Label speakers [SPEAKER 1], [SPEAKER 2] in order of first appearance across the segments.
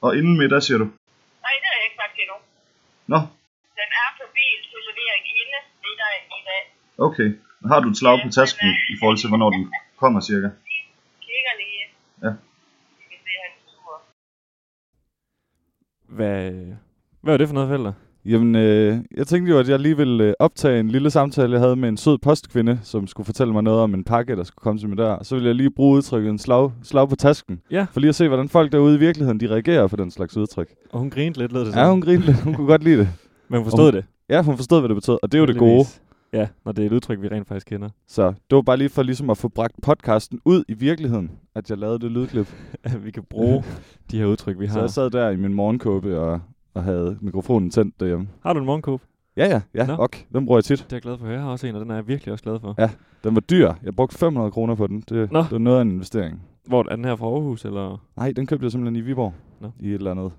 [SPEAKER 1] Og inden middag, siger du?
[SPEAKER 2] Nej, det har jeg ikke sagt endnu.
[SPEAKER 1] Nå,
[SPEAKER 2] Den er på bil til levering inde det der i dag.
[SPEAKER 1] okay. Har du et slag på tasken i forhold til, hvornår den kommer cirka?
[SPEAKER 2] Kigger lige.
[SPEAKER 1] Ja.
[SPEAKER 2] Vi kan se hans tur.
[SPEAKER 3] Hvad, hvad var det for noget, Felder?
[SPEAKER 4] Jamen, øh, jeg tænkte jo, at jeg lige ville øh, optage en lille samtale, jeg havde med en sød postkvinde, som skulle fortælle mig noget om en pakke, der skulle komme til mig der. Så ville jeg lige bruge udtrykket en slag, slag på tasken.
[SPEAKER 3] Ja.
[SPEAKER 4] For lige at se, hvordan folk derude i virkeligheden, de reagerer på den slags udtryk.
[SPEAKER 3] Og hun grinte lidt, lød det
[SPEAKER 4] Ja, hun grinede lidt. Hun kunne godt lide det.
[SPEAKER 3] Men hun forstod
[SPEAKER 4] Hun-
[SPEAKER 3] det.
[SPEAKER 4] Ja, hun forstod, hvad det betød, og det er jo det gode.
[SPEAKER 3] heldigvis. Ja, når det er et udtryk, vi rent faktisk kender.
[SPEAKER 4] Så det var bare lige for ligesom at få bragt podcasten ud i virkeligheden, at jeg lavede det lydklip.
[SPEAKER 3] At vi kan bruge de her udtryk, vi
[SPEAKER 4] Så
[SPEAKER 3] har.
[SPEAKER 4] jeg sad der i min morgenkåbe og, og havde mikrofonen tændt derhjemme.
[SPEAKER 3] Har du en morgenkåb?
[SPEAKER 4] Ja, ja, ja,
[SPEAKER 3] Nå.
[SPEAKER 4] ok. Den bruger jeg tit.
[SPEAKER 3] Det er jeg glad for at høre. Jeg har også en, og den er jeg virkelig også glad for.
[SPEAKER 4] Ja. Den var dyr. Jeg brugte 500 kroner på den. Det,
[SPEAKER 3] Nå.
[SPEAKER 4] det var noget af en investering.
[SPEAKER 3] Hvor er den her fra Aarhus, eller?
[SPEAKER 4] Nej, den købte jeg simpelthen i Viborg.
[SPEAKER 3] Nå.
[SPEAKER 4] I et eller andet.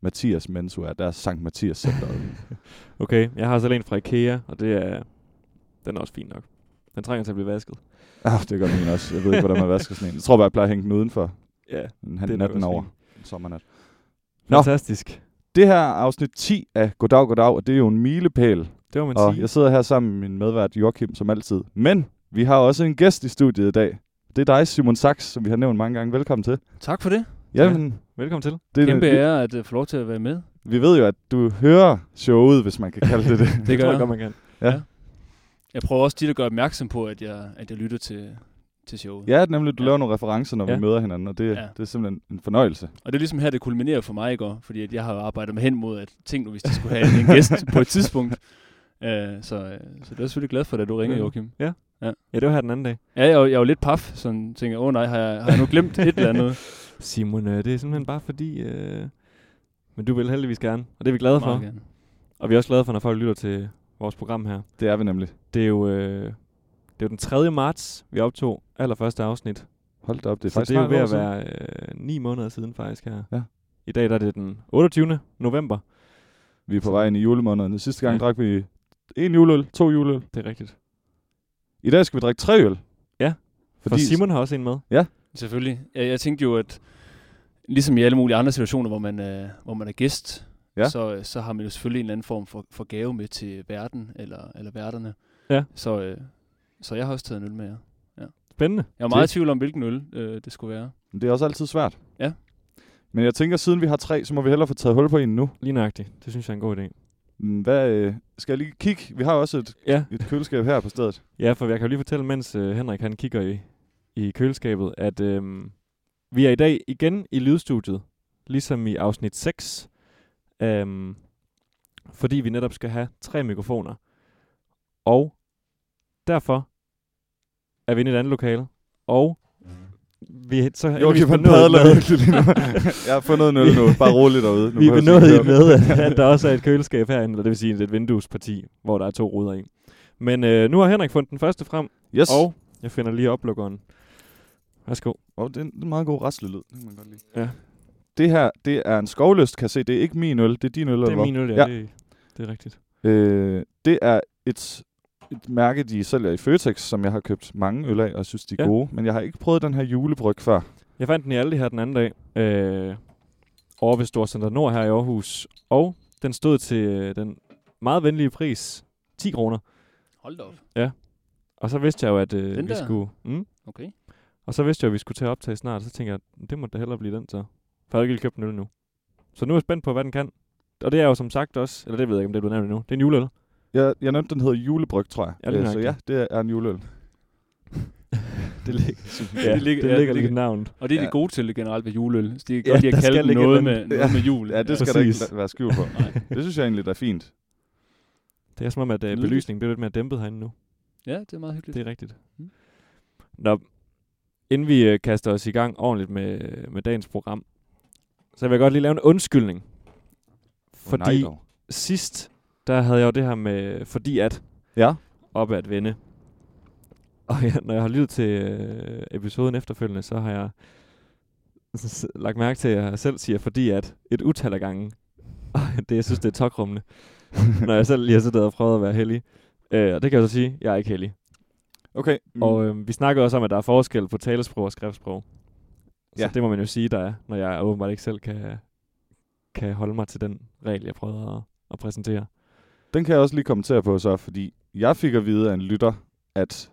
[SPEAKER 4] Mathias Mensua, der er Sankt Mathias Centeret.
[SPEAKER 3] Okay, jeg har selv en fra Ikea, og det er... Den er også fin nok. Den trænger til at blive vasket.
[SPEAKER 4] ah, det gør min også. Jeg ved ikke, hvordan man vasker sådan en. Jeg tror bare, jeg plejer at hænge den udenfor.
[SPEAKER 3] Ja, Det
[SPEAKER 4] Den
[SPEAKER 3] er
[SPEAKER 4] han
[SPEAKER 3] nok
[SPEAKER 4] natten
[SPEAKER 3] også
[SPEAKER 4] over.
[SPEAKER 3] fint.
[SPEAKER 4] En sommernat. Nå.
[SPEAKER 3] fantastisk.
[SPEAKER 4] Det her er afsnit 10 af Goddag, Goddag, og det er jo en milepæl.
[SPEAKER 3] Det må man
[SPEAKER 4] Og
[SPEAKER 3] sige.
[SPEAKER 4] jeg sidder her sammen med min medvært Joachim, som altid. Men vi har også en gæst i studiet i dag. Det er dig, Simon Sachs, som vi har nævnt mange gange. Velkommen til.
[SPEAKER 5] Tak for det.
[SPEAKER 4] Jamen,
[SPEAKER 3] Velkommen til.
[SPEAKER 4] det, er-
[SPEAKER 5] Kæmpe
[SPEAKER 4] vi,
[SPEAKER 5] ære at øh, få lov til at være med.
[SPEAKER 4] vi ved jo, at du hører showet, hvis man kan kalde det det.
[SPEAKER 5] Det
[SPEAKER 3] tror
[SPEAKER 5] gør
[SPEAKER 3] jeg godt,
[SPEAKER 5] jeg.
[SPEAKER 3] man kan.
[SPEAKER 5] Jeg prøver også tit at gøre opmærksom på, at jeg, at jeg lytter til, til showet.
[SPEAKER 4] Ja, nemlig, du
[SPEAKER 5] Ja.
[SPEAKER 4] laver nogle referencer, når
[SPEAKER 3] Ja.
[SPEAKER 4] vi møder hinanden, og det,
[SPEAKER 5] Ja.
[SPEAKER 4] det er simpelthen en fornøjelse.
[SPEAKER 5] Og det er ligesom her, det kulminerer for mig i går, fordi at jeg har jo arbejdet mig hen mod, at tænk nu, hvis de skulle have en gæst på et tidspunkt. Øh, så, øh, så det er jeg selvfølgelig glad for, at du ringede,
[SPEAKER 3] Ja.
[SPEAKER 5] Joachim.
[SPEAKER 3] Ja, det var her den anden dag.
[SPEAKER 5] Ja, jeg, er jo- jeg er jo lidt paf, sådan tænker, åh oh, nej, har jeg, har jeg nu glemt et eller andet?
[SPEAKER 3] Simon, øh, det er simpelthen bare fordi... Øh, men du vil heldigvis gerne, og det er vi glade for.
[SPEAKER 5] Meget gerne.
[SPEAKER 3] Og vi er også glade for, når folk lytter til vores program her.
[SPEAKER 4] Det er vi nemlig.
[SPEAKER 3] Det er jo, øh, det er jo den 3. marts, vi optog allerførste afsnit.
[SPEAKER 4] Hold da op, det er
[SPEAKER 3] så
[SPEAKER 4] faktisk
[SPEAKER 3] det er jo
[SPEAKER 4] snart
[SPEAKER 3] ved
[SPEAKER 4] et år
[SPEAKER 3] at
[SPEAKER 4] siden.
[SPEAKER 3] være øh, 9 måneder siden faktisk her.
[SPEAKER 4] Ja.
[SPEAKER 3] I dag der er det den 28. november.
[SPEAKER 4] Vi er på vej ind i julemåneden. Sidste gang
[SPEAKER 3] Ja.
[SPEAKER 4] ja. drak vi en juleøl, to juleøl.
[SPEAKER 3] Det er rigtigt.
[SPEAKER 4] I dag skal vi drikke tre øl.
[SPEAKER 3] Ja. Fordi For
[SPEAKER 4] Fordi
[SPEAKER 3] Simon har også en med.
[SPEAKER 5] Selvfølgelig. Jeg, jeg tænkte jo, at ligesom i alle mulige andre situationer, hvor man, øh, hvor man er gæst,
[SPEAKER 4] Ja.
[SPEAKER 5] så, øh, så har man jo selvfølgelig en eller anden form for, for gave med til verden eller, eller værterne.
[SPEAKER 3] Ja.
[SPEAKER 5] Så, øh, så jeg har også taget en øl med jer.
[SPEAKER 3] Spændende.
[SPEAKER 5] Jeg var meget i tvivl om, hvilken øl øh, det skulle være.
[SPEAKER 4] det er også altid svært.
[SPEAKER 5] Ja.
[SPEAKER 4] Men jeg tænker, siden vi har tre, så må vi hellere få taget hul på en nu.
[SPEAKER 3] Lige nøjagtigt. Det synes jeg er en god idé.
[SPEAKER 4] Mm, Hvad, øh, skal jeg lige kigge? Vi har også et,
[SPEAKER 3] Ja,
[SPEAKER 4] et køleskab her på stedet.
[SPEAKER 3] ja for jeg kan jo lige fortælle, mens øh, Henrik han kigger i, i køleskabet, at øh, vi er i dag igen i lydstudiet. Ligesom i afsnit 6. Øh, fordi vi netop skal have tre mikrofoner. Og derfor er vi inde i et andet lokale. Og vi er så
[SPEAKER 4] Jo,
[SPEAKER 3] heldigvis
[SPEAKER 4] okay,
[SPEAKER 3] benådet med-
[SPEAKER 4] lige nu. jeg har fundet en øl nu. Bare roligt derude. Nu
[SPEAKER 3] Vi er
[SPEAKER 4] behøver
[SPEAKER 3] benådet
[SPEAKER 4] ikke at-
[SPEAKER 3] med, at- at der også er et køleskab herinde, eller det vil sige det er et vinduesparti, hvor der er to ruder i. Men øh, nu har Henrik fundet den første frem,
[SPEAKER 4] Yes.
[SPEAKER 3] og jeg finder lige oplukkeren. Værsgo.
[SPEAKER 4] Oh, det er en det er en meget god rastlelyd. Det kan man godt lide.
[SPEAKER 3] Ja.
[SPEAKER 4] Det her, det er en skovlyst, kan jeg se. Det er ikke min øl, det er din øl,
[SPEAKER 3] Det
[SPEAKER 4] eller
[SPEAKER 3] er
[SPEAKER 4] hvad?
[SPEAKER 3] min øl, ja.
[SPEAKER 4] Ja.
[SPEAKER 3] Det, det er rigtigt.
[SPEAKER 4] Øh, det er et, et mærke, de sælger i Føtex, som jeg har købt mange øl af, og jeg synes, de er
[SPEAKER 3] Ja.
[SPEAKER 4] ja. gode. Men jeg har ikke prøvet den her julebryg før.
[SPEAKER 3] Jeg fandt den i Aldi her den anden dag, øh, over ved Storcenter Nord her i Aarhus, og den stod til øh, den meget venlige pris, 10 kroner.
[SPEAKER 5] Hold da op.
[SPEAKER 3] Og så vidste jeg jo, at øh,
[SPEAKER 5] Den
[SPEAKER 3] vi
[SPEAKER 5] der?
[SPEAKER 3] skulle... Mm,
[SPEAKER 5] Okay.
[SPEAKER 3] og så vidste jeg, at vi skulle til at optage snart, så tænkte jeg, det må da hellere blive den så. For jeg har ikke lige købt en øl nu. Så nu er jeg spændt på, hvad den kan. Og det er jo som sagt også, eller det ved jeg ikke, om det er blevet nævnt endnu, det er en juleøl.
[SPEAKER 4] Jeg, jeg nævnte, den hedder julebryg, tror jeg.
[SPEAKER 3] Ja, det er
[SPEAKER 4] Øh, så
[SPEAKER 3] nok
[SPEAKER 4] ja, det er en juleøl.
[SPEAKER 3] Det ligger, ja, det
[SPEAKER 5] det ligger-
[SPEAKER 3] ligger,
[SPEAKER 5] ja,
[SPEAKER 3] det ligger
[SPEAKER 5] det
[SPEAKER 3] lidt i
[SPEAKER 5] ligger-
[SPEAKER 3] navnet.
[SPEAKER 5] Og det er ja.
[SPEAKER 4] Ja.
[SPEAKER 5] de gode til generelt ved juleøl. Så de kan
[SPEAKER 3] Ja,
[SPEAKER 5] godt lide
[SPEAKER 3] der
[SPEAKER 5] at
[SPEAKER 3] skal
[SPEAKER 5] kalde dem
[SPEAKER 3] ligge et
[SPEAKER 5] noget
[SPEAKER 3] eller
[SPEAKER 5] med, noget med jul.
[SPEAKER 4] Ja, det skal
[SPEAKER 3] præcis.
[SPEAKER 4] der ikke la- være skjul på.
[SPEAKER 5] Nej.
[SPEAKER 4] det synes jeg egentlig, der er fint.
[SPEAKER 3] Det er som om, at øh,
[SPEAKER 5] Nydeligt.
[SPEAKER 3] belysningen bliver lidt mere dæmpet herinde nu.
[SPEAKER 5] ja, det er meget hyggeligt.
[SPEAKER 3] Det er rigtigt.
[SPEAKER 5] Mm.
[SPEAKER 3] Nå, inden vi øh, kaster os i gang ordentligt med, med dagens program, så vil jeg godt lige lave en undskyldning.
[SPEAKER 4] Åh, nej
[SPEAKER 3] Fordi
[SPEAKER 4] dog.
[SPEAKER 3] sidst, der havde jeg jo det her med fordi at
[SPEAKER 4] Ja,
[SPEAKER 3] op at vende. Og jeg, når jeg har lyttet til øh, episoden efterfølgende, så har jeg s- s- lagt mærke til, at jeg selv siger fordi at et utal af gange. Og det, jeg synes, det er tokrummende. når jeg selv lige har siddet og prøvet at være heldig. Øh, og det kan jeg så sige, jeg er ikke heldig.
[SPEAKER 4] okay.
[SPEAKER 3] Mm. Og øh, vi snakkede også om, at der er forskel på talesprog og skriftsprog. Så
[SPEAKER 4] Ja.
[SPEAKER 3] det må man jo sige, der er, når jeg åbenbart ikke selv kan kan holde mig til den regel, jeg prøvede at, at præsentere.
[SPEAKER 4] Den kan jeg også lige kommentere på så, fordi jeg fik at vide af en lytter, at,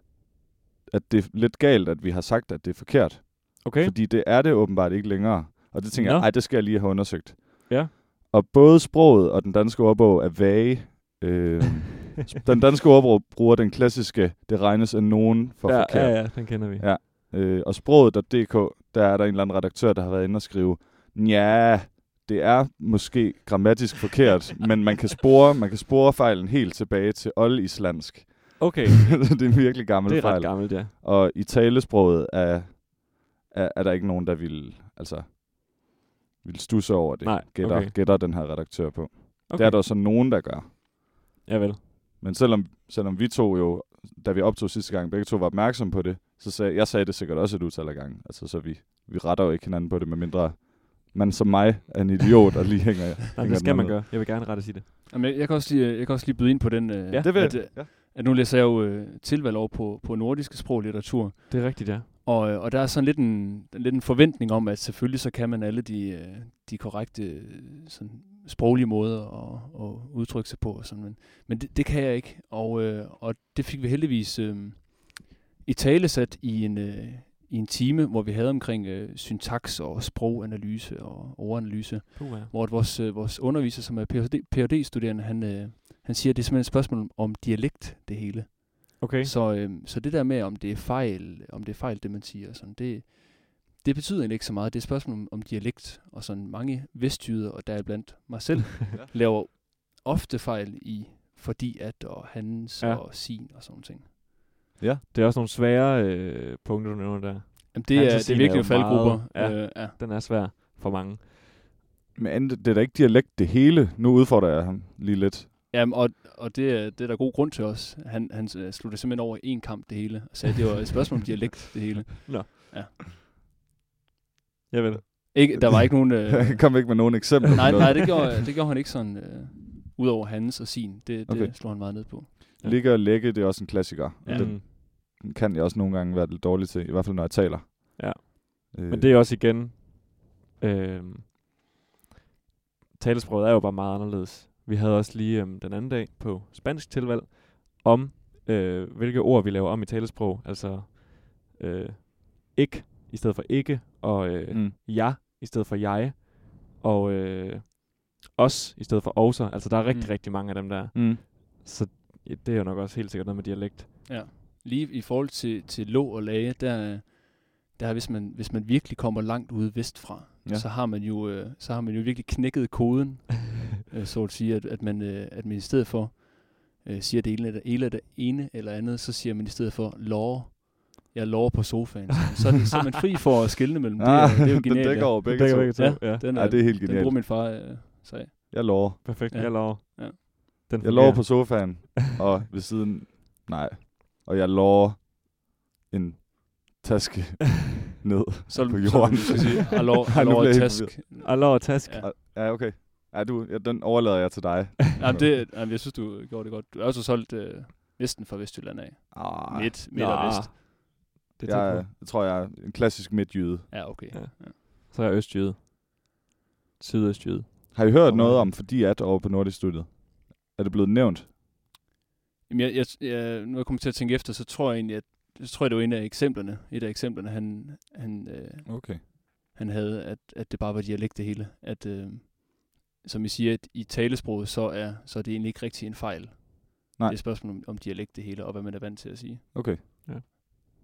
[SPEAKER 4] at det er lidt galt, at vi har sagt, at det er forkert.
[SPEAKER 3] Okay?
[SPEAKER 4] Fordi det er det åbenbart ikke længere. Og det tænker
[SPEAKER 3] Nå.
[SPEAKER 4] jeg, ej, det skal jeg lige have undersøgt.
[SPEAKER 3] Ja.
[SPEAKER 4] Og både sproget og den danske ordbog er vage. Øh, den danske ordbog bruger den klassiske, det regnes af nogen for
[SPEAKER 3] ja,
[SPEAKER 4] forkert.
[SPEAKER 3] ja, ja, den kender vi.
[SPEAKER 4] Ja. Øh, og sproget.dk, der er der en eller anden redaktør, der har været inde og skrive, ja, det er måske grammatisk forkert, men man kan spore, man kan spore fejlen helt tilbage til oldislandsk.
[SPEAKER 3] Okay,
[SPEAKER 4] det er en virkelig gammel
[SPEAKER 3] det er
[SPEAKER 4] fejl.
[SPEAKER 3] ret gammelt, ja.
[SPEAKER 4] Og i talesproget er, er, er der ikke nogen, der vil, altså, vil stusse over det,
[SPEAKER 3] Nej,
[SPEAKER 4] gætter,
[SPEAKER 3] okay.
[SPEAKER 4] gætter den her redaktør på. Okay.
[SPEAKER 3] Okay.
[SPEAKER 4] Det er der så nogen, der gør.
[SPEAKER 3] Ja vel.
[SPEAKER 4] Men selvom, selvom vi to jo, da vi optog sidste gang, begge to var opmærksomme på det, så sagde jeg sagde det sikkert også et utal af gange. Altså, så vi, vi retter jo ikke hinanden på det, medmindre man som mig er en idiot og lige hænger
[SPEAKER 3] Nej,
[SPEAKER 4] hænger
[SPEAKER 3] det
[SPEAKER 4] den
[SPEAKER 3] skal man
[SPEAKER 4] ned.
[SPEAKER 3] gøre. Jeg vil gerne rette sig det.
[SPEAKER 5] Jamen, jeg, jeg, kan også lige, jeg kan også lige byde ind på den, øh,
[SPEAKER 3] Ja,
[SPEAKER 4] Det vil
[SPEAKER 5] at, øh,
[SPEAKER 4] jeg. Ja.
[SPEAKER 5] at nu læser jeg jo øh, tilvalg over på, på nordiske sprog og litteratur,
[SPEAKER 3] Det er rigtigt, ja.
[SPEAKER 5] Og, øh, og der er sådan lidt en, lidt en forventning om, at selvfølgelig så kan man alle de, øh, de korrekte øh, sådan, sproglige måder at, at udtrykke sig på. Og sådan, men men det, det kan jeg ikke, og, øh, og det fik vi heldigvis øh, i tale sat i en, øh, i en time, hvor vi havde omkring øh, syntaks og sproganalyse og ordanalyse,
[SPEAKER 3] Puh, ja.
[SPEAKER 5] hvor at vores, øh, vores underviser, som er phd studerende han, øh, han siger, at det er simpelthen et spørgsmål om dialekt, det hele.
[SPEAKER 3] Okay,
[SPEAKER 5] Så, øh, så det der med, om det er fejl, om det er fejl, det man siger, og sådan, det, det betyder egentlig ikke så meget. Det er et spørgsmål om, om dialekt, og sådan mange vestjyder, og der er blandt mig selv, ja. laver ofte fejl i fordi at, og hans,
[SPEAKER 3] Ja.
[SPEAKER 5] ja. og sin, og sådan nogle ting.
[SPEAKER 3] det er også nogle svære øh, punkter, du nævner der.
[SPEAKER 5] Jamen, det,
[SPEAKER 3] Hans og
[SPEAKER 5] er, det
[SPEAKER 3] sin
[SPEAKER 5] er
[SPEAKER 3] er
[SPEAKER 5] virkelig
[SPEAKER 3] jo
[SPEAKER 5] nogle faldgrupper.
[SPEAKER 3] meget-
[SPEAKER 5] Øh, ja.
[SPEAKER 3] Den er svær for mange.
[SPEAKER 4] Men det er da ikke dialekt det hele. Nu udfordrer jeg ham lige lidt.
[SPEAKER 5] Jamen, og, og det, er, det er der god grund til os. Han, han øh, sluttede simpelthen over en kamp det hele, og sagde, at det var et spørgsmål om dialekt det hele.
[SPEAKER 3] Ja vel.
[SPEAKER 5] Ikke, der var ikke nogen... Øh,
[SPEAKER 4] Jeg kom ikke med nogen eksempler. på
[SPEAKER 5] nej,
[SPEAKER 4] noget.
[SPEAKER 5] nej, det gjorde, det gjorde han ikke sådan, øh, udover hans og sin. Det, det
[SPEAKER 4] Okay.
[SPEAKER 5] okay. slog han meget ned på.
[SPEAKER 4] Ligge og lægge, det er også en klassiker.
[SPEAKER 5] Ja.
[SPEAKER 4] Ja. Den
[SPEAKER 3] Mm.
[SPEAKER 4] kan jeg også nogle gange være lidt dårlig til, i hvert fald når jeg taler.
[SPEAKER 3] Ja.
[SPEAKER 4] Øh,
[SPEAKER 3] Men det er også igen... Øh, talesproget er jo bare meget anderledes. Vi havde også lige øh, den anden dag på spansk tilvalg om, øh, hvilke ord vi laver om i talesprog. Altså øh, ikke i stedet for ikke, og øh, mm.
[SPEAKER 4] Mm.
[SPEAKER 3] jeg i stedet for jeg, og øh, os i stedet for også. Altså der er rigtig,
[SPEAKER 5] Mm.
[SPEAKER 3] mm. rigtig mange af dem der.
[SPEAKER 4] Mm.
[SPEAKER 3] Så ja, det er jo nok også helt sikkert noget med dialekt.
[SPEAKER 5] Lige i forhold til, til låg og lage, der, der er, hvis man, hvis man virkelig kommer langt ude vestfra,
[SPEAKER 4] Ja.
[SPEAKER 5] ja. så, har man jo, øh, så har man jo virkelig knækket koden, øh, så at sige, at, at, man, øh, at man i stedet for øh, siger det ene, eller, eller det ene eller andet, så siger man i stedet for lår. Jeg lover på sofaen. Så er, den, så er man fri for at skille mellem det.
[SPEAKER 4] Ah,
[SPEAKER 5] og det er jo
[SPEAKER 4] den
[SPEAKER 5] genialt.
[SPEAKER 4] dækker
[SPEAKER 5] ja.
[SPEAKER 4] over begge to.
[SPEAKER 3] to. Ja, ja.
[SPEAKER 5] Den, er,
[SPEAKER 4] Ja, det er helt
[SPEAKER 5] den bruger
[SPEAKER 4] genialt.
[SPEAKER 5] min far øh, sag.
[SPEAKER 4] Jeg lover.
[SPEAKER 3] Perfekt,
[SPEAKER 5] Ja.
[SPEAKER 3] jeg lover.
[SPEAKER 5] Ja.
[SPEAKER 3] Den
[SPEAKER 4] Jeg lover
[SPEAKER 3] fungerer.
[SPEAKER 4] på sofaen, og ved siden... Nej. Og jeg lover en taske ned.
[SPEAKER 5] Så,
[SPEAKER 4] På
[SPEAKER 5] så
[SPEAKER 4] jorden.
[SPEAKER 5] du skal sige,
[SPEAKER 4] Ej, nu bliver
[SPEAKER 5] alor,
[SPEAKER 4] jeg helt
[SPEAKER 5] task.
[SPEAKER 3] Jeg lover task.
[SPEAKER 5] Ja.
[SPEAKER 4] Ja, okay. Ja, du, ja, den overlader jeg til dig.
[SPEAKER 5] Jamen, det, jamen, jeg synes, du gjorde det godt. Du er også solgt øh, Vesten fra Vestjylland af.
[SPEAKER 4] Ah,
[SPEAKER 5] Ah, midt, midt og
[SPEAKER 3] Nå,
[SPEAKER 5] vest.
[SPEAKER 3] Det er
[SPEAKER 4] jeg,
[SPEAKER 3] jeg...
[SPEAKER 4] er- jeg tror, jeg er en klassisk midtjyde.
[SPEAKER 5] Ja, okay.
[SPEAKER 3] Ja.
[SPEAKER 5] Ja.
[SPEAKER 3] Så er jeg østjyde. Sydøstjyde.
[SPEAKER 4] Har I hørt
[SPEAKER 3] Okay.
[SPEAKER 4] noget om fordi at over på Nordisk Studiet? Er det blevet nævnt?
[SPEAKER 5] Jamen, jeg, jeg, jeg, nu er jeg kommet til at tænke efter, så tror jeg egentlig, at så tror jeg, det var en af eksemplerne. Et af eksemplerne, han, han, øh,
[SPEAKER 4] Okay.
[SPEAKER 5] han havde, at, at det bare var dialekt det hele. At, øh, som I siger, at i talesproget, så er, så er det egentlig ikke rigtig en fejl.
[SPEAKER 4] Nej.
[SPEAKER 5] Det er et spørgsmål om, om dialekt det hele, og hvad man er vant til at sige.
[SPEAKER 4] Okay.
[SPEAKER 3] Ja.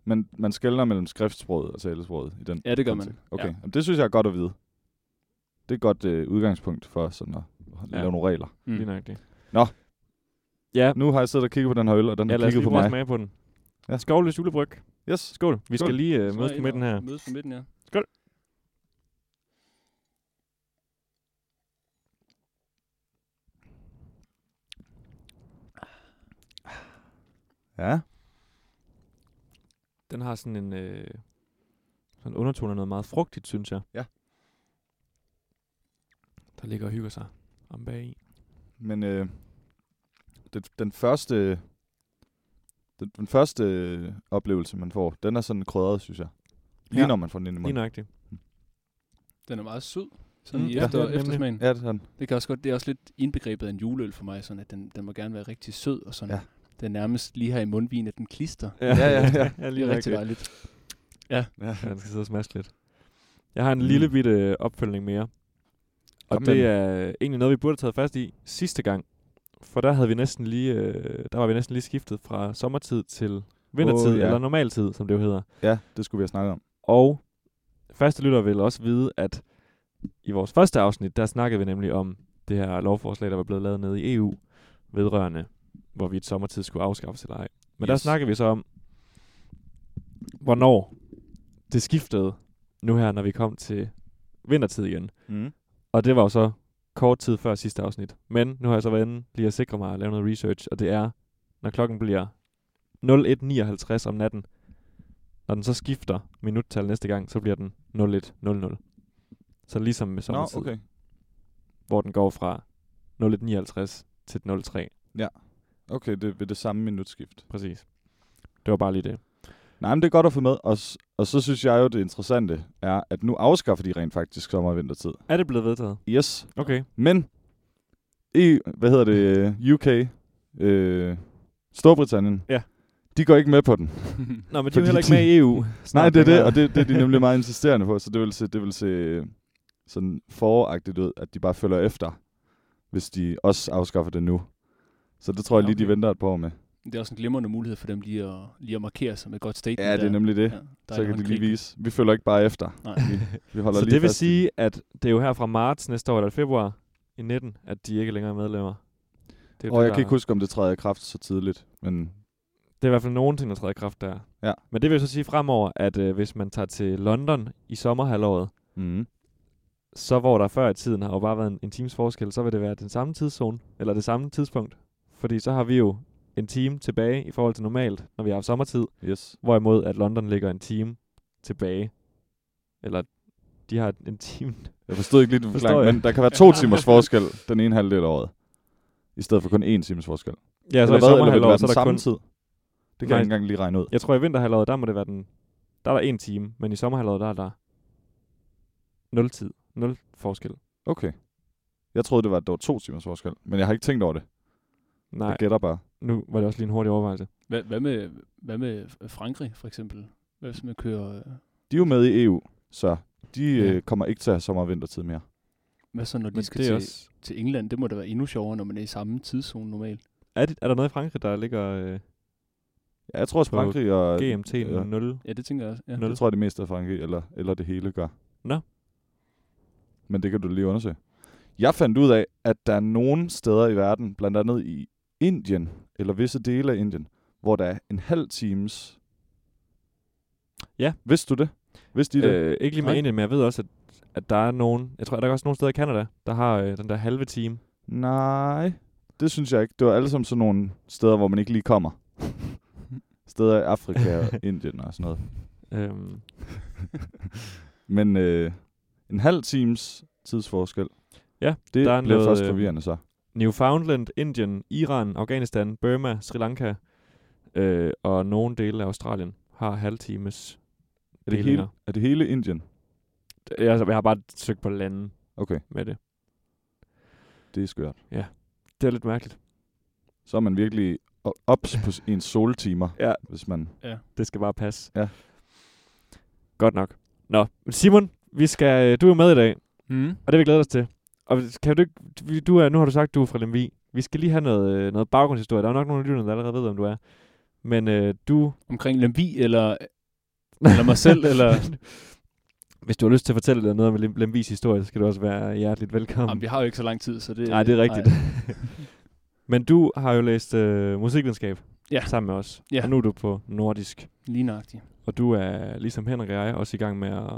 [SPEAKER 4] Men man skældner mellem skriftsproget og talesproget i den
[SPEAKER 5] Ja, det gør man.
[SPEAKER 4] kontekst. Okay,
[SPEAKER 5] Ja.
[SPEAKER 4] Jamen, det synes jeg er godt at vide. Det er et godt øh, udgangspunkt for sådan at ja.
[SPEAKER 3] Ja.
[SPEAKER 4] lave nogle regler.
[SPEAKER 3] Mm. Lige
[SPEAKER 5] Mm.
[SPEAKER 3] nok det.
[SPEAKER 4] Nå.
[SPEAKER 3] Ja,
[SPEAKER 4] Nu har jeg siddet og kigget på den her øl, og den
[SPEAKER 3] ja
[SPEAKER 4] har
[SPEAKER 3] lad os
[SPEAKER 4] kigget
[SPEAKER 3] lige
[SPEAKER 4] på
[SPEAKER 3] prøve at
[SPEAKER 4] mig.
[SPEAKER 3] smage på den.
[SPEAKER 4] Ja.
[SPEAKER 3] Skovløs julebryg.
[SPEAKER 4] Yes.
[SPEAKER 3] Skål. Vi skal
[SPEAKER 4] Skål.
[SPEAKER 3] lige øh,
[SPEAKER 5] Så
[SPEAKER 3] mødes på
[SPEAKER 5] ind
[SPEAKER 3] midten
[SPEAKER 5] og
[SPEAKER 3] her.
[SPEAKER 5] Mødes på midten, ja.
[SPEAKER 4] Ja.
[SPEAKER 3] Den har sådan en øh, sådan undertone af noget meget frugtigt, synes jeg.
[SPEAKER 4] Ja.
[SPEAKER 3] Der ligger og hygger sig om bag i.
[SPEAKER 4] Men øh, det, den første den, den første øh, oplevelse, man får, den er sådan krydret, synes jeg. Lige
[SPEAKER 3] Ja.
[SPEAKER 4] ja. når man får den ind i
[SPEAKER 3] Lige
[SPEAKER 4] munden.
[SPEAKER 3] nøjagtigt.
[SPEAKER 5] Den er meget sød. Sådan
[SPEAKER 3] Mm,
[SPEAKER 5] mm, i
[SPEAKER 3] ja,
[SPEAKER 5] efter,
[SPEAKER 3] det er
[SPEAKER 5] ja,
[SPEAKER 3] det nemlig.
[SPEAKER 5] eftersmagen.
[SPEAKER 4] Ja, det er den.
[SPEAKER 5] Det kan også godt, det er også lidt indbegrebet af en juleøl for mig, sådan at den, den må gerne være rigtig sød, og sådan
[SPEAKER 4] Ja.
[SPEAKER 5] ja. den nærmest lige her i mundvin, at den klister.
[SPEAKER 4] Ja, ja, ja.
[SPEAKER 3] ja
[SPEAKER 5] Det er rigtig dejligt.
[SPEAKER 4] Ja.
[SPEAKER 3] Ja, den skal sidde og smaske lidt. Jeg har en
[SPEAKER 4] Mm.
[SPEAKER 3] mm. lille bitte opfølgning mere. Og
[SPEAKER 4] Kom med
[SPEAKER 3] det
[SPEAKER 4] den.
[SPEAKER 3] er egentlig noget, vi burde have taget fast i sidste gang. For der havde vi næsten lige, øh, der var vi næsten lige skiftet fra sommertid til vintertid,
[SPEAKER 4] Åh,
[SPEAKER 3] oh,
[SPEAKER 4] ja.
[SPEAKER 3] ja. eller normaltid, som det jo hedder.
[SPEAKER 4] ja, det skulle vi have snakket om.
[SPEAKER 3] Og faste lytter vil også vide, at i vores første afsnit, der snakkede vi nemlig om det her lovforslag, der var blevet lavet nede i EU vedrørende, hvor vi et sommertid skulle afskaffes eller ej. Men yes. der
[SPEAKER 4] Yes.
[SPEAKER 3] snakkede vi så om, hvornår det skiftede nu her, når vi kom til vintertid igen.
[SPEAKER 4] Mm.
[SPEAKER 3] Og det var jo så kort tid før sidste afsnit. Men nu har jeg så været inde lige at sikre mig at lave noget research, og det er, når klokken bliver 01.59 om natten, når den så skifter minuttal næste gang, så bliver den 01.00. Så ligesom med
[SPEAKER 4] Nå,
[SPEAKER 3] sommertid,
[SPEAKER 4] okay.
[SPEAKER 3] hvor den går fra 01.59 til 03.
[SPEAKER 4] Okay, det er ved det samme minutskift.
[SPEAKER 3] Præcis. Det var bare lige det.
[SPEAKER 4] Nej, men det er godt at få med. Og, s- og så synes jeg jo, det interessante er, at nu afskaffer de rent faktisk sommer- og vintertid.
[SPEAKER 3] Er det blevet vedtaget?
[SPEAKER 4] Yes.
[SPEAKER 3] Okay.
[SPEAKER 4] Men i, hvad hedder det, øh, UK, øh, Storbritannien,
[SPEAKER 3] Ja.
[SPEAKER 4] de går ikke med på den.
[SPEAKER 3] Nå, men de er
[SPEAKER 4] Fordi
[SPEAKER 3] jo heller ikke med i EU.
[SPEAKER 4] Nej,
[SPEAKER 3] snart
[SPEAKER 4] det er det,
[SPEAKER 3] længere.
[SPEAKER 4] og det, det er de nemlig meget insisterende på, så det vil se, det vil se øh, sådan foragtigt ud, at de bare følger efter, hvis de også afskaffer det nu. Så det tror jeg
[SPEAKER 5] Ja,
[SPEAKER 4] lige, de
[SPEAKER 5] okay.
[SPEAKER 4] venter et par år med.
[SPEAKER 5] Det er også en glimrende mulighed for dem lige at, lige at markere sig med et godt statement.
[SPEAKER 4] Ja, det er
[SPEAKER 5] der.
[SPEAKER 4] nemlig det.
[SPEAKER 5] Ja, der
[SPEAKER 4] Så
[SPEAKER 5] er
[SPEAKER 4] kan de
[SPEAKER 5] det
[SPEAKER 4] lige vise. Vi følger ikke bare efter.
[SPEAKER 5] Nej.
[SPEAKER 4] Vi holder
[SPEAKER 3] Så
[SPEAKER 4] lige
[SPEAKER 3] det vil
[SPEAKER 4] fast i-
[SPEAKER 3] sige, at det er jo her fra marts næste år, eller februar i 19, at de ikke længere er medlemmer. Det er jo
[SPEAKER 4] Og
[SPEAKER 3] det,
[SPEAKER 4] jeg kan
[SPEAKER 3] der-
[SPEAKER 4] ikke huske, om det træder i kraft så tidligt, men
[SPEAKER 3] Det er i hvert fald nogen ting, der træder i kraft der.
[SPEAKER 4] Ja.
[SPEAKER 3] Men det vil jo så sige fremover, at øh, hvis man tager til London i sommerhalvåret,
[SPEAKER 4] mm.
[SPEAKER 3] så hvor der før i tiden har jo bare været en, en times forskel, så vil det være den samme tidszone, eller det samme tidspunkt. Fordi så har vi jo en time tilbage i forhold til normalt, når vi har haft sommertid,
[SPEAKER 4] yes.
[SPEAKER 3] hvorimod at London ligger en time tilbage. Eller de har en time.
[SPEAKER 4] Jeg forstod ikke lige den
[SPEAKER 3] Forstår
[SPEAKER 4] forklaring,
[SPEAKER 3] jeg.
[SPEAKER 4] men der kan være to timers forskel den ene halvdel af året. I stedet for kun én times forskel.
[SPEAKER 3] Ja, så Altså, i
[SPEAKER 4] hvad? vil det
[SPEAKER 3] sommerhalvåret,
[SPEAKER 4] være
[SPEAKER 3] så
[SPEAKER 4] den
[SPEAKER 3] er der
[SPEAKER 4] samme
[SPEAKER 3] kun...
[SPEAKER 4] tid? Det kan
[SPEAKER 3] Nej.
[SPEAKER 4] jeg ikke engang lige regne ud.
[SPEAKER 3] Jeg tror, i vinterhalvåret, der må det være den... Der er der en time, men i sommerhalvåret, der er der... Nul tid. Nul forskel.
[SPEAKER 4] Okay. Jeg troede, det var, at der var to timers forskel, men jeg har ikke tænkt over det.
[SPEAKER 3] Nej,
[SPEAKER 4] Jeg gætter bare.
[SPEAKER 3] nu var det også lige en hurtig overvejelse.
[SPEAKER 5] Hvad, hvad, med, hvad med øh, Frankrig, for eksempel? Hvad hvis man kører... øh,
[SPEAKER 4] De er jo med i EU, så de
[SPEAKER 3] Ja.
[SPEAKER 4] øh, kommer ikke til at have sommer- og vintertid mere.
[SPEAKER 5] Hvad så, når de
[SPEAKER 3] Men
[SPEAKER 5] skal
[SPEAKER 3] det er
[SPEAKER 5] til, også...
[SPEAKER 3] også...
[SPEAKER 5] til England? Det må da være endnu sjovere, når man er i samme tidszone normalt.
[SPEAKER 3] Er, det, er der noget i Frankrig, der ligger øh,
[SPEAKER 4] Ja, jeg tror, at
[SPEAKER 3] På
[SPEAKER 4] Frankrig og...
[SPEAKER 3] GMT
[SPEAKER 4] ja.
[SPEAKER 3] 0?
[SPEAKER 5] Ja, det tænker jeg også. Ja.
[SPEAKER 3] Nå.
[SPEAKER 4] Det tror jeg, det meste af Frankrig, eller, eller det hele gør.
[SPEAKER 3] Nå.
[SPEAKER 4] Men det kan du lige undersøge. Jeg fandt ud af, at der er nogle steder i verden, blandt andet i Indien, eller visse dele af Indien, hvor der er en halv times...
[SPEAKER 3] Ja.
[SPEAKER 4] Vidste du det? Vidste de det?
[SPEAKER 3] Øh, ikke lige med
[SPEAKER 4] Nej.
[SPEAKER 3] Indien, men jeg ved også, at, at der er nogen... Jeg tror, der er også nogle steder i Canada, der har øh, den der halve time.
[SPEAKER 4] Nej, det synes jeg ikke. Det var alle sammen sådan nogle steder, hvor man ikke lige kommer. steder i Afrika og Indien og sådan noget.
[SPEAKER 3] Øhm,
[SPEAKER 4] Men øh, en halv times tidsforskel,
[SPEAKER 3] Ja,
[SPEAKER 4] det
[SPEAKER 3] der er
[SPEAKER 4] bliver
[SPEAKER 3] noget,
[SPEAKER 4] først
[SPEAKER 3] øh,
[SPEAKER 4] forvirrende så.
[SPEAKER 3] Newfoundland, Indien, Iran, Afghanistan, Burma, Sri Lanka øh, og nogle dele af Australien har halvtimes
[SPEAKER 4] Er det, hele,
[SPEAKER 3] delinger.
[SPEAKER 4] er det hele Indien?
[SPEAKER 3] altså, Jeg, jeg har bare søgt på lande
[SPEAKER 4] Okay,
[SPEAKER 3] med det.
[SPEAKER 4] det er skørt.
[SPEAKER 3] Det er lidt mærkeligt.
[SPEAKER 4] Så er man virkelig o- ops på s- ens soltimer,
[SPEAKER 3] Ja,
[SPEAKER 4] hvis man...
[SPEAKER 3] Det skal bare passe.
[SPEAKER 4] Ja.
[SPEAKER 3] Godt nok. Nå, men Simon, vi skal, øh, du er med i dag. Og
[SPEAKER 5] Mm.
[SPEAKER 3] det vil vi glæde os til. Og kan du ikke, du er, nu har du sagt, du er fra Lemvi. Vi skal lige have noget, øh, noget baggrundshistorie. Der er nok nogle af lytterne, der allerede ved, hvem du er. Men øh, du...
[SPEAKER 5] Omkring Lemvi, eller, eller mig selv, eller...
[SPEAKER 3] Hvis du har lyst til at fortælle dig noget om Lem- Lemvis historie, så skal du også være hjerteligt velkommen.
[SPEAKER 5] Jamen, vi har jo ikke så lang tid, så det...
[SPEAKER 3] Nej, det er rigtigt.
[SPEAKER 5] Ej.
[SPEAKER 3] Men du har jo læst øh, musikvidenskab
[SPEAKER 5] Ja.
[SPEAKER 3] sammen med os.
[SPEAKER 5] Ja.
[SPEAKER 3] Og nu er du på nordisk.
[SPEAKER 5] Lige nøjagtigt.
[SPEAKER 3] Og du er, ligesom Henrik og jeg, også i gang med at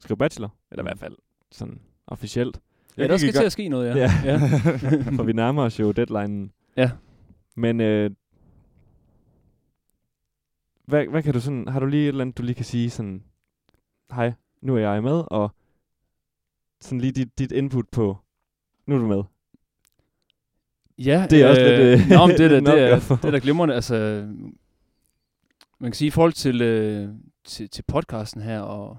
[SPEAKER 3] skrive bachelor. Eller i hvert fald sådan officielt.
[SPEAKER 5] Mm. Ja, der skal til at ske noget, ja.
[SPEAKER 3] Ja.
[SPEAKER 5] ja.
[SPEAKER 3] For vi nærmer os jo deadline.
[SPEAKER 5] Ja.
[SPEAKER 3] Men øh, hvad, hvad kan du sådan, har du lige et eller andet, du lige kan sige sådan, hej, nu er jeg med, og sådan lige dit, dit input på, nu er du med.
[SPEAKER 5] Ja,
[SPEAKER 3] Det er også lidt, øh,
[SPEAKER 5] Nå, men det, er da-
[SPEAKER 3] en
[SPEAKER 5] det, er,
[SPEAKER 3] opgave for-
[SPEAKER 5] det er da glimrende. Altså, man kan sige, i forhold til, øh, til, til podcasten her, og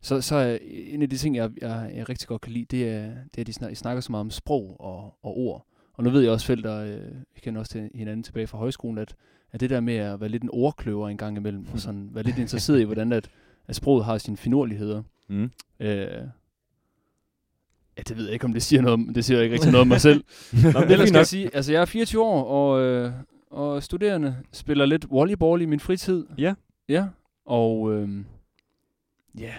[SPEAKER 5] Så, så er en af de ting, jeg, jeg, jeg rigtig godt kan lide, det er, det er at de snakker, snakker så meget om sprog og, og ord. Og nu ved jeg også, felter, øh, vi kender også til hinanden tilbage fra højskolen, at, at det der med at være lidt en ordkløver en gang imellem, og sådan være lidt interesseret i, hvordan at, at sproget har sine finurligheder.
[SPEAKER 4] Mm.
[SPEAKER 5] Øh, ja, det ved jeg ikke, om det siger noget om, det siger ikke rigtig noget om mig selv.
[SPEAKER 3] Nå, men det er
[SPEAKER 5] Ellers
[SPEAKER 3] fint
[SPEAKER 5] skal jeg
[SPEAKER 3] nok.
[SPEAKER 5] sige, altså jeg er 24 år, og, øh, og studerende spiller lidt volleyball i min fritid.
[SPEAKER 3] Ja.
[SPEAKER 5] Ja, og øh, ja,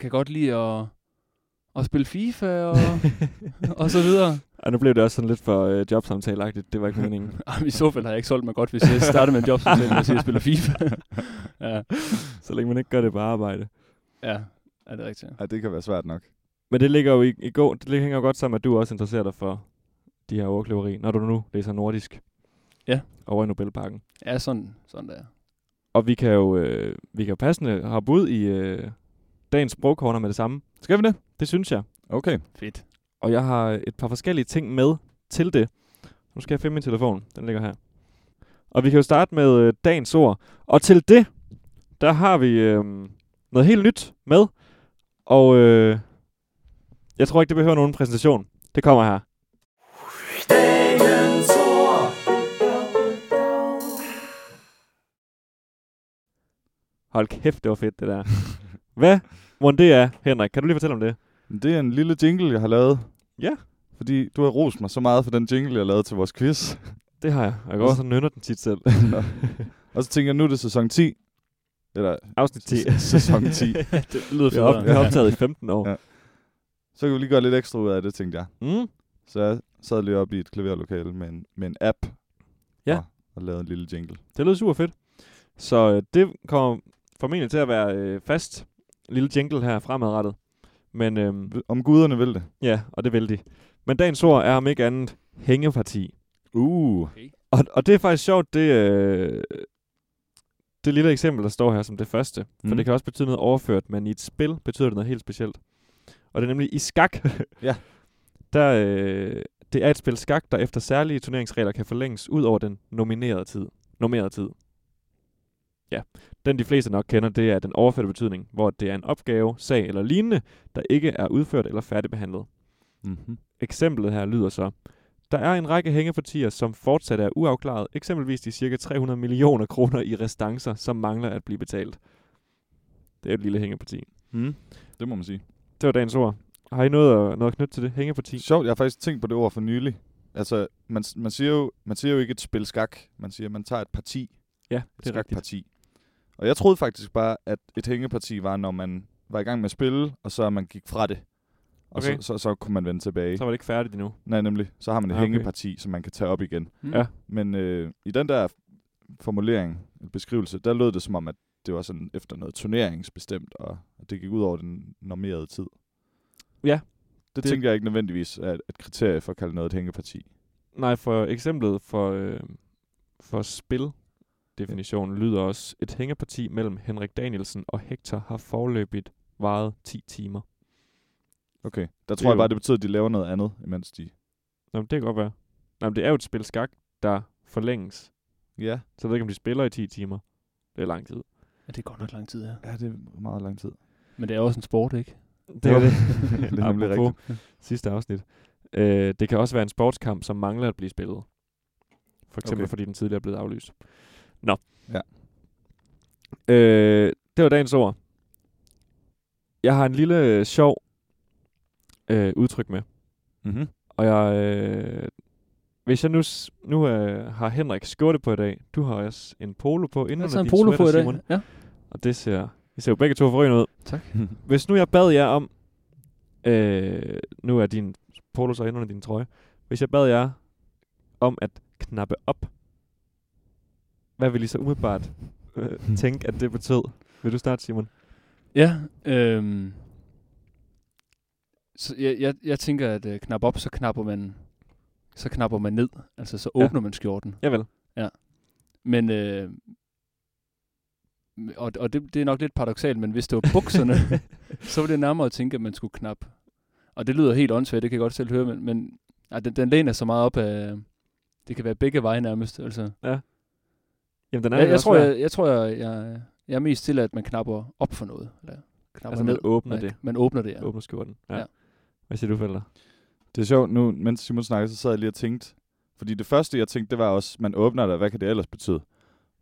[SPEAKER 5] kan godt lide at, at spille FIFA og, og så videre.
[SPEAKER 3] Og nu blev det også sådan lidt for øh, jobsamtaleagtigt. Det var ikke meningen.
[SPEAKER 5] Jamen, I så fald har jeg ikke solgt mig godt, hvis jeg starter med en job, som selv, hvis jeg spiller FIFA. ja,
[SPEAKER 3] så længe man ikke gør det på arbejde.
[SPEAKER 5] ja, er det er rigtigt.
[SPEAKER 4] Ej, det kan være svært nok.
[SPEAKER 3] Men det ligger jo i, i går, det hænger jo godt sammen, at du også interesserer dig for de her overkløveri, når du nu læser nordisk
[SPEAKER 5] Ja.
[SPEAKER 3] over i Nobelparken.
[SPEAKER 5] Ja, sådan, sådan der.
[SPEAKER 3] Og vi kan jo øh, vi kan jo passende hoppe ud i øh, dagens sprogkorner med det samme. Skal vi det? Det synes jeg.
[SPEAKER 4] Okay.
[SPEAKER 5] Fedt.
[SPEAKER 3] Og jeg har et par forskellige ting med til det. Nu skal jeg finde min telefon. Den ligger her. Og vi kan jo starte med øh, dagens ord. Og til det, der har vi øh, noget helt nyt med. Og øh, jeg tror ikke, det behøver nogen præsentation. Det kommer her. Hold kæft, det var fedt, det der. Hvad må det er, Henrik? Kan du lige fortælle om det?
[SPEAKER 4] Det er en lille jingle, jeg har lavet.
[SPEAKER 3] Ja.
[SPEAKER 4] Fordi du har rost mig så meget for den jingle, jeg lavede til vores quiz.
[SPEAKER 3] Det har jeg. Og jeg går også og nynner den tit selv.
[SPEAKER 4] Nå. og så tænker jeg, nu er det sæson 10. Eller,
[SPEAKER 3] Afsnit 10.
[SPEAKER 4] 10. Sæson 10.
[SPEAKER 5] det lyder
[SPEAKER 3] Vi har op, vi har
[SPEAKER 5] Ja.
[SPEAKER 3] optaget i 15 år.
[SPEAKER 4] Ja. så kan vi lige gøre lidt ekstra ud af det, tænkte jeg.
[SPEAKER 3] Mm.
[SPEAKER 4] Så jeg sad lige oppe i et klaverlokale med en, med en app.
[SPEAKER 3] Ja.
[SPEAKER 4] Og, og lavede en lille jingle.
[SPEAKER 3] Det lød super fedt. Så øh, det kommer formentlig til at være øh, fast en lille jingle her fremadrettet. Men øhm,
[SPEAKER 4] Om guderne vil det.
[SPEAKER 3] ja, og det vil de. Men dagens ord er om ikke andet hængeparti.
[SPEAKER 4] Uh.
[SPEAKER 3] Og, og det er faktisk sjovt, det, øh, det lille eksempel, der står her som det første. For
[SPEAKER 4] Mm.
[SPEAKER 3] det kan også betyde noget overført, men i et spil betyder det noget helt specielt. Og det er nemlig i skak.
[SPEAKER 4] Ja.
[SPEAKER 3] Der, øh, det er et spil skak, der efter særlige turneringsregler kan forlænges ud over den nominerede tid. Normerede tid. Ja, den de fleste nok kender, det er den overførte betydning, hvor det er en opgave, sag eller lignende, der ikke er udført eller færdigbehandlet.
[SPEAKER 4] Mm-hmm.
[SPEAKER 3] Eksemplet her lyder så. Der er en række hængepartier, som fortsat er uafklaret, eksempelvis de cirka 300 millioner kroner i restancer, som mangler at blive betalt. Det er et lille hængeparti.
[SPEAKER 4] Mm. Det må man sige.
[SPEAKER 3] Det var dagens ord. Har I noget at, noget at knytte til det? Hængeparti?
[SPEAKER 4] Sjovt, jeg har faktisk tænkt på det ord for nylig. Altså, man, man, siger jo, man siger jo ikke et spil skak. Man siger, man tager et parti.
[SPEAKER 3] Ja,
[SPEAKER 4] Et
[SPEAKER 3] det er rigtigt.
[SPEAKER 4] skakparti. Og jeg troede faktisk bare, at et hængeparti var, når man var i gang med at spille, og så man gik fra det. Og
[SPEAKER 3] Okay.
[SPEAKER 4] så, så, så kunne man vende tilbage.
[SPEAKER 3] Så var det ikke færdigt endnu.
[SPEAKER 4] Nej, nemlig. Så har man et
[SPEAKER 3] Ah,
[SPEAKER 4] okay.
[SPEAKER 3] okay.
[SPEAKER 4] hængeparti, som man kan tage op igen.
[SPEAKER 5] Mm.
[SPEAKER 3] Ja.
[SPEAKER 4] Men øh, i den der formulering, beskrivelse, der lød det som om, at det var sådan efter noget turneringsbestemt, og at det gik ud over den normerede tid.
[SPEAKER 3] Ja.
[SPEAKER 4] Det, det
[SPEAKER 3] Det-
[SPEAKER 4] tænker jeg ikke nødvendigvis er et kriterie for at kalde noget et hængeparti.
[SPEAKER 3] Nej, for eksemplet for, øh, for spildefinitionen lyder også, et hængeparti mellem Henrik Danielsen og Hector har forløbigt varet 10 timer.
[SPEAKER 4] Okay. Der tror
[SPEAKER 3] er
[SPEAKER 4] jeg bare,
[SPEAKER 3] jo-
[SPEAKER 4] det betyder, at de laver noget andet, imens de...
[SPEAKER 3] Nå, men det kan godt være. Nå, men det er jo et spil skak, der forlænges.
[SPEAKER 4] Ja.
[SPEAKER 3] Så jeg ved ikke, om de spiller i 10 timer. Det er lang tid.
[SPEAKER 5] ja, det er godt nok lang tid, ja.
[SPEAKER 4] Ja, det er meget lang tid.
[SPEAKER 5] Men det er også en sport, ikke?
[SPEAKER 3] Det er
[SPEAKER 4] Jo.
[SPEAKER 3] det.
[SPEAKER 4] Det er nemlig
[SPEAKER 3] Apropos sidste afsnit. Øh, det kan også være en sportskamp, som mangler at blive spillet. For eksempel
[SPEAKER 4] Okay.
[SPEAKER 3] okay. fordi den tidligere er blevet aflyst. Nå.
[SPEAKER 4] Ja.
[SPEAKER 3] Øh, det var dagens ord. Jeg har en lille øh, sjov øh, udtryk med.
[SPEAKER 4] Mm-hmm.
[SPEAKER 3] Og jeg, øh, hvis jeg nu, s- nu øh, har Henrik skjorte på i dag, du har også en polo på inden
[SPEAKER 5] Jeg
[SPEAKER 3] under
[SPEAKER 5] tager en
[SPEAKER 3] din
[SPEAKER 5] polo på
[SPEAKER 3] sweater,
[SPEAKER 5] i dag.
[SPEAKER 3] Simon.
[SPEAKER 5] Ja.
[SPEAKER 3] Og det ser, I ser jo begge to forrygende ud.
[SPEAKER 5] Tak.
[SPEAKER 3] Hvis nu jeg bad jer om, øh, nu er din polo så inde under din trøje, hvis jeg bad jer om at knappe op, hvad vil I så umiddelbart øh, tænke, at det betød? Vil du starte, Simon?
[SPEAKER 5] Ja, øhm, så jeg, jeg, jeg tænker, at øh, knap op, så knapper man så knapper man ned. Altså, så
[SPEAKER 3] Ja.
[SPEAKER 5] åbner man skjorten.
[SPEAKER 3] Javel.
[SPEAKER 5] Men, øh, m- og, og det, det er nok lidt paradoxalt, men hvis det var bukserne, så var det nærmere at tænke, at man skulle knap. Og det lyder helt åndssvagt, det kan jeg godt selv høre, men, men ej, den, den læner så meget op af, det kan være begge veje nærmest. Altså.
[SPEAKER 3] Jamen, den er
[SPEAKER 5] Jeg,
[SPEAKER 3] jo
[SPEAKER 5] jeg,
[SPEAKER 3] også
[SPEAKER 5] tror,
[SPEAKER 3] svær.
[SPEAKER 5] jeg, jeg tror, jeg, jeg, jeg er mest til, at man knapper op for noget. Eller knapper
[SPEAKER 3] Altså,
[SPEAKER 5] ned.
[SPEAKER 3] man åbner
[SPEAKER 5] man,
[SPEAKER 3] det.
[SPEAKER 5] Man åbner det, ja.
[SPEAKER 3] Ja. Åbner skjorten. Ja.
[SPEAKER 5] Ja.
[SPEAKER 3] ja. Hvad siger du, forældre?
[SPEAKER 4] Det er sjovt nu, mens Simon snakkede, så sad jeg lige og tænkte, fordi det første, jeg tænkte, det var også, man åbner det, og hvad kan det ellers betyde?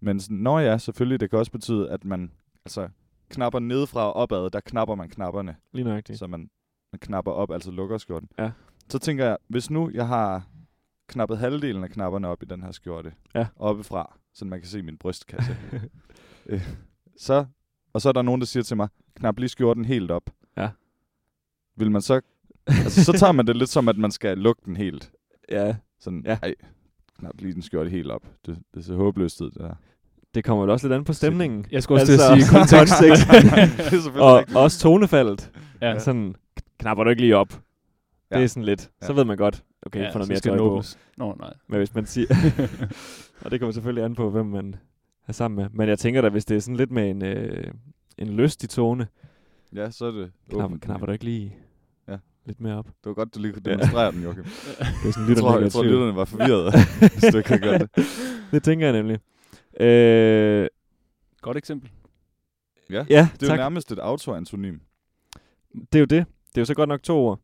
[SPEAKER 4] Men sådan, nå ja, selvfølgelig, det kan også betyde, at man altså, knapper nedefra og opad, der knapper man knapperne,
[SPEAKER 3] Lige
[SPEAKER 4] okay.
[SPEAKER 3] nøjagtigt.
[SPEAKER 4] så man, man knapper op, altså lukker skjorten.
[SPEAKER 3] Ja.
[SPEAKER 4] Så tænker jeg, hvis nu jeg har knappet halvdelen af knapperne op i den her skjorte,
[SPEAKER 3] Ja.
[SPEAKER 4] oppefra, så man kan se min brystkasse, øh, så, og så er der nogen, der siger til mig, knap lige skjorten helt op.
[SPEAKER 3] Ja.
[SPEAKER 4] Vil man så altså, så tager man det lidt som, at man skal lukke den helt.
[SPEAKER 3] ja.
[SPEAKER 4] Sådan, ja.
[SPEAKER 3] Ja.
[SPEAKER 4] ej, knap lige den skjorte helt op. Det, det er så håbløst ud, det der.
[SPEAKER 3] Det kommer vel også lidt an på stemningen.
[SPEAKER 5] Jeg skulle også
[SPEAKER 3] Altså-
[SPEAKER 5] til at sige kontekst.
[SPEAKER 4] det er selvfølgelig
[SPEAKER 3] Og
[SPEAKER 4] rigtigt.
[SPEAKER 3] også tonefaldet.
[SPEAKER 5] ja.
[SPEAKER 3] Ja. Sådan, "Kn- knapper du ikke lige op. Ja.
[SPEAKER 4] Ja.
[SPEAKER 3] Det er sådan lidt. Så
[SPEAKER 4] Ja.
[SPEAKER 3] ved man godt, okay, ja, får noget
[SPEAKER 5] så
[SPEAKER 3] mere
[SPEAKER 5] skal
[SPEAKER 3] tøj
[SPEAKER 5] den
[SPEAKER 3] på.
[SPEAKER 5] åbnes. Nå, nej.
[SPEAKER 3] Men hvis man siger... og det kommer selvfølgelig an på, hvem man er sammen med. Men jeg tænker da, hvis det er sådan lidt med en, øh, en lystig tone,
[SPEAKER 4] Ja, så er det
[SPEAKER 3] knapper,
[SPEAKER 4] åbent.
[SPEAKER 3] knapper du ikke lige
[SPEAKER 4] Ja.
[SPEAKER 3] lidt mere op.
[SPEAKER 4] Det var godt, du lige kunne demonstrere den, Joachim.
[SPEAKER 3] Det er sådan,
[SPEAKER 4] Jeg
[SPEAKER 3] lytterne
[SPEAKER 4] tror,
[SPEAKER 3] ikke er
[SPEAKER 4] jeg
[SPEAKER 3] i
[SPEAKER 4] tror
[SPEAKER 3] tvivl.
[SPEAKER 4] lytterne var forvirrede, hvis du ikke havde gjort det.
[SPEAKER 3] Det tænker jeg nemlig. Øh,
[SPEAKER 5] Godt eksempel.
[SPEAKER 4] Ja,
[SPEAKER 3] ja,
[SPEAKER 4] det er
[SPEAKER 3] tak.
[SPEAKER 4] jo nærmest et autoantonym.
[SPEAKER 3] Det er jo det. Det er jo så godt nok to ord.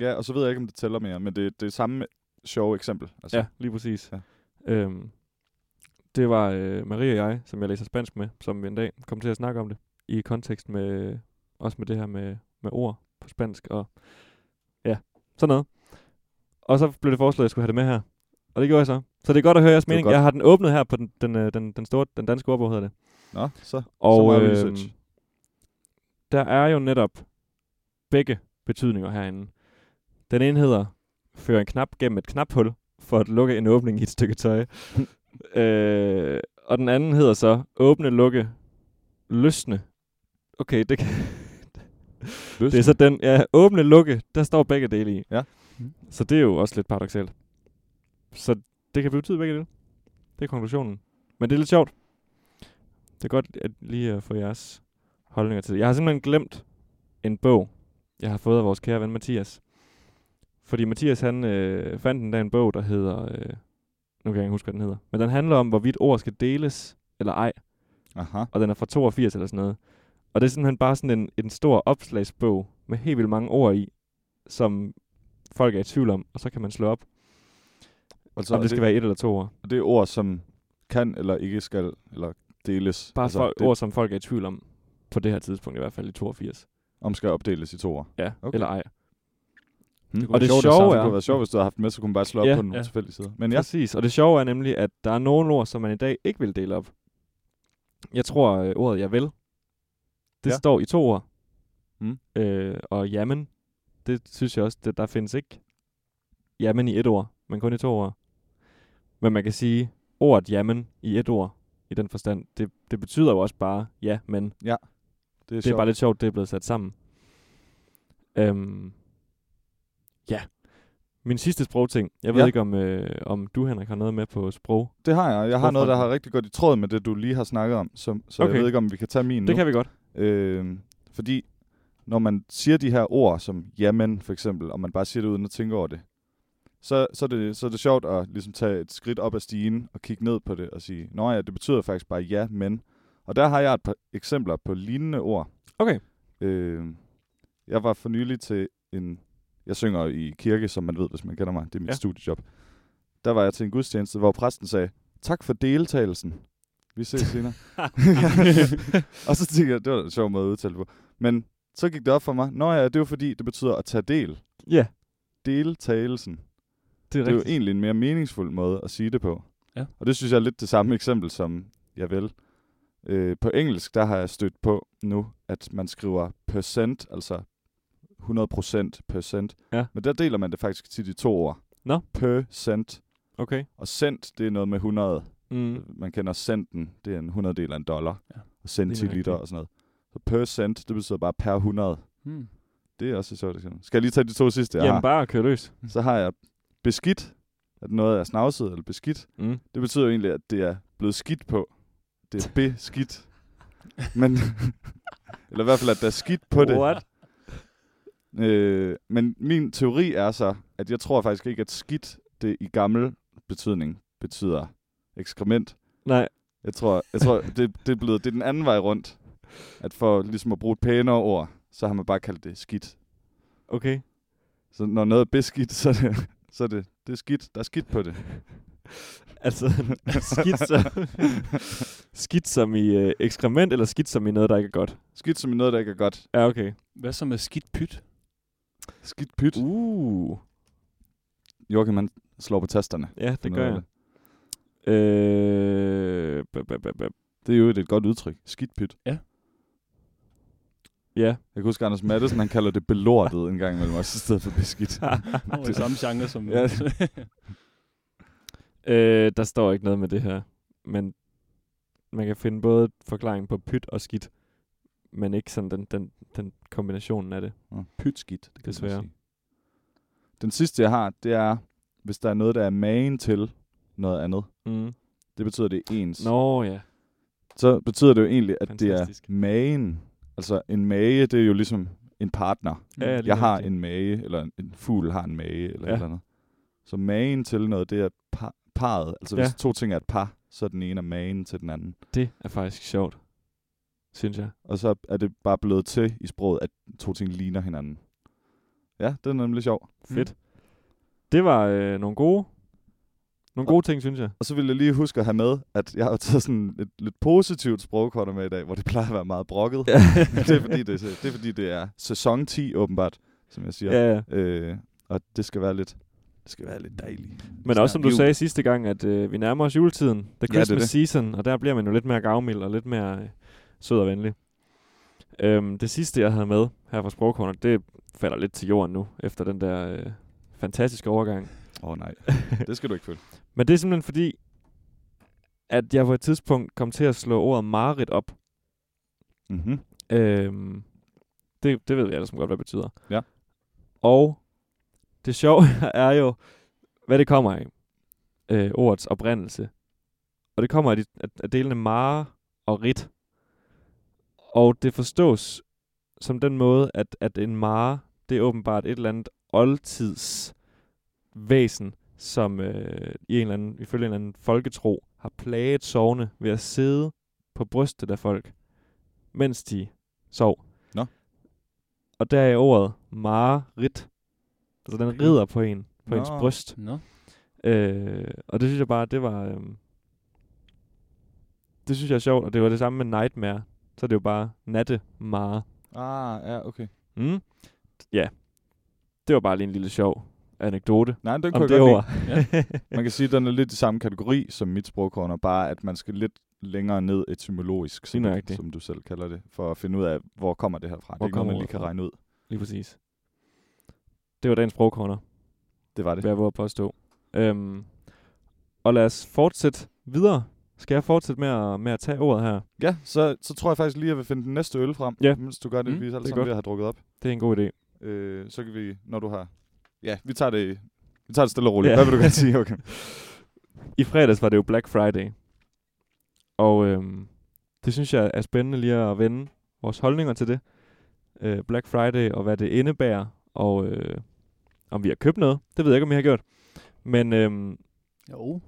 [SPEAKER 4] Ja, og så ved jeg ikke, om det tæller mere, men det, det er samme sjove eksempel. Altså,
[SPEAKER 3] Ja, lige præcis.
[SPEAKER 4] Ja.
[SPEAKER 3] Ja. Øhm, det var øh, Maria og jeg, som jeg læser spansk med, som en dag kom til at snakke om det i kontekst med også med det her med, med ord på spansk og ja, sådan noget. Og så blev det foreslået, at jeg skulle have det med her. Og det gjorde jeg så. Så det er godt at høre jeres
[SPEAKER 4] var
[SPEAKER 3] mening.
[SPEAKER 4] godt.
[SPEAKER 3] Jeg har den åbnet her på den, den, øh, den, den, store, den danske ordbog, hedder det.
[SPEAKER 4] Nå, så, og, så
[SPEAKER 3] Og
[SPEAKER 4] meget
[SPEAKER 3] øh,
[SPEAKER 4] research.
[SPEAKER 3] der er jo netop begge betydninger herinde. Den ene hedder, føre en knap gennem et knaphul, for at lukke en åbning i et stykke tøj. øh, og den anden hedder så, åbne, lukke, løsne. Okay, det, kan, det er så den, ja, åbne, lukke, der står begge dele i.
[SPEAKER 4] Ja.
[SPEAKER 5] Mm.
[SPEAKER 3] Så det er jo også lidt paradoxalt. Så det kan betyde begge dele. Det er konklusionen. Men det er lidt sjovt. Det er godt at lige at få jeres holdninger til det. Jeg har simpelthen glemt en bog, jeg har fået af vores kære ven Mathias. Fordi Mathias han øh, fandt en dag en bog, der hedder... Øh, nu kan jeg ikke huske, hvad den hedder. Men den handler om, hvorvidt ord skal deles eller ej.
[SPEAKER 4] Aha.
[SPEAKER 3] Og den er fra 82 eller sådan noget. Og det er simpelthen bare sådan en, en stor opslagsbog med helt vildt mange ord i, som folk er i tvivl om. Og så kan man slå op,
[SPEAKER 4] Og så
[SPEAKER 3] så om
[SPEAKER 4] er
[SPEAKER 3] det skal
[SPEAKER 4] det,
[SPEAKER 3] være et eller to ord.
[SPEAKER 4] det er ord, som kan eller ikke skal, eller deles.
[SPEAKER 3] Bare altså, folk,
[SPEAKER 4] det,
[SPEAKER 3] ord, som folk er i tvivl om. På det her tidspunkt i hvert fald i 82.
[SPEAKER 4] om skal opdeles i to ord.
[SPEAKER 3] Ja,
[SPEAKER 4] Okay.
[SPEAKER 3] okay. eller ej.
[SPEAKER 4] Hmm.
[SPEAKER 3] Og det
[SPEAKER 4] sjovt,
[SPEAKER 3] sjove
[SPEAKER 4] samme. Det
[SPEAKER 3] er-
[SPEAKER 4] kunne være sjovt, hvis du havde haft den med, så kunne man bare slå op
[SPEAKER 3] Ja.
[SPEAKER 4] på nogle
[SPEAKER 5] Ja.
[SPEAKER 4] tilfældige sider. Men
[SPEAKER 3] Ja.
[SPEAKER 4] ja,
[SPEAKER 3] Præcis, og det sjove er nemlig, at der er nogle ord, som man i dag ikke vil dele op. Jeg tror, øh, ordet jeg vil, det
[SPEAKER 4] Ja.
[SPEAKER 3] ja. står i to ord.
[SPEAKER 4] Mm.
[SPEAKER 3] Øh, og jamen, det synes jeg også, det, der findes ikke jamen i et ord, men kun i to ord. Men man kan sige, ordet jamen i et ord, i den forstand, det, det betyder jo også bare ja, men. Det
[SPEAKER 4] det er,
[SPEAKER 3] er, det er
[SPEAKER 4] sjovt.
[SPEAKER 3] bare lidt sjovt, det er blevet sat sammen. Øhm, ja. Min sidste sprogting. Jeg ved
[SPEAKER 4] Ja.
[SPEAKER 3] ikke, om, øh, om du, Henrik, har noget med på sprog.
[SPEAKER 4] Det har jeg, og jeg har noget, der
[SPEAKER 3] Sprogfronten.
[SPEAKER 4] har rigtig godt i tråd med det, du lige har snakket om, så, så okay.
[SPEAKER 3] Okay.
[SPEAKER 4] jeg ved ikke, om vi kan tage min
[SPEAKER 3] Det
[SPEAKER 4] nu.
[SPEAKER 3] kan vi godt.
[SPEAKER 4] Øh, fordi når man siger de her ord, som jamen for eksempel, og man bare siger det uden at tænke over det, så, så, er, det, så er det sjovt at ligesom tage et skridt op ad stigen og kigge ned på det og sige, nå ja, det betyder faktisk bare ja, men. Og der har jeg et par eksempler på lignende ord.
[SPEAKER 3] Okay.
[SPEAKER 4] Øh, jeg var for nylig til en... Jeg synger i kirke, som man ved, hvis man kender mig. Det er mit ja.
[SPEAKER 3] Ja.
[SPEAKER 4] studiejob. Der var jeg til en gudstjeneste, hvor præsten sagde, tak for deltagelsen. Vi ses senere. og så tænkte jeg, det var da en sjov måde at udtale det på. Men så gik det op for mig, nå ja, det er jo fordi, det betyder at tage del.
[SPEAKER 3] Ja,
[SPEAKER 4] Deltagelsen.
[SPEAKER 3] det er
[SPEAKER 4] Det er jo
[SPEAKER 3] rigtigt.
[SPEAKER 4] egentlig en mere meningsfuld måde at sige det på.
[SPEAKER 5] Ja.
[SPEAKER 4] Og det synes jeg er lidt det samme eksempel som, jeg vil. Øh, på engelsk, der har jeg stødt på nu, at man skriver percent, altså 100 procent percent.
[SPEAKER 3] Ja.
[SPEAKER 4] Men der deler man det faktisk tit i to ord.
[SPEAKER 3] Nå.
[SPEAKER 4] Percent.
[SPEAKER 3] Okay.
[SPEAKER 4] Og cent, det er noget med 100.
[SPEAKER 3] Mm.
[SPEAKER 4] Man kender centen, det er en 100 del af en dollar.
[SPEAKER 5] Ja.
[SPEAKER 4] Og
[SPEAKER 3] Det
[SPEAKER 4] centiliter
[SPEAKER 3] er rigtigt.
[SPEAKER 4] og sådan noget. Så percent, det betyder bare per 100.
[SPEAKER 5] Hmm.
[SPEAKER 4] Det er også et sjovt eksempel. Skal jeg lige tage de to sidste, jeg
[SPEAKER 3] Jamen
[SPEAKER 4] har?
[SPEAKER 3] bare kør løs.
[SPEAKER 4] Så har jeg beskidt, at noget er snavset eller beskidt.
[SPEAKER 3] Mm.
[SPEAKER 4] Det betyder jo egentlig, at det er blevet skidt på. Det er beskidt. Men, eller i hvert fald, at der er skidt på det.
[SPEAKER 3] What?
[SPEAKER 4] Øh, men min teori er så, at jeg tror faktisk ikke, at skidt, det i gammel betydning, betyder ekskrement.
[SPEAKER 3] Nej,
[SPEAKER 4] Jeg tror, jeg tror det, det, er blevet, det er den anden vej rundt. At for ligesom at bruge et pænere ord, så har man bare kaldt det skidt.
[SPEAKER 3] Okay.
[SPEAKER 4] Så når noget er beskidt, så er det, så er det, det er skidt. Der er skidt på det.
[SPEAKER 3] Altså, skidt, som, skidt som i øh, ekskrement, eller skidt som i noget, der ikke er godt?
[SPEAKER 4] Skidt som i noget, der ikke er godt.
[SPEAKER 3] Ja, okay.
[SPEAKER 5] Hvad så med skidt pyt?
[SPEAKER 4] Skidt pyt. Uh.
[SPEAKER 3] Uh,
[SPEAKER 4] Joachim, han slår på tasterne.
[SPEAKER 3] ja, det
[SPEAKER 4] Finder
[SPEAKER 3] gør
[SPEAKER 4] ud af
[SPEAKER 3] jeg. Øh, ba, ba, ba, ba.
[SPEAKER 4] Det er jo et godt udtryk. Skidt pyt.
[SPEAKER 3] Ja.
[SPEAKER 4] Jeg kan huske, Anders Maddelsen, han kalder det belortet en gang imellem også, i stedet for beskidt.
[SPEAKER 5] Nå, i samme genre som...
[SPEAKER 4] Ja.
[SPEAKER 3] Øh, der står ikke noget med det her. Men man kan finde både forklaring på pyt og skidt, men ikke sådan den, den, den kombinationen af det.
[SPEAKER 4] Nå, Pyt skidt, det kan man
[SPEAKER 3] Desværre.
[SPEAKER 4] sige. Den sidste, jeg har, det er, hvis der er noget, der er magen til noget andet.
[SPEAKER 3] Mm.
[SPEAKER 4] Det betyder, det er ens.
[SPEAKER 3] Nå ja.
[SPEAKER 4] Så betyder det jo egentlig, at
[SPEAKER 3] Fantastisk.
[SPEAKER 4] det er magen. Altså, en mage, det er jo ligesom en partner.
[SPEAKER 3] ja lige
[SPEAKER 4] jeg har
[SPEAKER 3] nøjagtigt.
[SPEAKER 4] en mage, eller en- en fugl har en mage, eller
[SPEAKER 3] Ja.
[SPEAKER 4] ja. et eller andet. Så magen til noget, det er par, parret. Altså
[SPEAKER 3] Ja.
[SPEAKER 4] ja. hvis to ting er et par, så er den ene er magen til den anden.
[SPEAKER 3] Det er faktisk sjovt, synes jeg.
[SPEAKER 4] Og så er det bare blevet til i sproget, at to ting ligner hinanden. Ja, det er nemlig sjov.
[SPEAKER 3] Fedt. Det var øh, nogle gode nogle gode ting, synes jeg.
[SPEAKER 4] Og så vil jeg lige huske at have med, at jeg har jo taget sådan et lidt positivt sprogkorter med i dag, hvor det plejer at være meget brokket. Ja. det, er, fordi det, det er fordi, det er sæson 10 åbenbart, som jeg siger.
[SPEAKER 3] Ja, ja.
[SPEAKER 4] Øh, og det skal være lidt, det skal være lidt dejligt.
[SPEAKER 3] Men
[SPEAKER 4] Snart
[SPEAKER 3] også som du
[SPEAKER 4] jul.
[SPEAKER 3] sagde sidste gang, at øh, vi nærmer os juletiden. The
[SPEAKER 4] det er
[SPEAKER 3] Christmas ja, det
[SPEAKER 4] det.
[SPEAKER 3] season, og der bliver man jo lidt mere gavmild og lidt mere øh, sød og venlig. Øhm, det sidste, jeg havde med her fra Sprogkornet, det falder lidt til jorden nu, efter den der øh, fantastiske overgang.
[SPEAKER 4] Åh oh, nej, det skal du ikke føle.
[SPEAKER 3] Men det er simpelthen fordi, at jeg på et tidspunkt kom til at slå ordet Marit op.
[SPEAKER 4] Mm-hmm.
[SPEAKER 3] Øhm, det, det ved vi alle som godt, hvad det betyder.
[SPEAKER 4] Ja.
[SPEAKER 3] Og det sjove er jo, hvad det kommer af. Øh, ordets oprindelse. Og det kommer af, de, af, af delene mare og rit. Og det forstås som den måde, at, at en mare, det er åbenbart et eller andet oldtidsvæsen, som øh, i en eller anden, ifølge en eller anden folketro har plaget sovne ved at sidde på brystet af folk, mens de sov.
[SPEAKER 4] Nå.
[SPEAKER 3] Og der er ordet marit. Altså den rider på en, på Nå. ens
[SPEAKER 4] Nå.
[SPEAKER 3] bryst.
[SPEAKER 5] Nå.
[SPEAKER 3] Øh, og det synes jeg bare, det var... Øhm, det synes jeg er sjovt, og det var det samme med Nightmare. Så er det jo bare natte mare.
[SPEAKER 4] Ah, ja, okay.
[SPEAKER 3] Mm? Ja. Det var bare lige en lille sjov anekdote
[SPEAKER 4] Nej, den
[SPEAKER 3] om
[SPEAKER 4] kunne jeg
[SPEAKER 3] det
[SPEAKER 4] godt
[SPEAKER 3] ord.
[SPEAKER 4] lide. Man kan sige, at den er lidt i samme kategori som mit sprogkorner, bare at man skal lidt længere ned etymologisk, som,
[SPEAKER 3] Lige
[SPEAKER 4] du-
[SPEAKER 3] nøjagtigt.
[SPEAKER 4] som du selv kalder det, for at finde ud af, hvor kommer det her fra.
[SPEAKER 3] Hvor
[SPEAKER 4] det er ikke noget,
[SPEAKER 3] kommer
[SPEAKER 4] man lige
[SPEAKER 3] ordet
[SPEAKER 4] kan
[SPEAKER 3] fra?
[SPEAKER 4] regne ud.
[SPEAKER 3] Lige præcis. Det var dagens sprogkorner,
[SPEAKER 4] Det var det.
[SPEAKER 3] vil jeg våge at påstå. Øhm, og lad os fortsætte videre. Skal jeg fortsætte med at, med at tage ordet her?
[SPEAKER 4] Ja, så, så tror jeg faktisk lige, at jeg vil finde den næste øl frem,
[SPEAKER 3] Ja.
[SPEAKER 4] mens du gør det,
[SPEAKER 5] Mm,
[SPEAKER 4] mm, vi er
[SPEAKER 3] det
[SPEAKER 4] alle
[SPEAKER 3] er
[SPEAKER 4] sammen
[SPEAKER 3] godt.
[SPEAKER 4] ved at have drukket op.
[SPEAKER 3] Det er en god idé.
[SPEAKER 4] Øh, så kan vi, når du har... Ja, vi tager det, vi tager det stille og roligt.
[SPEAKER 3] Ja.
[SPEAKER 4] Ja. Hvad vil du gerne sige, okay?
[SPEAKER 3] I fredags var det jo Black Friday. Og øhm, det synes jeg er spændende lige at vende vores holdninger til det. Øh, Black Friday og hvad det indebærer. Og øh, om vi har købt noget. Det ved jeg ikke, om I har gjort. Men øhm,
[SPEAKER 5] Jo.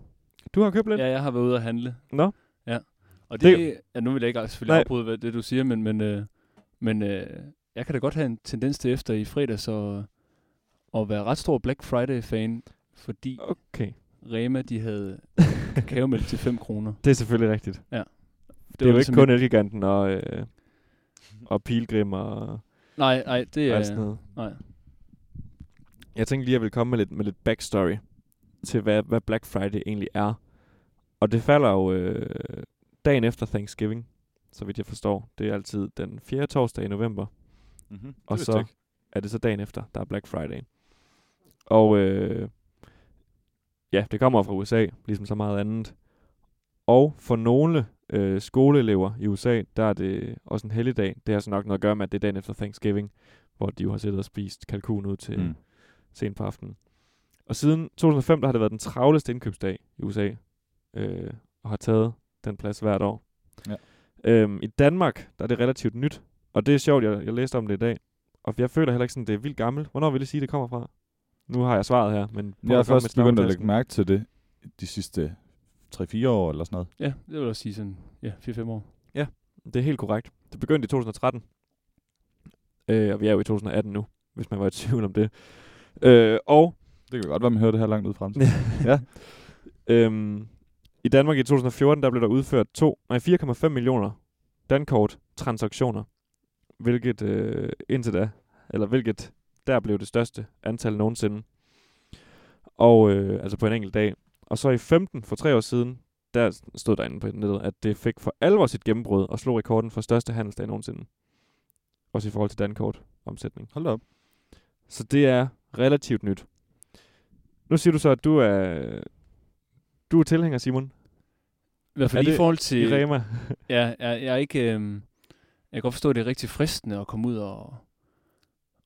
[SPEAKER 3] du har købt lidt.
[SPEAKER 5] Ja, jeg har været ude at handle.
[SPEAKER 3] Nå.
[SPEAKER 5] Ja. Og det,
[SPEAKER 3] Det-
[SPEAKER 5] det ja, nu vil jeg ikke selvfølgelig
[SPEAKER 3] Nej.
[SPEAKER 5] afbryde hvad det, du siger, men, men, øh, men øh, jeg kan da godt have en tendens til efter i fredags at, at være ret stor Black Friday-fan, fordi
[SPEAKER 3] Okay.
[SPEAKER 5] Rema, de havde kakaomælk til 5 kroner.
[SPEAKER 3] Det er selvfølgelig rigtigt. Det,
[SPEAKER 5] Det, ligesom
[SPEAKER 3] det er jo ikke kun Elgiganten og, øh, og Pilgrim og,
[SPEAKER 5] Nej, nej, det
[SPEAKER 3] yeah.
[SPEAKER 5] er...
[SPEAKER 3] og alt sådan noget.
[SPEAKER 5] Nej.
[SPEAKER 3] Jeg tænkte lige, at jeg ville komme med lidt, med lidt backstory til, hvad, hvad Black Friday egentlig er. Og det falder jo øh, dagen efter Thanksgiving, så vidt jeg forstår. Det er altid den 4. torsdag i november,
[SPEAKER 4] Mm-hmm.
[SPEAKER 3] og så er det så dagen efter, der er Black Friday. Og øh, ja, det kommer fra USA, ligesom så meget andet. Og for nogle øh, skoleelever i USA, der er det også en helligdag. Det har så nok noget at gøre med, at det er dagen efter Thanksgiving, hvor de jo har siddet og spist kalkun ud til,
[SPEAKER 4] Mm.
[SPEAKER 3] sent på aftenen. Og siden 2005, der har det været den travleste indkøbsdag i USA, øh, og har taget den plads hvert år.
[SPEAKER 4] Ja.
[SPEAKER 3] Øhm, I Danmark, der er det relativt nyt, og det er sjovt, jeg, jeg læste om det i dag, og jeg føler heller ikke sådan, det er vildt gammelt. Hvornår vil det sige, det kommer fra? Nu har jeg svaret her, men... prøv
[SPEAKER 4] Jeg har
[SPEAKER 3] at komme
[SPEAKER 4] først
[SPEAKER 3] med
[SPEAKER 4] begyndt at lægge
[SPEAKER 3] snavnetasten.
[SPEAKER 4] mærke til det de sidste 3-4 år eller sådan noget.
[SPEAKER 5] Ja, det vil også sige sådan, ja, 4-5 år.
[SPEAKER 3] Det er helt korrekt. Det begyndte i 2013. Øh, og vi er jo i 2018 nu, hvis man var i tvivl om det. Øh, og
[SPEAKER 4] Det kan godt være, man hører det her langt ud frem. Ja.
[SPEAKER 3] ja. øhm, I Danmark i 2014, der blev der udført to, nej, 4,5 millioner dankort transaktioner, hvilket øh, indtil da, eller hvilket der blev det største antal nogensinde. Og øh, altså på en enkelt dag. Og så i 15, for tre år siden, der stod der inde på nettet, at det fik for alvor sit gennembrud og slog rekorden for største handelsdag nogensinde. Også i forhold til dankort omsætning.
[SPEAKER 4] Hold da op.
[SPEAKER 3] Så det er relativt nyt. Nu siger du så, at du er, du er tilhænger, Simon,
[SPEAKER 5] I hvert
[SPEAKER 3] Er
[SPEAKER 5] fald lige
[SPEAKER 3] det
[SPEAKER 5] i forhold
[SPEAKER 3] det... i
[SPEAKER 5] til...
[SPEAKER 3] Rema.
[SPEAKER 5] Ja, jeg, jeg er ikke... Øhm, jeg kan godt forstå, at det er rigtig fristende at komme ud og,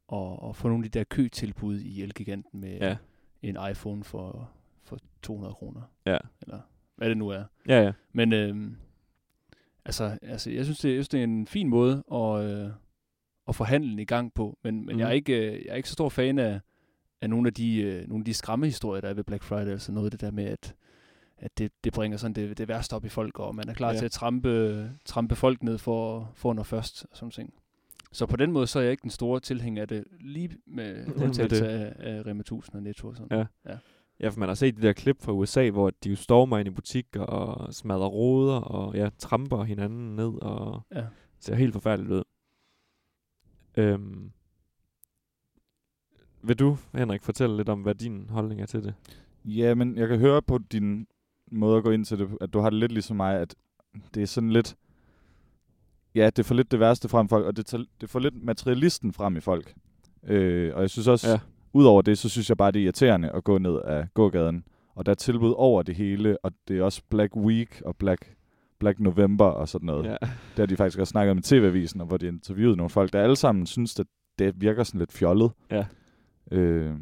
[SPEAKER 5] og, og få nogle af de der køtilbud i Elgiganten med
[SPEAKER 3] Ja.
[SPEAKER 5] ja. en iPhone for, for 200 kroner.
[SPEAKER 3] Ja.
[SPEAKER 5] Eller hvad det nu er.
[SPEAKER 3] Ja, ja.
[SPEAKER 5] Men øhm, altså, altså, jeg synes, det, jeg synes, det er en fin måde at, øh, at få handlen i gang på. Men, men mm. jeg, er
[SPEAKER 3] Mhm.
[SPEAKER 5] ikke, øh, jeg er ikke så stor fan af, af nogle af de, øh, nogle af de skræmmehistorier, der er ved Black Friday. Altså noget af det der med, at, at det, det bringer sådan det, det værste op i folk, og man er klar
[SPEAKER 3] Ja.
[SPEAKER 5] ja. til at trampe, trampe folk ned for, for når først, og sådan ting. Så på den måde, så er jeg ikke den store tilhænger af det, lige med
[SPEAKER 3] med
[SPEAKER 5] undtagelse
[SPEAKER 3] det.
[SPEAKER 5] af, af Rema 1000 og Netto og sådan.
[SPEAKER 3] Ja. Ja, for man har set de der klip fra USA, hvor de jo stormer ind i butikker og smadrer ruder og ja, tramper hinanden ned og
[SPEAKER 5] Ja.
[SPEAKER 3] ser helt forfærdeligt ud. Øhm. Vil du, Henrik, fortælle lidt om, hvad din holdning er til det?
[SPEAKER 4] Ja, men jeg kan høre på din måde at gå ind til det, at du har det lidt ligesom mig, at det er sådan lidt... Ja, det får lidt det værste frem i folk, og det, tager, det får lidt materialisten frem i folk. Øh, og jeg synes også,
[SPEAKER 3] Ja.
[SPEAKER 4] ja. udover det, så synes jeg bare, det er irriterende at gå ned af gågaden. Og der er tilbud over det hele, og det er også Black Week og Black, Black November og sådan noget.
[SPEAKER 3] Ja.
[SPEAKER 4] Det har de faktisk også snakket med TV-avisen, og hvor de interviewede nogle folk, der alle sammen synes, at det virker sådan lidt fjollet.
[SPEAKER 3] Ja.
[SPEAKER 4] Øh,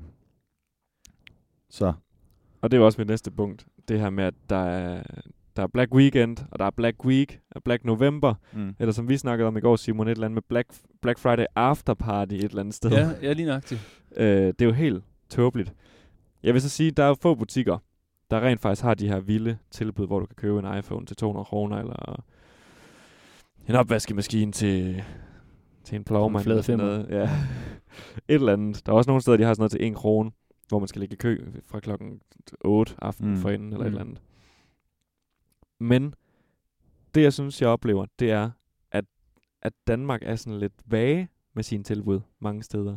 [SPEAKER 4] så
[SPEAKER 3] Og det er jo også mit næste punkt. Det her med, at der er, der er Black Weekend, og der er Black Week, og Black November.
[SPEAKER 4] mm.
[SPEAKER 3] Eller som vi snakkede om i går, Simon, et eller andet med Black, Black Friday After Party et eller andet sted.
[SPEAKER 5] Ja, ja, lige nøjagtigt.
[SPEAKER 3] Øh, det er jo helt tåbeligt. Jeg vil så sige, der er jo få butikker, der rent faktisk har de her vilde tilbud, hvor du kan købe en iPhone til 200 kroner, eller en opvaskemaskine til, til en plovmand.
[SPEAKER 5] flad
[SPEAKER 3] eller sådan
[SPEAKER 5] femmer.
[SPEAKER 3] noget. Ja. Et eller andet. Der er også nogle steder, de har sådan noget til 1 krone, hvor man skal ligge i kø fra klokken 8 aftenen mm.
[SPEAKER 4] Mm.
[SPEAKER 3] for inden, eller mm. et
[SPEAKER 5] Mm.
[SPEAKER 3] eller andet. Men det, jeg synes, jeg oplever, det er, at, at Danmark er sådan lidt vage med sine tilbud mange steder.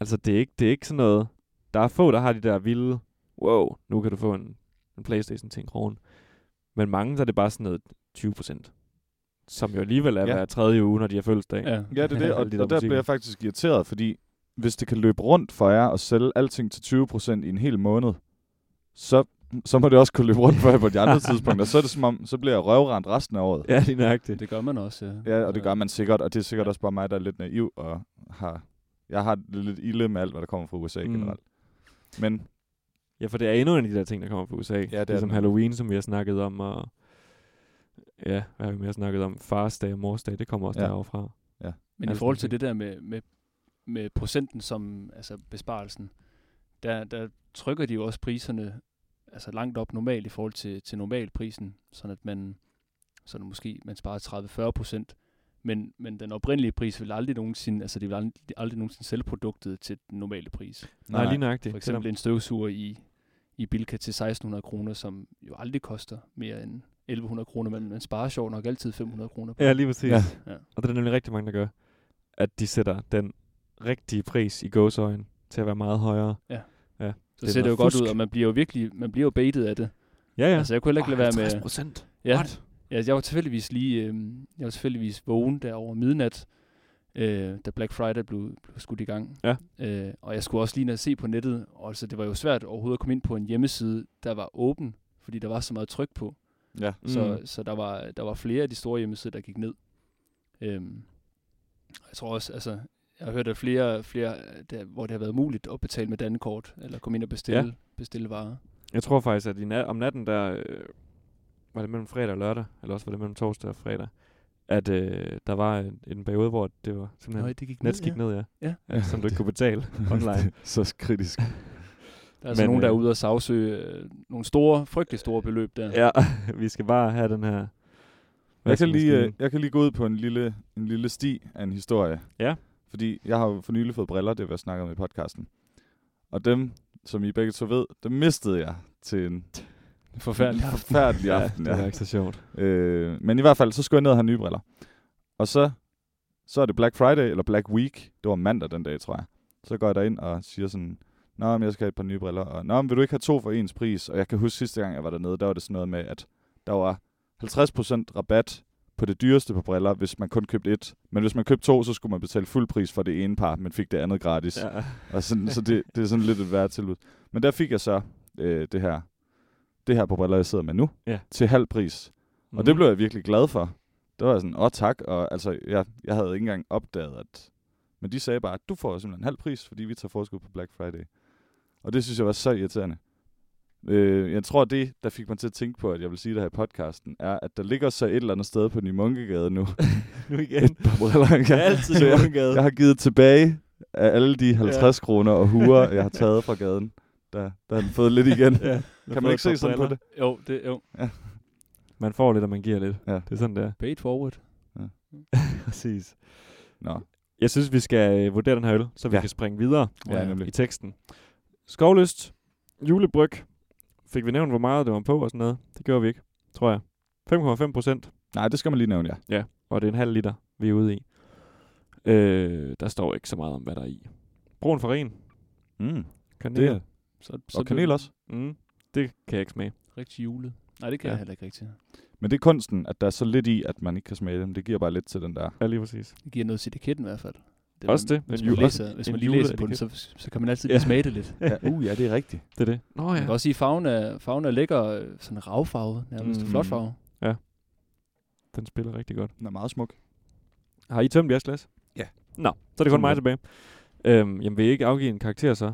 [SPEAKER 3] Altså, det er ikke, det er ikke sådan noget... Der er få, der har de der vilde... Wow, nu kan du få en, en Playstation til en krone. Men mange, der er det bare sådan noget 20 procent. Som jo alligevel er ja.
[SPEAKER 4] Ja.
[SPEAKER 3] hver tredje uge, når de har fødselsdag.
[SPEAKER 5] Ja.
[SPEAKER 4] Ja, det er det, og,
[SPEAKER 3] Alle de der
[SPEAKER 4] og der
[SPEAKER 3] butikker.
[SPEAKER 4] bliver jeg faktisk irriteret, fordi hvis det kan løbe rundt for jer og sælge alting til 20% i en hel måned, så, så må det også kunne løbe rundt for jer på de andre tidspunkter. Så er det som om, så bliver jeg røvrendt resten af året.
[SPEAKER 3] Ja, lige nøjagtigt.
[SPEAKER 5] Det gør man også, ja.
[SPEAKER 4] Ja, og det gør man sikkert, og det er sikkert også bare mig, der er lidt naiv og har... Jeg har det lidt ilde med alt, hvad der kommer fra USA
[SPEAKER 3] Mm.
[SPEAKER 4] mm. generelt. Men
[SPEAKER 3] Ja, for det er endnu en af de der ting, der kommer fra USA.
[SPEAKER 4] det er det
[SPEAKER 3] ligesom
[SPEAKER 4] nemlig.
[SPEAKER 3] Halloween, som vi har snakket om, og... Ja, hvad har vi mere snakket om? Fars dag og mors dag, det kommer også ja.
[SPEAKER 4] Ja.
[SPEAKER 3] derovre fra.
[SPEAKER 5] Men
[SPEAKER 3] Altså,
[SPEAKER 5] i forhold til
[SPEAKER 3] okay.
[SPEAKER 5] det der med, med, med procenten som altså besparelsen, der, der trykker de jo også priserne altså langt op normalt i forhold til, til normalprisen, sådan at man sådan måske man sparer 30-40 procent, men, men den oprindelige pris vil aldrig nogensinde, altså de vil aldrig, aldrig nogensinde sælge produktet til den normale pris.
[SPEAKER 3] Nej, lige
[SPEAKER 5] Det,
[SPEAKER 3] nøjagtigt.
[SPEAKER 5] For
[SPEAKER 3] Selvom-
[SPEAKER 5] eksempel en støvsuger i, i Bilka til 1600 kroner, som jo aldrig koster mere end 1100 kroner, men man sparer sjovt nok altid 500 kroner på.
[SPEAKER 3] Ja, lige præcis. Ja.
[SPEAKER 4] Ja.
[SPEAKER 5] Ja.
[SPEAKER 3] Og det er der nemlig rigtig mange, der gør, at de sætter den rigtige pris i gåsøjen til at være meget højere.
[SPEAKER 5] Så
[SPEAKER 3] Det er
[SPEAKER 5] ser det jo
[SPEAKER 3] noget
[SPEAKER 5] godt
[SPEAKER 3] fusk.
[SPEAKER 5] ud, og man bliver jo virkelig man bliver jo baitet af det.
[SPEAKER 3] Ja, ja.
[SPEAKER 5] Ja. Altså, jeg kunne heller ikke lade være med...
[SPEAKER 3] procent.
[SPEAKER 5] Ja, ja, jeg var tilfældigvis lige... Øh, jeg var tilfældigvis vågen der over midnat, øh, da Black Friday blev, blev skudt i gang.
[SPEAKER 3] Ja.
[SPEAKER 5] Øh, og jeg skulle også lige ned og se på nettet, og altså, det var jo svært overhovedet at komme ind på en hjemmeside, der var åben, fordi der var så meget tryk på.
[SPEAKER 4] ja.
[SPEAKER 5] Mm. Så, så der, var, der var flere af de store hjemmesider, der gik ned. Øhm, og jeg tror også, altså, jeg har hørt, at flere, flere øh, der, hvor det har været muligt at betale med dankort, eller komme ind og bestille, ja. bestille varer.
[SPEAKER 3] Jeg tror faktisk, at i nat, om natten, der øh, var det mellem fredag og lørdag, eller også var det mellem torsdag og fredag, at øh, der var en, en periode, hvor det var simpelthen
[SPEAKER 5] det gik
[SPEAKER 3] net gik ned, ja.
[SPEAKER 5] Ja.
[SPEAKER 3] ja. Som du ikke kunne betale online.
[SPEAKER 4] så kritisk.
[SPEAKER 5] Der er altså
[SPEAKER 3] Men,
[SPEAKER 5] nogen, der er
[SPEAKER 3] øh,
[SPEAKER 5] ude og sagsøge øh, nogle store, frygtelig store beløb der.
[SPEAKER 3] ja, vi skal bare have den her
[SPEAKER 4] Jeg kan, lige, øh,
[SPEAKER 3] vaskemaskinen.
[SPEAKER 4] jeg kan lige gå ud på en lille, en lille sti af en historie.
[SPEAKER 3] Ja.
[SPEAKER 4] Fordi jeg har jo for nylig fået briller, det har jeg snakket om i podcasten. Og dem, som I begge to ved, dem mistede jeg til en
[SPEAKER 5] Forfærdelig aften.
[SPEAKER 4] forfærdelig aften.
[SPEAKER 3] det var ikke så sjovt.
[SPEAKER 4] Øh, men i hvert fald, så skulle jeg ned og have nye briller. Og så, så er det Black Friday, eller Black Week. Det var mandag den dag, tror jeg. Så går jeg derind og siger sådan, Nå, men jeg skal have et par nye briller. Og, Nå, men vil du ikke have to for ens pris? Og jeg kan huske sidste gang, jeg var dernede, der var det sådan noget med, at der var 50% rabat på det dyreste på briller, hvis man kun købte et. Men hvis man købte to, så skulle man betale fuld pris for det ene par, men fik det andet gratis. Ja. Og sådan, så det, det er sådan lidt et værd tilbud. Men der fik jeg så øh, det her det her på briller, jeg sidder med nu,
[SPEAKER 3] Ja.
[SPEAKER 4] til halv pris. Mm. Og det blev jeg virkelig glad for. Det var jeg sådan, åh tak, og altså, jeg, jeg havde ikke engang opdaget, at... Men de sagde bare, at du får simpelthen halv pris, fordi vi tager forskud på Black Friday. Og det synes jeg var så irriterende. Øh, jeg tror, det, der fik mig til at tænke på, at jeg vil sige det her i podcasten, er, at der ligger så et eller andet sted på Ny Munkegade nu.
[SPEAKER 3] nu igen.
[SPEAKER 4] På briller,
[SPEAKER 3] Det er altid
[SPEAKER 4] Så
[SPEAKER 3] i
[SPEAKER 4] jeg,
[SPEAKER 3] Rundgade.
[SPEAKER 4] jeg har givet tilbage af alle de 50 ja. kroner og huer, jeg har taget fra gaden. Der, der har den fået lidt igen.
[SPEAKER 3] Ja,
[SPEAKER 4] kan man ikke se sådan på det?
[SPEAKER 5] Jo, det jo.
[SPEAKER 3] Man får lidt, og man giver lidt.
[SPEAKER 4] Ja.
[SPEAKER 3] Det er sådan, det er.
[SPEAKER 5] Paid forward.
[SPEAKER 3] Præcis.
[SPEAKER 4] Nå,
[SPEAKER 3] Jeg synes, vi skal øh, vurdere den her øl, så vi
[SPEAKER 4] Ja.
[SPEAKER 3] kan springe videre øh,
[SPEAKER 4] Ja, nemlig.
[SPEAKER 3] i teksten. Skovlyst, julebryg. Fik vi nævnt, hvor meget det var på og sådan noget? Det gjorde vi ikke, tror jeg. 5,5 procent.
[SPEAKER 4] nej, det skal man lige nævne, ja.
[SPEAKER 3] og det er en halv liter, vi er ude i. Øh, der står ikke så meget om, hvad der er i. Brun farin.
[SPEAKER 4] Mm,
[SPEAKER 3] Kanel.
[SPEAKER 4] det er,
[SPEAKER 5] Så, så
[SPEAKER 4] og
[SPEAKER 5] blev
[SPEAKER 4] kanel
[SPEAKER 5] det
[SPEAKER 4] også.
[SPEAKER 3] Mm, det kan jeg ikke smage.
[SPEAKER 5] Rigtig julet. Nej, det kan
[SPEAKER 3] Ja.
[SPEAKER 5] ja. jeg heller ikke rigtig.
[SPEAKER 4] Men det er kunsten, at der er så lidt i, at man ikke kan smage dem. Det giver bare lidt til den der.
[SPEAKER 3] Ja, lige præcis.
[SPEAKER 5] Det giver noget til etiketten i hvert fald. Det,
[SPEAKER 3] Også det.
[SPEAKER 5] Hvis
[SPEAKER 3] En
[SPEAKER 5] man,
[SPEAKER 3] ju-
[SPEAKER 5] læser, hvis
[SPEAKER 3] en
[SPEAKER 5] man lige læser på den, så,
[SPEAKER 3] juleetiket.
[SPEAKER 5] så kan man altid
[SPEAKER 3] Ja.
[SPEAKER 5] ja. smage det lidt.
[SPEAKER 3] Ja,
[SPEAKER 4] uh, ja, det er rigtigt.
[SPEAKER 3] Det er det. Nå
[SPEAKER 5] Man kan også sige, at farven er, farven er lækker, øh, sådan ravfarvet, nærmest
[SPEAKER 3] Mm.
[SPEAKER 5] mm. flot farve.
[SPEAKER 3] Den spiller rigtig godt.
[SPEAKER 4] Den er meget smuk.
[SPEAKER 3] Har I tømt jeres glas?
[SPEAKER 4] Ja.
[SPEAKER 3] Nå, så er det kun
[SPEAKER 4] Sådan
[SPEAKER 3] mig
[SPEAKER 4] lidt.
[SPEAKER 3] tilbage. Øhm, jamen, vil I ikke afgive en karakter så?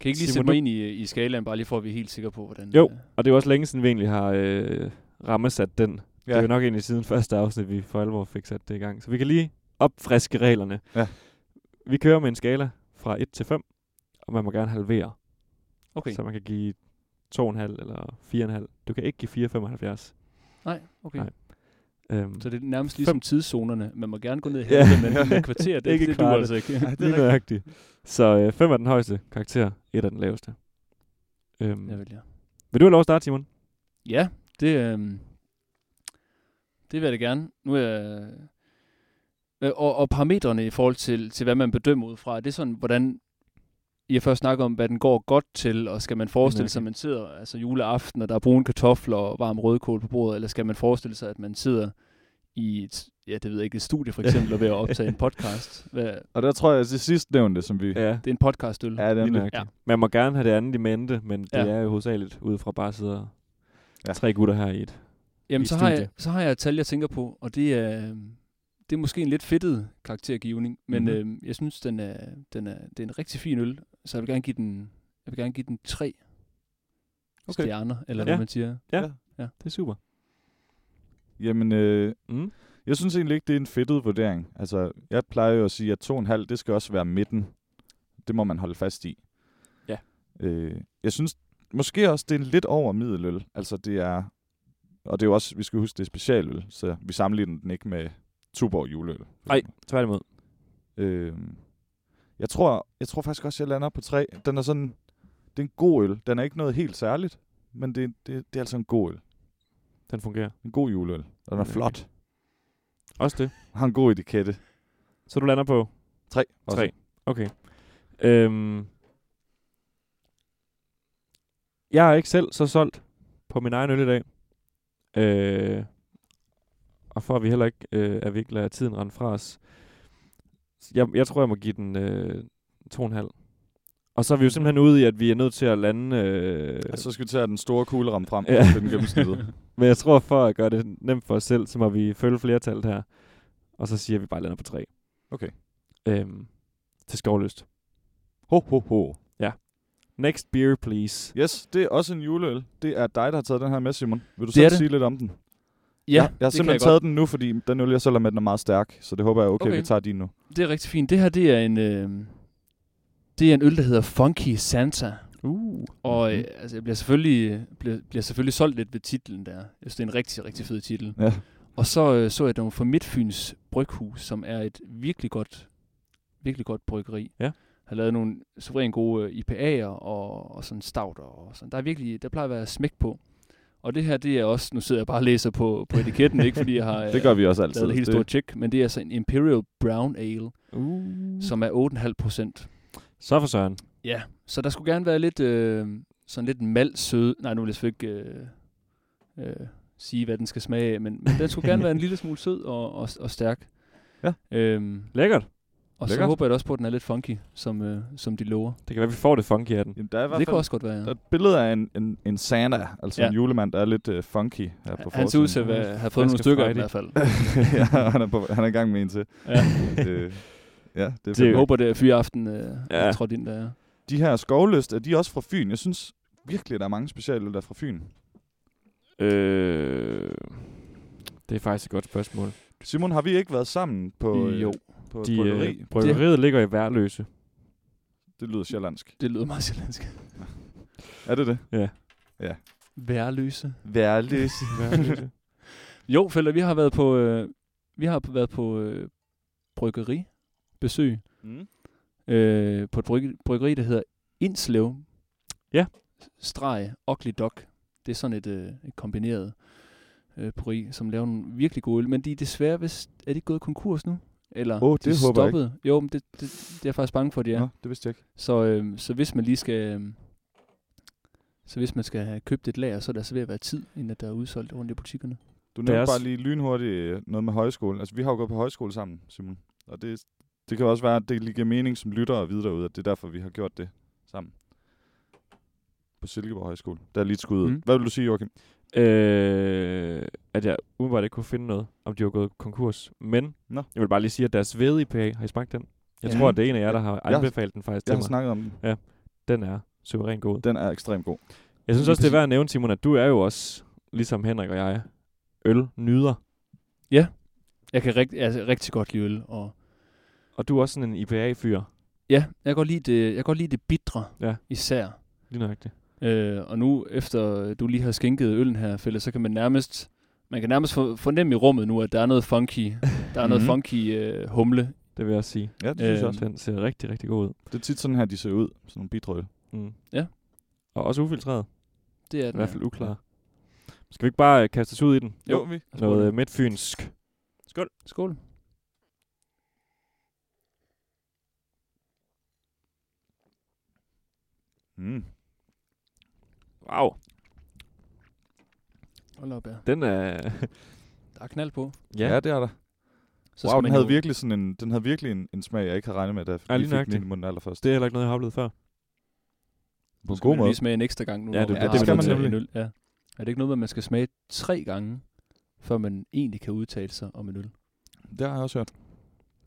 [SPEAKER 5] Kan I ikke lige
[SPEAKER 3] Simon,
[SPEAKER 5] sætte
[SPEAKER 3] du-
[SPEAKER 5] mig ind i, øh, i skalaen, bare lige for at vi er helt sikre på, hvordan...
[SPEAKER 3] Jo.
[SPEAKER 5] øh,
[SPEAKER 3] Og det er jo også længe siden, vi egentlig har øh, rammesat den. Ja. Det er
[SPEAKER 4] Ja.
[SPEAKER 3] jo nok egentlig siden første afsnit, vi for alvor fik sat det i gang. Så vi kan lige opfriske reglerne.
[SPEAKER 4] Ja.
[SPEAKER 3] Vi kører med en skala fra 1 til 5, og man må gerne halvere.
[SPEAKER 5] Okay,
[SPEAKER 3] Så man kan give 2,5 eller 4,5. Du kan ikke give 4,75.
[SPEAKER 5] nej, okay.
[SPEAKER 3] Nej. Øhm,
[SPEAKER 5] Så det er nærmest ligesom
[SPEAKER 3] Fem.
[SPEAKER 5] tidszonerne. Man må gerne gå ned
[SPEAKER 3] Ja.
[SPEAKER 5] her, ja. men men kvarter, det,
[SPEAKER 3] Ikke
[SPEAKER 5] det, det
[SPEAKER 3] kvart.
[SPEAKER 5] duer altså ikke.
[SPEAKER 4] Ej, det
[SPEAKER 3] lige
[SPEAKER 4] er rigtigt.
[SPEAKER 3] nøjagtigt. Så øh, 5 er den højeste karakter, 1 er den laveste. Øhm,
[SPEAKER 5] Jeg vil, ja.
[SPEAKER 3] vil du have lov at starte, Simon?
[SPEAKER 5] ja, det, øhm, det vil jeg da gerne. Nu er jeg, øh, og, og parametrene i forhold til, til, hvad man bedømmer ud fra, er det sådan, hvordan jeg først snakker om, hvad den går godt til, og skal man forestille sig, at man sidder altså juleaften, og der er brune kartofler og varm rødkål på bordet, eller skal man forestille sig, at man sidder i et, ja, det ved jeg ikke, et studie for eksempel, og ved at optage en podcast. Hvad,
[SPEAKER 4] Og der tror jeg, at det sidste nævnte, som vi...
[SPEAKER 3] Ja,
[SPEAKER 5] det er en podcastøl.
[SPEAKER 4] Ja, det er øh,
[SPEAKER 3] lige
[SPEAKER 4] nemlig.
[SPEAKER 3] nøjagtigt. Ja. Man må gerne have det andet i mente, men det
[SPEAKER 5] Ja.
[SPEAKER 3] er jo hovedsageligt ud fra bare at sidde og
[SPEAKER 4] Ja.
[SPEAKER 3] tre gutter her i et.
[SPEAKER 5] Jamen,
[SPEAKER 3] i
[SPEAKER 5] så har, jeg,
[SPEAKER 3] studie.
[SPEAKER 5] så har jeg et tal, jeg tænker på, og det er, øhm, det er måske en lidt fedtet karaktergivning, men
[SPEAKER 3] Mhm.
[SPEAKER 5] mm-hmm. øh, jeg synes, den er, den er, det er en rigtig fin øl, så jeg vil gerne give den, jeg vil gerne give den tre
[SPEAKER 3] Okay.
[SPEAKER 5] okay. stjerner, eller
[SPEAKER 3] Ja.
[SPEAKER 5] ja. hvad man siger.
[SPEAKER 3] Det er super.
[SPEAKER 4] Jamen, øh,
[SPEAKER 3] Mm.
[SPEAKER 4] jeg synes egentlig ikke, det er en fedtet vurdering. Altså, jeg plejer jo at sige, at 2,5, det skal også være midten. Det må man holde fast i.
[SPEAKER 3] Ja.
[SPEAKER 4] Øh, jeg synes måske også, det er lidt over middeløl. Altså, det er... Og det er jo også, vi skal huske, det er specialøl, så vi sammenligner den ikke med Tuborg juleøl.
[SPEAKER 3] Nej, tværtimod.
[SPEAKER 4] Øh, jeg, tror, jeg tror faktisk også, jeg lander på tre. Den er sådan... Det er en god øl. Den er ikke noget helt særligt, men det, det, det er altså en god øl.
[SPEAKER 3] Den fungerer.
[SPEAKER 4] En god juleøl. Den er
[SPEAKER 3] Okay.
[SPEAKER 4] flot.
[SPEAKER 3] Også det.
[SPEAKER 4] Har en god etikette.
[SPEAKER 3] Så du lander på
[SPEAKER 4] Tre. også.
[SPEAKER 3] 3. Okay. Øhm, jeg er ikke selv så solgt på min egen øl i dag. Øh, og for at vi heller ikke øh, er virkelig lader tiden rende fra os. s- Jeg, jeg tror, jeg må give den øh, 2,5. Og så er vi jo simpelthen ude i, at vi er nødt til at lande... Øh,
[SPEAKER 4] Og så skal vi tage den store kugleramme frem
[SPEAKER 3] Ja.
[SPEAKER 4] ja. til den gennemsnittet.
[SPEAKER 3] men jeg tror, for at gøre det nemt for os selv, så må vi følge flertallet her. Og så siger vi bare, at lander på 3.
[SPEAKER 4] Okay.
[SPEAKER 3] Øhm, til skovløst.
[SPEAKER 4] Ho, ho, ho.
[SPEAKER 3] Next beer, please.
[SPEAKER 4] Yes, det er også en juleøl. Det er dig, der har taget den her med, Simon. Vil du
[SPEAKER 5] er
[SPEAKER 4] selv
[SPEAKER 5] det.
[SPEAKER 4] sige lidt om den?
[SPEAKER 5] Ja,
[SPEAKER 4] jeg, jeg har
[SPEAKER 5] det kan
[SPEAKER 4] simpelthen
[SPEAKER 5] jeg
[SPEAKER 4] taget den nu, fordi den øl, jeg selv har med, den er meget stærk. Så det håber jeg er okay, okay.
[SPEAKER 5] Okay.
[SPEAKER 4] vi tager din nu.
[SPEAKER 5] godt. Det er rigtig fint. Det her, det er en, øh, det er en øl, der hedder Funky Santa.
[SPEAKER 3] Uh.
[SPEAKER 4] Mhm.
[SPEAKER 5] Og øh, altså, jeg bliver selvfølgelig, øh, bliver, bliver selvfølgelig solgt lidt ved titlen der. Jeg synes, det er en rigtig, rigtig fed titel.
[SPEAKER 4] Ja.
[SPEAKER 5] Og så øh, så jeg dem fra Midtfyns Bryghus, som er et virkelig godt, virkelig godt bryggeri.
[SPEAKER 3] Ja.
[SPEAKER 5] Har lavet nogle suveræn gode øh, IPA'er og, og sådan stouter og sådan. Der er virkelig, der plejer at være smæk på. Og det her, det er også, nu sidder jeg bare og læser på, på etiketten, ikke fordi jeg har øh,
[SPEAKER 4] Det gør vi også
[SPEAKER 5] lavet
[SPEAKER 4] altid.
[SPEAKER 5] et helt
[SPEAKER 4] Det-
[SPEAKER 5] stort tjek, men det er altså en Imperial Brown Ale,
[SPEAKER 3] Uh.
[SPEAKER 5] som er 8,5 procent.
[SPEAKER 3] Så for søren.
[SPEAKER 5] Ja, så der skulle gerne være lidt, øh, sådan lidt malt sød. Nej, nu vil jeg selvfølgelig ikke øh, øh, sige, hvad den skal smage af, men, men den skulle gerne være en lille smule sød og, og, og stærk.
[SPEAKER 4] Ja.
[SPEAKER 5] Øhm,
[SPEAKER 3] Lækkert.
[SPEAKER 5] og så
[SPEAKER 4] Lækkert.
[SPEAKER 5] håber jeg da også på, at den er lidt funky, som, øh, som de lover.
[SPEAKER 3] Det kan være, vi får det funky af den.
[SPEAKER 4] Jamen, der er i hvert
[SPEAKER 5] Det kunne
[SPEAKER 4] fald
[SPEAKER 5] også godt være,
[SPEAKER 4] der er
[SPEAKER 5] ja.
[SPEAKER 4] et billede af en, en, en Santa, altså
[SPEAKER 5] Ja.
[SPEAKER 4] en julemand, der er lidt uh, funky her på
[SPEAKER 5] Han ser ud til
[SPEAKER 4] forsiden.
[SPEAKER 5] at være- have fået nogle
[SPEAKER 3] Flaske
[SPEAKER 5] stykker af den i
[SPEAKER 3] Friday.
[SPEAKER 5] hvert fald.
[SPEAKER 4] ja, han er, på, han er i gang med en til.
[SPEAKER 5] Ja.
[SPEAKER 4] Øh, ja, det er
[SPEAKER 3] Det er
[SPEAKER 5] Jeg
[SPEAKER 4] det,
[SPEAKER 5] håber, det er fyreaften, øh,
[SPEAKER 3] Ja.
[SPEAKER 5] ja. trådt ind der. er.
[SPEAKER 4] De her skovløst, er de også fra Fyn? Jeg synes virkelig, der er mange specialøl, der er fra Fyn.
[SPEAKER 3] Øh, det er faktisk et godt spørgsmål.
[SPEAKER 4] Simon, har vi ikke været sammen på, øh,
[SPEAKER 5] Jo,
[SPEAKER 4] på et
[SPEAKER 3] De,
[SPEAKER 4] bryggeri?
[SPEAKER 3] øh, bryggeriet ligger i Værløse.
[SPEAKER 4] Det lyder sjællandsk.
[SPEAKER 5] det lyder meget sjællandsk.
[SPEAKER 4] Er det det?
[SPEAKER 5] Værløse.
[SPEAKER 4] Værløs.
[SPEAKER 3] Værløse.
[SPEAKER 5] Jo, Fælder, vi har været på, øh, vi har været på øh, bryggeribesøg
[SPEAKER 4] mm.
[SPEAKER 5] øh, på et bryg- bryggeri, der hedder Indslev.
[SPEAKER 3] Ja.
[SPEAKER 5] Streg, Ugly Dog. Det er sådan et, øh, et kombineret øh, bryggeri, som laver nogle virkelig gode øl. Men de er desværre, hvis, er de gået konkurs nu? Eller
[SPEAKER 4] Åh,
[SPEAKER 5] de
[SPEAKER 4] det håber jeg ikke.
[SPEAKER 5] stoppet? Jo, men det, det, det er jeg faktisk bange for, at de er.
[SPEAKER 4] Nå, det vidste jeg ikke.
[SPEAKER 5] Så, øh, så hvis man lige skal... Øh, så hvis man skal have købt et lager, så er der så ved at være tid, inden at der er udsolgt rundt i butikkerne.
[SPEAKER 4] Du nævnte
[SPEAKER 3] Deres-
[SPEAKER 4] bare lige lynhurtigt øh, noget med højskolen. Altså, vi har jo gået på højskole sammen, Simon. Og det, det kan også være, at det lige giver mening som lytter og videre ud, at det er derfor, vi har gjort det sammen. På Silkeborg Højskole. Der er lige et skud mm.
[SPEAKER 5] Mm.
[SPEAKER 4] Hvad vil du sige, Joachim?
[SPEAKER 3] øh, at jeg umiddelbart ikke kunne finde noget, om de var gået konkurs. Men
[SPEAKER 4] Nå.
[SPEAKER 3] jeg vil bare lige sige, at deres ved IPA, har I smagt den? Jeg
[SPEAKER 5] Ja.
[SPEAKER 3] tror, at det er en af jer, der har
[SPEAKER 4] Jeg-
[SPEAKER 3] anbefalet den faktisk
[SPEAKER 4] Jeg har
[SPEAKER 3] til mig.
[SPEAKER 4] snakket om den.
[SPEAKER 3] Den er suveræn god.
[SPEAKER 4] Den er ekstremt god.
[SPEAKER 3] Jeg synes
[SPEAKER 5] Lige
[SPEAKER 3] også, det er
[SPEAKER 5] præcis.
[SPEAKER 3] værd at nævne, Simon, at du er jo også, ligesom Henrik og jeg, øl nyder.
[SPEAKER 5] Jeg kan rigt, altså, rigtig godt lide øl, og
[SPEAKER 3] Og du er også sådan en IPA-fyr,
[SPEAKER 5] ja, jeg kan godt lide det, jeg kan godt lide det bitre,
[SPEAKER 3] Ja.
[SPEAKER 5] især.
[SPEAKER 3] lige nøjagtigt.
[SPEAKER 5] Øh, og nu, efter du lige har skænket øllen her, Fælles, så kan man nærmest, man kan nærmest for- fornemme i rummet nu, at der er noget funky, der er noget
[SPEAKER 4] Mhm.
[SPEAKER 5] funky øh, humle.
[SPEAKER 3] Det vil jeg også sige.
[SPEAKER 4] Ja, det synes jeg
[SPEAKER 5] Øhm.
[SPEAKER 4] også.
[SPEAKER 3] Den ser rigtig, rigtig god ud.
[SPEAKER 4] Det er tit sådan her, de ser ud. Sådan nogle bidrøl.
[SPEAKER 3] Mm.
[SPEAKER 5] Ja.
[SPEAKER 3] Og også ufiltreret.
[SPEAKER 5] Det er
[SPEAKER 3] I
[SPEAKER 5] den
[SPEAKER 3] hvert
[SPEAKER 5] her.
[SPEAKER 3] fald uklar. Skal vi ikke bare øh, kaste os ud i den?
[SPEAKER 5] Jo,
[SPEAKER 4] vi.
[SPEAKER 3] Noget øh, midtfynsk.
[SPEAKER 5] Skål.
[SPEAKER 4] Mm.
[SPEAKER 3] Wow.
[SPEAKER 5] Hold op, ja.
[SPEAKER 3] Den er...
[SPEAKER 5] Der er knald på.
[SPEAKER 4] Ja. ja, det er der.
[SPEAKER 5] Så
[SPEAKER 4] wow,
[SPEAKER 5] skal
[SPEAKER 4] den
[SPEAKER 5] man
[SPEAKER 4] havde,
[SPEAKER 5] jo-
[SPEAKER 4] virkelig sådan en, den havde virkelig en, en smag, jeg ikke havde regnet med, da jeg
[SPEAKER 3] Ja,
[SPEAKER 4] lige
[SPEAKER 3] lige
[SPEAKER 4] fik den
[SPEAKER 3] nøjagtigt.
[SPEAKER 4] ind i munden allerførst.
[SPEAKER 3] Det er heller ikke noget, jeg har oplevet før.
[SPEAKER 4] på en
[SPEAKER 5] skal
[SPEAKER 4] god
[SPEAKER 5] man
[SPEAKER 4] måde.
[SPEAKER 5] lige smage en ekstra gang nu.
[SPEAKER 3] Ja,
[SPEAKER 5] når
[SPEAKER 3] det-
[SPEAKER 5] man
[SPEAKER 3] det-
[SPEAKER 5] har
[SPEAKER 3] det skal
[SPEAKER 5] arbejdet
[SPEAKER 3] man
[SPEAKER 5] med
[SPEAKER 4] nemlig.
[SPEAKER 5] en Øl. Ja. Er det ikke noget, med, at man skal smage tre gange, før man egentlig kan udtale sig om en øl?
[SPEAKER 4] Det har jeg også hørt.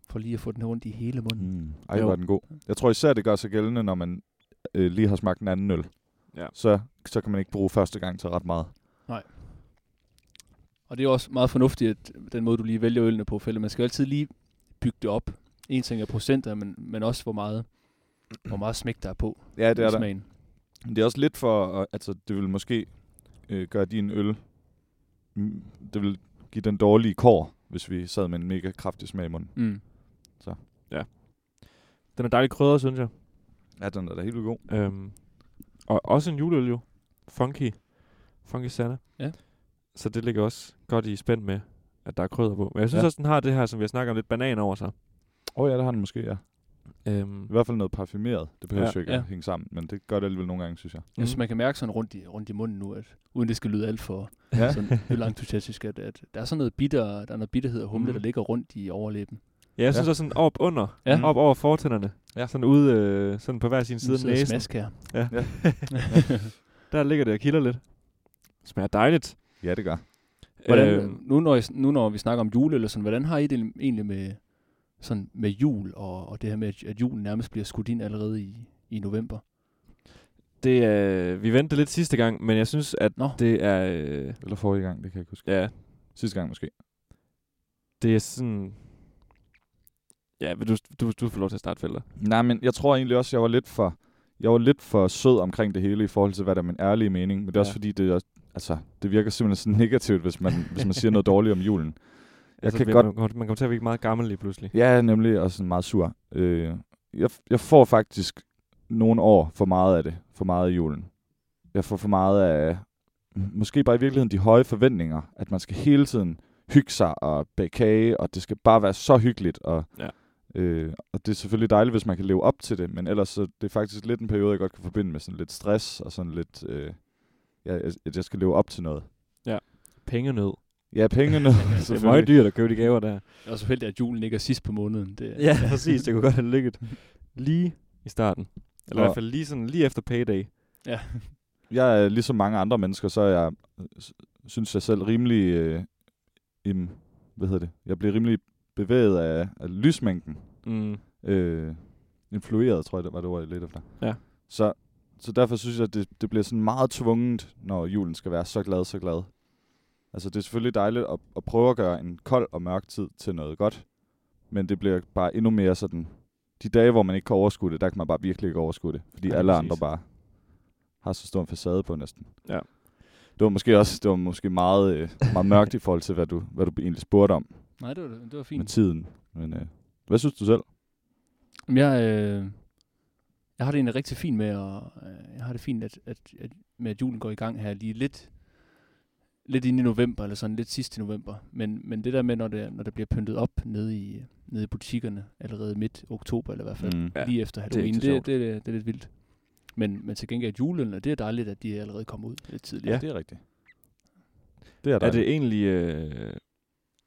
[SPEAKER 5] For lige at få den her rundt i hele munden.
[SPEAKER 4] Mm. Ej,
[SPEAKER 3] Jo.
[SPEAKER 4] var den god. Jeg tror især, det gør sig gældende, når man øh, lige har smagt en anden øl.
[SPEAKER 3] Ja.
[SPEAKER 4] Så, så kan man ikke bruge første gang til ret meget.
[SPEAKER 5] Og det er jo også meget fornuftigt, at den måde, du lige vælger ølene på, fælde. Man skal jo altid lige bygge det op. En ting er procenter, men, men også hvor meget, hvor meget smæk der er på
[SPEAKER 4] Ja, det er
[SPEAKER 5] i
[SPEAKER 4] der.
[SPEAKER 5] smagen.
[SPEAKER 4] Men Det er også lidt for, at- altså det vil måske øh, gøre din øl, mm, det vil give den dårlige kår, hvis vi sad med en mega kraftig smag i munden.
[SPEAKER 5] Mm.
[SPEAKER 3] Den er dejligt krydret, synes jeg.
[SPEAKER 4] Ja, den er da helt vildt god.
[SPEAKER 3] Øhm, og også en juleøl jo. Funky. Funky Santa.
[SPEAKER 5] Ja.
[SPEAKER 3] Så det ligger også godt i spænd med, at der er krydder på. Men jeg synes
[SPEAKER 4] Ja.
[SPEAKER 3] ja. også, den har det her, som vi har snakket om, lidt banan over sig.
[SPEAKER 4] Åh oh, ja, det har den måske, ja.
[SPEAKER 3] Øhm,
[SPEAKER 4] I hvert fald noget parfumeret. Det behøver
[SPEAKER 3] Ja.
[SPEAKER 4] ja, ikke
[SPEAKER 5] Ja.
[SPEAKER 4] at hænge sammen, men det gør det alligevel nogle gange, synes jeg.
[SPEAKER 5] Jeg
[SPEAKER 3] Mm.
[SPEAKER 5] synes, man kan mærke sådan rundt i, rundt i munden nu, at uden det skal lyde alt for
[SPEAKER 4] Ja.
[SPEAKER 5] ja. sådan ølentusiastisk, at, at der er sådan noget bitter, der er noget bitterhed og humle,
[SPEAKER 3] Mm.
[SPEAKER 5] der ligger rundt i overlæben.
[SPEAKER 3] ja, jeg synes også sådan op under.
[SPEAKER 5] Ja.
[SPEAKER 3] Op over fortænderne.
[SPEAKER 4] Ja.
[SPEAKER 3] Sådan ude øh, sådan på hver sin side af
[SPEAKER 5] Sidder og
[SPEAKER 3] næsen.
[SPEAKER 5] smask her.
[SPEAKER 3] Ja. Der ligger det og kilder lidt. Smager dejligt.
[SPEAKER 4] Ja, det gør.
[SPEAKER 5] Hvordan,
[SPEAKER 3] Øhm,
[SPEAKER 5] nu, når I, nu når vi snakker om jul eller sådan, hvordan har I det egentlig med, sådan med jul og, og det her med, at- at julen nærmest bliver skudt ind allerede i, i november?
[SPEAKER 3] det er, vi ventede lidt sidste gang, men jeg synes, at
[SPEAKER 5] Nå.
[SPEAKER 3] det er... Øh,
[SPEAKER 4] Eller forrige gang, det kan jeg ikke huske.
[SPEAKER 3] ja,
[SPEAKER 4] Sidste gang måske.
[SPEAKER 3] det er sådan... Ja, vil du, du, du får lov til at starte felter.
[SPEAKER 4] Nej, men jeg tror egentlig også, jeg var lidt for... jeg var lidt for sød omkring det hele i forhold til, hvad der er min ærlige mening. Men det er også
[SPEAKER 3] Ja.
[SPEAKER 4] fordi, det, er, altså, det virker simpelthen så negativt, hvis man, hvis man siger noget dårligt om julen. Jeg
[SPEAKER 3] Altså,
[SPEAKER 4] kan
[SPEAKER 3] vi-
[SPEAKER 4] godt-
[SPEAKER 3] Man, kommer- man kommer til at blive meget gammel lige pludselig.
[SPEAKER 4] Ja, nemlig, og sådan meget sur. Øh, jeg, jeg får faktisk nogle år for meget af det, for meget af julen. Jeg får for meget af, måske bare i virkeligheden, de høje forventninger, at man skal hele tiden hygge sig og bage kage, og det skal bare være så hyggeligt. Og,
[SPEAKER 3] Ja.
[SPEAKER 4] øh, og det er selvfølgelig dejligt, hvis man kan leve op til det, men ellers så det er faktisk lidt en periode, jeg godt kan forbinde med sådan lidt stress og sådan lidt, øh, ja, at jeg skal leve op til noget.
[SPEAKER 3] Pengenød.
[SPEAKER 4] Ja, pengene.
[SPEAKER 3] Det er meget dyrt at købe de gaver der.
[SPEAKER 5] Jeg er også heldig, at julen ikke er sidst på måneden. Det,
[SPEAKER 3] Ja, præcis. Det kunne godt have ligget lige i starten. Eller i
[SPEAKER 4] Og-
[SPEAKER 3] hvert fald lige, sådan, lige efter payday.
[SPEAKER 5] ja.
[SPEAKER 4] jeg er ligesom mange andre mennesker, så er jeg s- synes jeg selv rimelig øh, im, hvad hedder det? Jeg bliver rimelig bevæget af, af lysmængden.
[SPEAKER 3] Mm.
[SPEAKER 4] Øh, influeret, tror jeg, det var det ord, jeg lidt efter.
[SPEAKER 3] Ja.
[SPEAKER 4] Så, så derfor synes jeg, at det, det bliver sådan meget tvunget, når julen skal være så glad, så glad. Altså, det er selvfølgelig dejligt at, at prøve at gøre en kold og mørk tid til noget godt, men det bliver bare endnu mere sådan... De dage, hvor man ikke kan overskue det, der kan man bare virkelig ikke overskue det, fordi
[SPEAKER 3] Ja,
[SPEAKER 4] alle
[SPEAKER 3] præcis.
[SPEAKER 4] andre bare har så stor en facade på næsten.
[SPEAKER 3] Ja.
[SPEAKER 4] Det var måske også det var måske meget, øh, meget mørkt i forhold til, hvad du, hvad du egentlig spurgte om
[SPEAKER 5] Nej, det var, det var
[SPEAKER 4] med
[SPEAKER 5] fint.
[SPEAKER 4] tiden. Men øh, hvad synes du selv?
[SPEAKER 5] Jamen, Jeg, øh, jeg har det egentlig rigtig fint med, og øh, jeg har det fint at, at, at, med, at julen går i gang her lige lidt, lidt ind i november, eller sådan lidt sidst i november. Men, men det der med, når det, når det bliver pyntet op nede i, nede i butikkerne, allerede midt oktober, eller i hvert fald
[SPEAKER 4] Mm.
[SPEAKER 5] ja, lige efter
[SPEAKER 3] det er ikke
[SPEAKER 5] Halloween, det,
[SPEAKER 3] så
[SPEAKER 5] det,
[SPEAKER 3] sjovt.
[SPEAKER 5] det, det, det er lidt vildt. Men, men til gengæld juleølene, det er dejligt, at de allerede kommer ud lidt tidligere.
[SPEAKER 4] det er rigtigt. Det er,
[SPEAKER 3] Er det egentlig... Øh,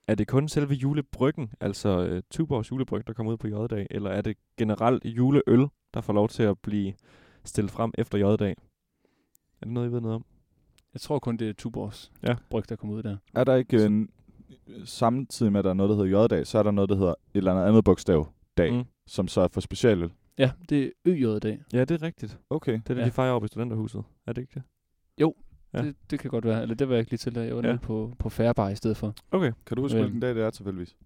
[SPEAKER 3] er det kun selve julebryggen, altså øh, Tuborgs julebryg, der kommer ud på J-dag, eller er det generelt juleøl, der får lov til at blive stillet frem efter J-dag? Er det noget, I ved noget om?
[SPEAKER 5] Jeg tror kun, det er Tuborgs
[SPEAKER 3] Ja.
[SPEAKER 5] ja. bryg, der kommer ud der.
[SPEAKER 4] er der ikke en, samtidig med, at der er noget, der hedder J-dag, så er der noget, der hedder et eller andet andet bogstav dag,
[SPEAKER 3] Mm.
[SPEAKER 4] mm. som så er for specialøl?
[SPEAKER 5] Ja, det er øj i dag.
[SPEAKER 3] Ja, det er rigtigt.
[SPEAKER 4] Okay.
[SPEAKER 3] Det er det, ja.
[SPEAKER 5] Ja.
[SPEAKER 3] de fejrer oppe i studenterhuset. Er det ikke det? Ja.
[SPEAKER 5] Ja. Det, det kan godt være. Eller det var jeg ikke lige til, da jeg var
[SPEAKER 3] Ja.
[SPEAKER 5] ja. nede på, på Færbar i stedet for.
[SPEAKER 3] Okay.
[SPEAKER 4] Kan du huske,
[SPEAKER 5] Øhm.
[SPEAKER 4] hvilken dag det er tilfældigvis?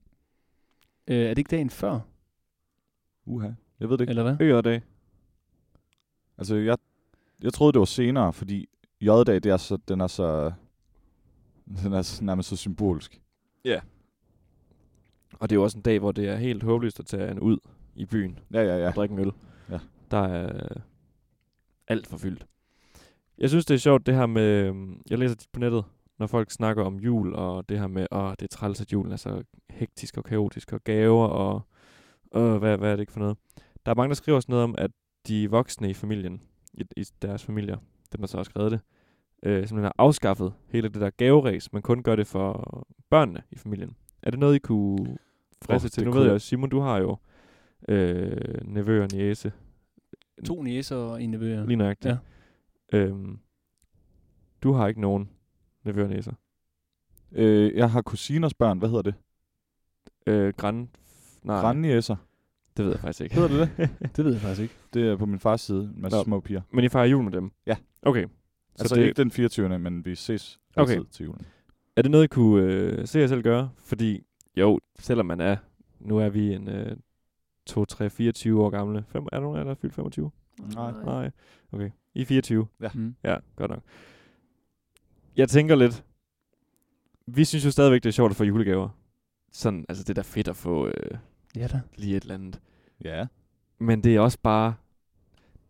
[SPEAKER 5] Øh, er det Øh, ikke dagen før,
[SPEAKER 4] Uha. Jeg ved det ikke.
[SPEAKER 5] eller hvad?
[SPEAKER 3] Øerdag.
[SPEAKER 4] Altså, jeg, jeg troede, det var senere, fordi J-dag, det er så, den er så... Den er så, nærmest så symbolsk.
[SPEAKER 3] Og det er jo også en dag, hvor det er helt håbløst at tage en ud i byen
[SPEAKER 4] Ja, ja, ja.
[SPEAKER 3] og drikke en øl.
[SPEAKER 4] Ja.
[SPEAKER 3] Der er øh, alt for fyldt. Jeg synes, det er sjovt det her med, øhm, jeg læser tit på nettet, når folk snakker om jul, og det her med, åh, det er træls, at julen er så hektisk og kaotisk, og gaver, og øh, hvad, hvad er det ikke for noget. Der er mange, der skriver sådan noget om, at de voksne i familien, i, i deres familier, dem der så har skrevet det, øh, simpelthen har afskaffet hele det der gaveræs, men kun gør det for børnene i familien. Er det noget, I kunne friste
[SPEAKER 4] Åh,
[SPEAKER 3] til?
[SPEAKER 4] det
[SPEAKER 3] Nu
[SPEAKER 4] kunne
[SPEAKER 3] ved
[SPEAKER 4] jeg.
[SPEAKER 3] jeg, Simon, du har jo øh, nevø og næse,
[SPEAKER 5] To næser og en nevøer.
[SPEAKER 3] lige nøjagtigt. Ja. Øhm, du har ikke nogen nevø og næser.
[SPEAKER 4] Øh, jeg har kusiners børn. Hvad hedder det?
[SPEAKER 3] Øh, græn... Nej,
[SPEAKER 4] Grandniæser.
[SPEAKER 3] det ved jeg faktisk ikke.
[SPEAKER 4] Hedder det det?
[SPEAKER 5] Det ved jeg faktisk ikke.
[SPEAKER 4] det er på min fars side. En masse
[SPEAKER 3] Nå.
[SPEAKER 4] små piger.
[SPEAKER 3] Men I fejrer jul med dem?
[SPEAKER 4] Ja.
[SPEAKER 3] Okay. Så
[SPEAKER 4] Altså
[SPEAKER 3] det,
[SPEAKER 4] ikke den 24. men vi ses
[SPEAKER 3] Okay.
[SPEAKER 4] altid til julen.
[SPEAKER 3] er det noget, I kunne øh, se jer selv gøre? Fordi jo, selvom man er... Nu er vi en øh, 2, 3, 24 år gamle. Fem, er der nogen af jer, der er fyldt 25?
[SPEAKER 4] Nej.
[SPEAKER 3] Nej. Okay. I er 24?
[SPEAKER 4] Ja.
[SPEAKER 5] Mm.
[SPEAKER 3] Ja, godt nok. Jeg tænker lidt... Vi synes jo stadigvæk, det er sjovt at få julegaver. Sådan, altså det er da fedt at få øh,
[SPEAKER 5] Ja da.
[SPEAKER 3] lige et eller andet.
[SPEAKER 4] Ja.
[SPEAKER 3] Men det er også bare...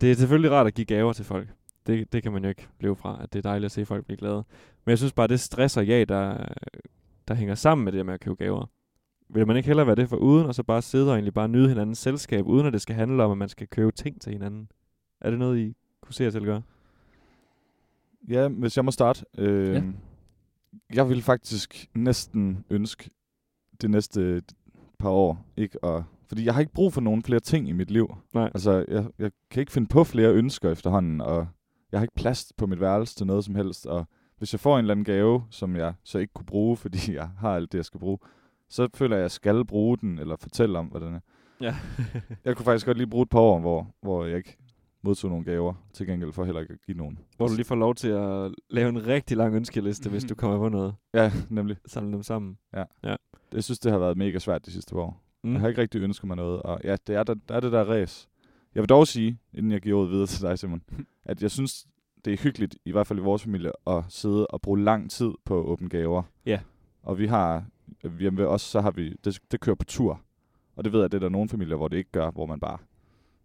[SPEAKER 3] Det er selvfølgelig rart at give gaver til folk. Det, det kan man jo ikke leve fra, at det er dejligt at se folk blive glade. Men jeg synes bare, det stress og ja, der, der hænger sammen med det der med at købe gaver. Vil man ikke hellere være det for uden, og så bare sidde og egentlig bare nyde hinandens selskab, uden at det skal handle om, at man skal købe ting til hinanden? Er det noget, I kunne se jer selv gøre?
[SPEAKER 4] Ja, hvis jeg må starte. Øh,
[SPEAKER 5] Ja.
[SPEAKER 4] ja. Jeg vil faktisk næsten ønske det næste par år ikke at... Fordi jeg har ikke brug for nogen flere ting i mit liv.
[SPEAKER 3] Nej.
[SPEAKER 4] Altså, jeg, jeg kan ikke finde på flere ønsker efterhånden, og jeg har ikke plads på mit værelse til noget som helst. Og hvis jeg får en eller anden gave, som jeg så ikke kunne bruge, fordi jeg har alt det, jeg skal bruge, så føler jeg, at jeg skal bruge den, eller fortælle om, hvordan den er.
[SPEAKER 3] Ja.
[SPEAKER 4] Jeg kunne faktisk godt lige bruge et par år, hvor, hvor jeg ikke modtog nogle gaver. Til gengæld for heller ikke at give nogen.
[SPEAKER 3] Hvor du lige får lov til at lave en rigtig lang ønskeliste, hvis du kommer på noget.
[SPEAKER 4] Ja, nemlig.
[SPEAKER 3] Samle dem sammen.
[SPEAKER 4] Jeg
[SPEAKER 3] Mhm.
[SPEAKER 4] synes, det har været mega svært de sidste par år. Mm. Jeg har ikke rigtig ønsket mig noget, og ja, det er der, der, er det der ræs. Jeg vil dog sige, inden jeg giver ordet videre til dig, Simon, at jeg synes, det er hyggeligt, i hvert fald i vores familie, at sidde og bruge lang tid på åbne gaver.
[SPEAKER 3] Ja.
[SPEAKER 4] Og vi har, hjemme ved os, så har vi, det, det kører på tur. Og det ved jeg, det er der nogle familier, hvor det ikke gør, hvor man bare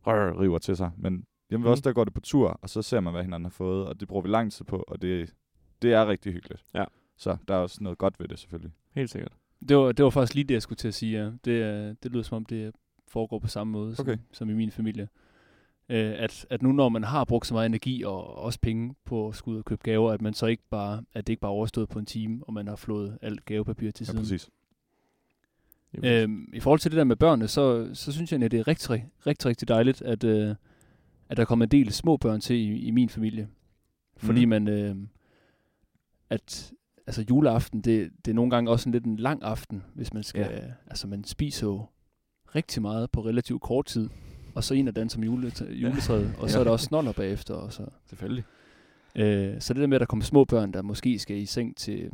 [SPEAKER 4] rør, river til sig. Men hjemme ved
[SPEAKER 3] Mhm.
[SPEAKER 4] os, der går det på tur, og så ser man, hvad hinanden har fået, og det bruger vi lang tid på, og det, det er rigtig hyggeligt.
[SPEAKER 3] Ja.
[SPEAKER 4] Så der er også noget godt ved det, selvfølgelig.
[SPEAKER 3] Helt sikkert.
[SPEAKER 5] Det var, det var faktisk lige det, jeg skulle til at sige. Ja. Det, er- det lyder som om, det foregår på samme måde
[SPEAKER 4] Okay.
[SPEAKER 5] som, som i min familie. Øh, at, at nu når man har brugt så meget energi og også penge på at skulle ud og købe gaver, at man så ikke bare, at det ikke bare er overstået på en time, og man har flået alt gavepapir til
[SPEAKER 4] Ja,
[SPEAKER 5] siden.
[SPEAKER 4] præcis.
[SPEAKER 3] Jo.
[SPEAKER 5] Øhm, I forhold til det der med børnene, så, så synes jeg, egentlig, at det er rigtig, rigtig, rigtig dejligt, at, øh, at der kommer en del små børn til i, i min familie. Fordi
[SPEAKER 4] Mhm.
[SPEAKER 5] man, øh, at altså juleaften, det, det er nogle gange også en lidt en lang aften, hvis man skal, ja. altså man spiser jo rigtig meget på relativt kort tid, og så en og den som juletræ, juletræet, og så er der også snoller bagefter. Og så.
[SPEAKER 3] Selvfølgelig.
[SPEAKER 5] Øh, så det der med, at der kommer små børn, der måske skal i seng til,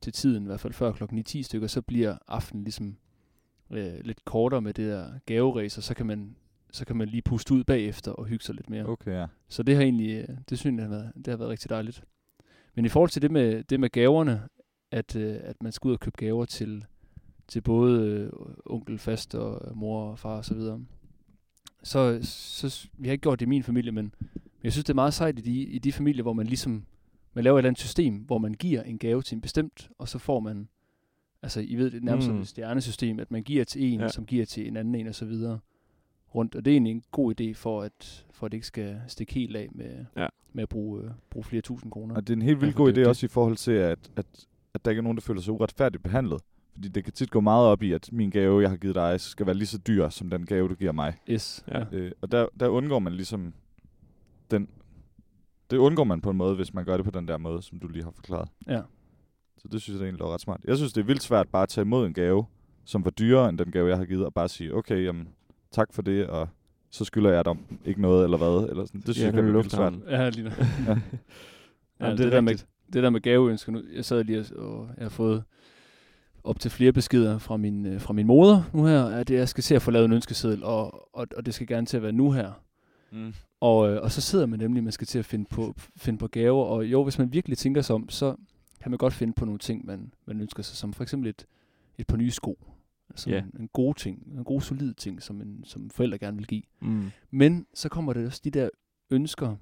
[SPEAKER 5] til tiden, i hvert fald før klokken 10 stykker, så bliver aftenen ligesom øh, lidt kortere med det der gaveræs, og så kan, man, så kan man lige puste ud bagefter og hygge sig lidt mere.
[SPEAKER 4] Okay, ja.
[SPEAKER 5] Så det har egentlig, øh, det synes jeg, har været, det har været rigtig dejligt. Men i forhold til det med, det med gaverne, at, øh, at man skal ud og købe gaver til, til både øh, onkel, fast og mor og far og så videre. Så, så s- vi har ikke gjort det i min familie, men, men jeg synes, det er meget sejt i de, i de familier, hvor man ligesom man laver et eller andet system, hvor man giver en gave til en bestemt, og så får man, altså I ved det er nærmest mm.
[SPEAKER 3] Mm.
[SPEAKER 5] et stjernesystem, at man giver til en,
[SPEAKER 3] Ja.
[SPEAKER 5] ja. som giver til en anden en og så videre rundt. Og det er egentlig en god idé for, at, for at det ikke skal stikke helt af med,
[SPEAKER 3] Ja.
[SPEAKER 5] ja. med at bruge, øh, bruge flere tusind kroner.
[SPEAKER 4] Og det er en helt vildt
[SPEAKER 3] Ja, for det
[SPEAKER 4] god
[SPEAKER 3] er
[SPEAKER 4] idé
[SPEAKER 3] jo det.
[SPEAKER 4] også i forhold til, at, at, at der ikke er nogen, der føler sig uretfærdigt behandlet. Fordi det kan tit gå meget op i, at min gave, jeg har givet dig, skal være lige så dyr som den gave, du giver mig.
[SPEAKER 5] Yes.
[SPEAKER 3] Ja.
[SPEAKER 5] Ja.
[SPEAKER 4] Øh, og der, der undgår man ligesom den... Det undgår man på en måde, hvis man gør det på den der måde, som du lige har forklaret.
[SPEAKER 5] ja.
[SPEAKER 4] Så det synes jeg da egentlig er ret smart. Jeg synes, det er vildt svært bare at tage imod en gave, som var dyrere end den gave, jeg har givet, og bare sige, okay, jamen, tak for det, og så skylder jeg dig ikke noget, eller hvad. Eller sådan. Det synes
[SPEAKER 3] Ja,
[SPEAKER 4] jeg
[SPEAKER 3] det er
[SPEAKER 4] kan være vildt svært.
[SPEAKER 3] lufthavnen.
[SPEAKER 5] Ja, lige nu.
[SPEAKER 4] Ja.
[SPEAKER 5] ja,
[SPEAKER 3] Jamen,
[SPEAKER 5] det,
[SPEAKER 3] det er
[SPEAKER 5] det, der med, det der med gaveønsker nu. Jeg sad lige og, og jeg har fået op til flere beskeder fra min, øh, fra min moder nu her, at jeg skal se at få lavet en ønskeseddel, og, og, og det skal gerne til at være nu her.
[SPEAKER 4] Mm.
[SPEAKER 5] Og, øh, og så sidder man nemlig, man skal til at finde på, finde på gaver, og jo, hvis man virkelig tænker sig om, så kan man godt finde på nogle ting, man, man ønsker sig, som for eksempel et, et par nye sko. Altså
[SPEAKER 3] Ja.
[SPEAKER 5] en, en god ting, en god solid ting, som, en, som forældre gerne vil give.
[SPEAKER 3] Mm.
[SPEAKER 5] Men så kommer der også de der ønsker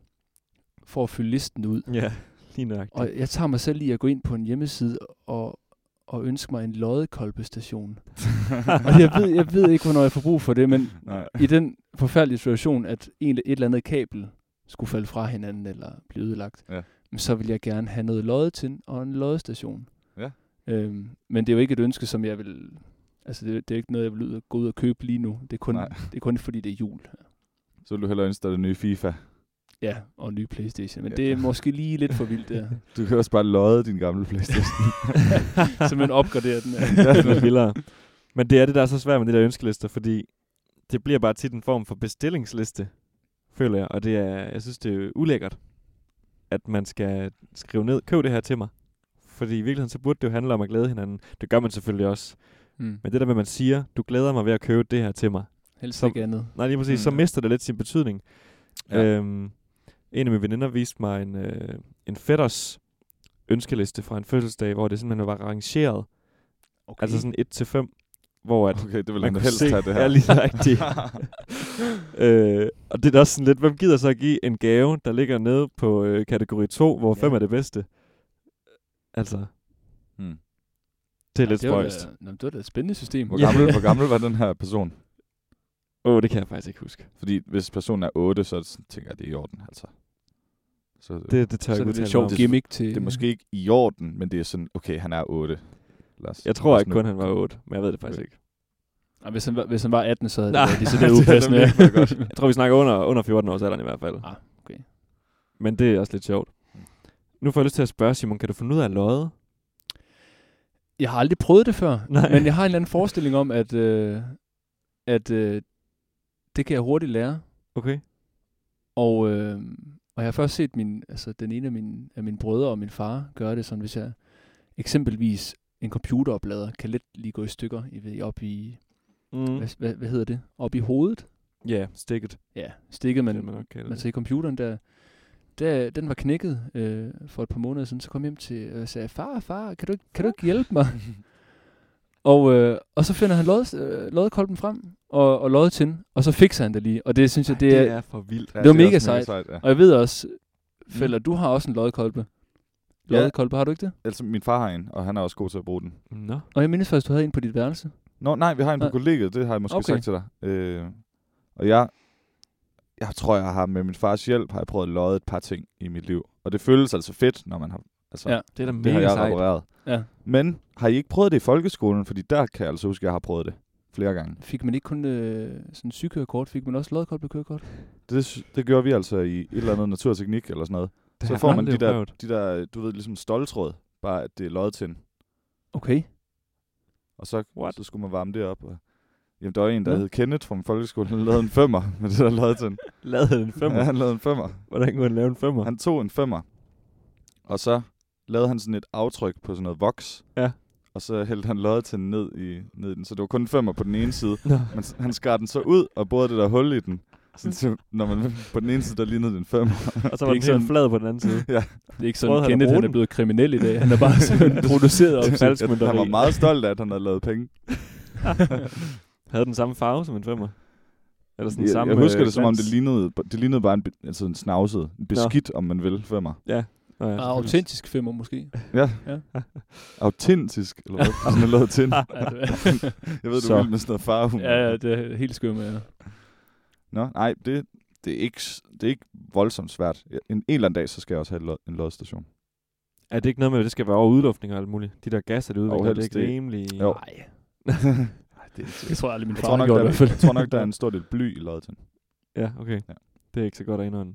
[SPEAKER 5] for at fylde listen ud.
[SPEAKER 3] Ja, lige nøjagtigt.
[SPEAKER 5] Og jeg tager mig selv i at gå ind på en hjemmeside og, og ønske mig en loddekolbestation. og jeg ved, jeg ved ikke, hvornår jeg får brug for det, men
[SPEAKER 4] Nej.
[SPEAKER 5] i den forfærdelige situation, at en, et eller andet kabel skulle falde fra hinanden eller blive ødelagt,
[SPEAKER 4] Ja.
[SPEAKER 5] men så vil jeg gerne have noget lodde til og en loddestation.
[SPEAKER 4] Ja.
[SPEAKER 5] Øhm, men det er jo ikke et ønske, som jeg vil... Altså, det, det er ikke noget, jeg vil ud og gå ud og købe lige nu. Det er kun,
[SPEAKER 4] Nej.
[SPEAKER 5] det er kun fordi, det er jul.
[SPEAKER 4] Så vil du hellere ønske dig det nye FIFA.
[SPEAKER 5] Ja, og en ny Playstation. Men
[SPEAKER 4] Ja.
[SPEAKER 5] ja. det er måske lige lidt for vildt der.
[SPEAKER 4] Du kan også bare lodde din gamle Playstation.
[SPEAKER 5] Så man opgraderer den.
[SPEAKER 3] det er vildere. Men det er det, der er så svært med det der ønskelister, fordi det bliver bare tit en form for bestillingsliste, føler jeg. Og det er, jeg synes, det er ulækkert, at man skal skrive ned, køb det her til mig. Fordi i virkeligheden, så burde det jo handle om at glæde hinanden. Det gør man selvfølgelig også.
[SPEAKER 5] Mm.
[SPEAKER 3] Men det der med, at man siger, du glæder mig ved at købe det her til mig.
[SPEAKER 5] Helst
[SPEAKER 3] Som-
[SPEAKER 5] ikke andet.
[SPEAKER 3] Nej, lige præcis.
[SPEAKER 4] Mm.
[SPEAKER 3] Så mister det lidt sin betydning.
[SPEAKER 4] Ja.
[SPEAKER 3] Ja. Øhm, en af mine veninder viste mig en, øh, en fætters ønskeliste fra en fødselsdag, hvor det simpelthen var rangeret. Okay.
[SPEAKER 5] Okay.
[SPEAKER 3] Altså sådan 1-5, hvor at
[SPEAKER 4] Okay, det vil
[SPEAKER 3] Man
[SPEAKER 4] han
[SPEAKER 3] kunne
[SPEAKER 4] helst
[SPEAKER 3] se-
[SPEAKER 4] have det her.
[SPEAKER 3] Ja, lige nøjagtigt. øh, og det er da også sådan lidt, hvem gider så at give en gave, der ligger nede på øh, kategori 2, hvor
[SPEAKER 5] Ja.
[SPEAKER 3] 5 er det bedste? Altså,
[SPEAKER 4] hmm.
[SPEAKER 3] det er lidt
[SPEAKER 5] det var da-
[SPEAKER 3] spøjst. Åh,
[SPEAKER 5] Nå, men det var da et spændende system.
[SPEAKER 4] hvor,
[SPEAKER 3] Ja.
[SPEAKER 4] gammel, hvor gammel var den her person?
[SPEAKER 3] oh, det kan jeg faktisk ikke huske.
[SPEAKER 4] Fordi hvis personen er 8, så er det sådan, tænker jeg, det er i orden. Altså. Så det,
[SPEAKER 3] Det, det tør
[SPEAKER 5] Så
[SPEAKER 3] jeg ikke
[SPEAKER 5] er
[SPEAKER 3] udtale
[SPEAKER 5] det lidt
[SPEAKER 3] mig om.
[SPEAKER 5] sjovt gimmick til...
[SPEAKER 4] det er måske ikke i orden, men det er sådan, okay, han er 8. Lad os,
[SPEAKER 3] Jeg tror
[SPEAKER 4] lad os
[SPEAKER 3] ikke
[SPEAKER 4] nu-
[SPEAKER 3] kun, han var 8, men jeg ved det faktisk ikke.
[SPEAKER 5] Ej, hvis, han var, hvis han var 18, så havde det
[SPEAKER 3] Nej,
[SPEAKER 5] været lige så lidt
[SPEAKER 3] det er
[SPEAKER 5] upassende.
[SPEAKER 3] nemlig ikke meget godt. Jeg tror, vi snakker under, under 14 års alderen i hvert fald.
[SPEAKER 5] Ah, okay.
[SPEAKER 3] Men det er også lidt sjovt. Nu får jeg lyst til at spørge, Simon, kan du finde ud af at løje?
[SPEAKER 5] Jeg har aldrig prøvet det før,
[SPEAKER 3] Nej.
[SPEAKER 5] men jeg har en eller anden forestilling om, at, øh, at øh, det kan jeg hurtigt lære.
[SPEAKER 3] Okay.
[SPEAKER 5] Og, øh, og jeg har først set min, altså den ene af mine, af mine brødre og min far gøre det sådan, hvis jeg eksempelvis en computeroplader kan let lige gå i stykker i, ved- op i,
[SPEAKER 3] Mm.
[SPEAKER 5] hvad, hvad, hvad hedder det? Op i hovedet.
[SPEAKER 3] Ja, stikket,
[SPEAKER 5] Ja, stikket,
[SPEAKER 3] men, det
[SPEAKER 5] man,
[SPEAKER 3] man nok kalder
[SPEAKER 5] man
[SPEAKER 3] det.
[SPEAKER 5] sagde i computeren, der, der, den var knækket øh, for et par måneder siden, så kom jeg hjem til og sagde, far, far, kan du, ikke- kan du ikke hjælpe mig? og, øh, og så finder han lod, øh, loddekolben frem, og, og loddetin, og så fikser han det lige. Og det synes jeg,
[SPEAKER 3] Ej,
[SPEAKER 5] det, det er,
[SPEAKER 3] er Mm. for vildt.
[SPEAKER 4] Ja,
[SPEAKER 5] Det var
[SPEAKER 4] er
[SPEAKER 5] mega
[SPEAKER 4] også
[SPEAKER 5] sejt.
[SPEAKER 4] ja.
[SPEAKER 5] Og jeg ved også, Fælder, du har også en loddekolbe.
[SPEAKER 4] Ja.
[SPEAKER 5] Loddekolbe, har du ikke det?
[SPEAKER 4] Altså, min far har en, og han er også god til at bruge den.
[SPEAKER 3] Nå.
[SPEAKER 5] Og jeg mindes faktisk, du havde en på dit værelse.
[SPEAKER 4] Nå, nej, vi har en på
[SPEAKER 5] Nej.
[SPEAKER 4] kollegiet, det har jeg måske
[SPEAKER 5] Okay.
[SPEAKER 4] okay. sagt til dig. Øh, og jeg, jeg tror, jeg har med min fars hjælp, har jeg prøvet at løje et par ting i mit liv. Og det føles altså fedt, når man har... Altså,
[SPEAKER 5] Ja,
[SPEAKER 4] ja, det
[SPEAKER 5] det
[SPEAKER 3] Det er da
[SPEAKER 4] det har
[SPEAKER 3] mega
[SPEAKER 4] jeg
[SPEAKER 3] sejt.
[SPEAKER 4] repareret.
[SPEAKER 5] Ja.
[SPEAKER 4] Men har I ikke prøvet det i folkeskolen? Fordi der kan jeg altså huske, at jeg har prøvet det flere gange.
[SPEAKER 5] Fik man ikke kun øh, sådan sygekørekort, fik man også loddekolbe kørekort?
[SPEAKER 4] Det, sy- det gjorde vi altså i et eller andet naturteknik eller sådan noget.
[SPEAKER 3] Det har
[SPEAKER 4] Så
[SPEAKER 3] jeg
[SPEAKER 4] får man de
[SPEAKER 3] aldrig
[SPEAKER 4] der,
[SPEAKER 3] prøvet.
[SPEAKER 4] de der, du ved, ligesom stoltråd, bare at det er løjet til.
[SPEAKER 5] Okay.
[SPEAKER 4] Og så,
[SPEAKER 3] What?
[SPEAKER 4] så skulle man varme det op. Og, jamen, der var en, der
[SPEAKER 5] Nå.
[SPEAKER 4] hed Kenneth fra min folkeskole, han lavede en femmer med det der løjet til.
[SPEAKER 3] Lavede en femmer?
[SPEAKER 4] Ja, han lavede en femmer.
[SPEAKER 3] Hvordan kunne han lave en femmer?
[SPEAKER 4] Han tog en femmer, og så lavede han sådan et aftryk på sådan noget voks.
[SPEAKER 3] Ja.
[SPEAKER 4] Og så hældte han løjet til ned i, ned i den. Så det var kun en femmer på den ene side.
[SPEAKER 3] Nå.
[SPEAKER 4] Men s- han skar den så ud og borede det der hul i den. Sådan, så, når man, på den ene side, der lignede den en femmer.
[SPEAKER 3] Og så
[SPEAKER 5] Det er
[SPEAKER 3] var den
[SPEAKER 5] ikke
[SPEAKER 3] helt
[SPEAKER 5] sådan-
[SPEAKER 3] flad på den anden side.
[SPEAKER 5] Det er ikke
[SPEAKER 3] Prøvede
[SPEAKER 5] sådan,
[SPEAKER 3] han at
[SPEAKER 5] Kenneth
[SPEAKER 3] bruge
[SPEAKER 5] han er
[SPEAKER 3] den?
[SPEAKER 5] blevet kriminel i dag. Han er bare sådan produceret op
[SPEAKER 3] falsk
[SPEAKER 4] Han var
[SPEAKER 3] mønteri.
[SPEAKER 4] meget stolt af, at han havde lavet penge.
[SPEAKER 3] Havde den samme farve som en femmer? Eller sådan
[SPEAKER 4] jeg,
[SPEAKER 3] samme
[SPEAKER 4] jeg husker
[SPEAKER 3] øh,
[SPEAKER 4] det som om,
[SPEAKER 3] glans?
[SPEAKER 4] det lignede, det lignede bare en, be- altså en snavset, en beskidt, om man vil, for mig.
[SPEAKER 3] Nå ja,
[SPEAKER 5] Og
[SPEAKER 3] selvfølgelig.
[SPEAKER 5] Ah, autentisk femmer måske.
[SPEAKER 4] Autentisk, eller hvad? sådan noget lavet tin.
[SPEAKER 5] Ja, det-
[SPEAKER 4] Jeg ved, du
[SPEAKER 5] Så.
[SPEAKER 4] så. vil med sådan noget farvehumor.
[SPEAKER 5] ja, ja, det er helt skørt med. Ja.
[SPEAKER 4] Nå, nej, det, det, er ikke, s- det er ikke voldsomt svært. Jeg- En, en eller anden dag, så skal jeg også have en lod- en lodstation.
[SPEAKER 3] Er det ikke noget med, at det skal være over udluftning og alt muligt? De der gasser, det udvikler, det er
[SPEAKER 4] helst
[SPEAKER 3] ikke
[SPEAKER 4] det.
[SPEAKER 3] rimelig...
[SPEAKER 4] Jo.
[SPEAKER 5] Nej,
[SPEAKER 4] det,
[SPEAKER 5] det tror jeg aldrig, min
[SPEAKER 4] jeg,
[SPEAKER 5] far
[SPEAKER 4] tror nok,
[SPEAKER 5] gjorde i
[SPEAKER 4] der,
[SPEAKER 5] hvert fald.
[SPEAKER 4] jeg tror nok, der er en stor del bly i lodden.
[SPEAKER 3] Ja, okay.
[SPEAKER 4] Ja.
[SPEAKER 3] Det er ikke så godt at indånde.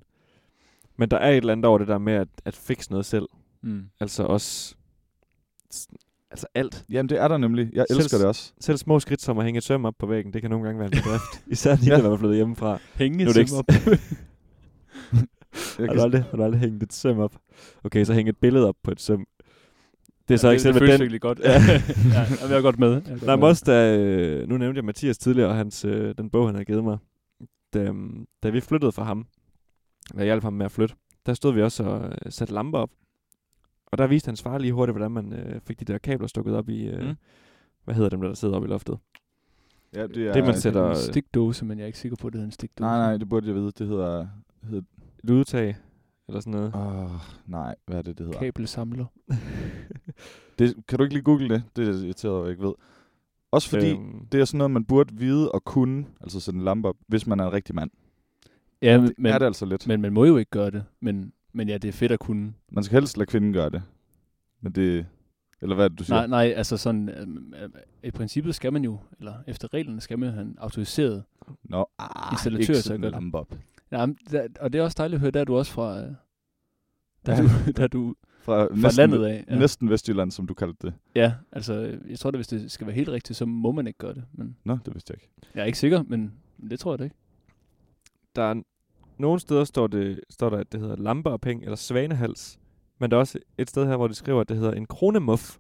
[SPEAKER 3] Men der er et eller andet over det der med at, at fikse noget selv.
[SPEAKER 5] Mm.
[SPEAKER 3] Altså også... s- Altså alt.
[SPEAKER 4] Jamen, det er der nemlig. Jeg
[SPEAKER 3] Selv-
[SPEAKER 4] elsker det også.
[SPEAKER 3] Selv små skridt som at hænge et søm op på væggen, det kan nogle gange være en bedrift. Især lige,
[SPEAKER 4] Ja.
[SPEAKER 3] når man er flyttet hjemmefra.
[SPEAKER 5] Penge
[SPEAKER 3] Nu er det ikke-
[SPEAKER 5] som op.
[SPEAKER 4] Jeg
[SPEAKER 3] Har
[SPEAKER 4] kan,
[SPEAKER 3] du, aldrig, har du aldrig hængt et søm op? Okay, så hænge et billede op på et søm. Det er
[SPEAKER 5] Ja,
[SPEAKER 3] så ikke selve
[SPEAKER 5] det føles
[SPEAKER 3] den,
[SPEAKER 5] virkelig godt.
[SPEAKER 3] Ja.
[SPEAKER 5] Ja. ja, jeg er godt med. Jeg er godt
[SPEAKER 3] Nej, men
[SPEAKER 5] med.
[SPEAKER 3] også da, øh, nu nævnte jeg Mathias tidligere, og hans, øh, den bog, han havde givet mig. Da, øhm, da vi flyttede fra ham, da jeg hjalp ham med at flytte, der stod vi også og øh, satte lamper op. Og der viste hans far lige hurtigt, hvordan man øh, fik de der kabler stukket op i, øh,
[SPEAKER 5] Mm.
[SPEAKER 3] mm. hvad hedder dem, der sidder oppe i loftet?
[SPEAKER 4] ja, det, er,
[SPEAKER 3] det, man
[SPEAKER 5] Det
[SPEAKER 3] sætter-
[SPEAKER 5] er en stikdose, men jeg er ikke sikker på, at det hedder en stikdose.
[SPEAKER 4] Nej, nej, det burde jeg vide. Det hedder... hedder
[SPEAKER 3] Et udtag, eller sådan noget.
[SPEAKER 4] åh, nej, hvad er det, det hedder?
[SPEAKER 5] Kabelsamler.
[SPEAKER 4] Det, kan du ikke lige google det? Det er irriteret, over, jeg ikke ved. Også fordi,
[SPEAKER 3] Øhm,
[SPEAKER 4] Det er sådan noget, man burde vide og kunne, altså sætte en lampe op, hvis man er en rigtig mand.
[SPEAKER 5] Ja, men,
[SPEAKER 4] Men, er
[SPEAKER 5] men,
[SPEAKER 4] det altså lidt. Men,
[SPEAKER 5] men man må jo ikke gøre det. Men, men ja, det er fedt at kunne.
[SPEAKER 4] man skal helst lade kvinden gøre det. Men det... Eller hvad er det, du siger?
[SPEAKER 5] Nej, nej, altså sådan, øhm, øhm, i princippet skal man jo, eller efter reglerne skal man jo have en autoriseret.
[SPEAKER 4] Nå, ah,
[SPEAKER 5] Installatør,
[SPEAKER 4] ikke
[SPEAKER 5] så
[SPEAKER 4] sætte en
[SPEAKER 5] gør det.
[SPEAKER 4] lampe op.
[SPEAKER 5] Ja, men der, og det er også dejligt at høre, der er du også fra, øh, der, er du, der er du
[SPEAKER 4] Fra,
[SPEAKER 5] fra landet af.
[SPEAKER 4] Ja. Næsten Vestjylland, som du kaldte det.
[SPEAKER 5] Ja, altså, øh, jeg tror da, hvis det skal være helt rigtigt, så må man ikke gøre det. Men
[SPEAKER 4] Nå, det vidste jeg ikke.
[SPEAKER 5] jeg er ikke sikker, men det tror jeg da ikke.
[SPEAKER 3] der er n- nogle steder står, det, står der, at det hedder lamper og penge, eller svanehals. Men der er også et sted her, hvor de skriver, at det hedder en kronemuff.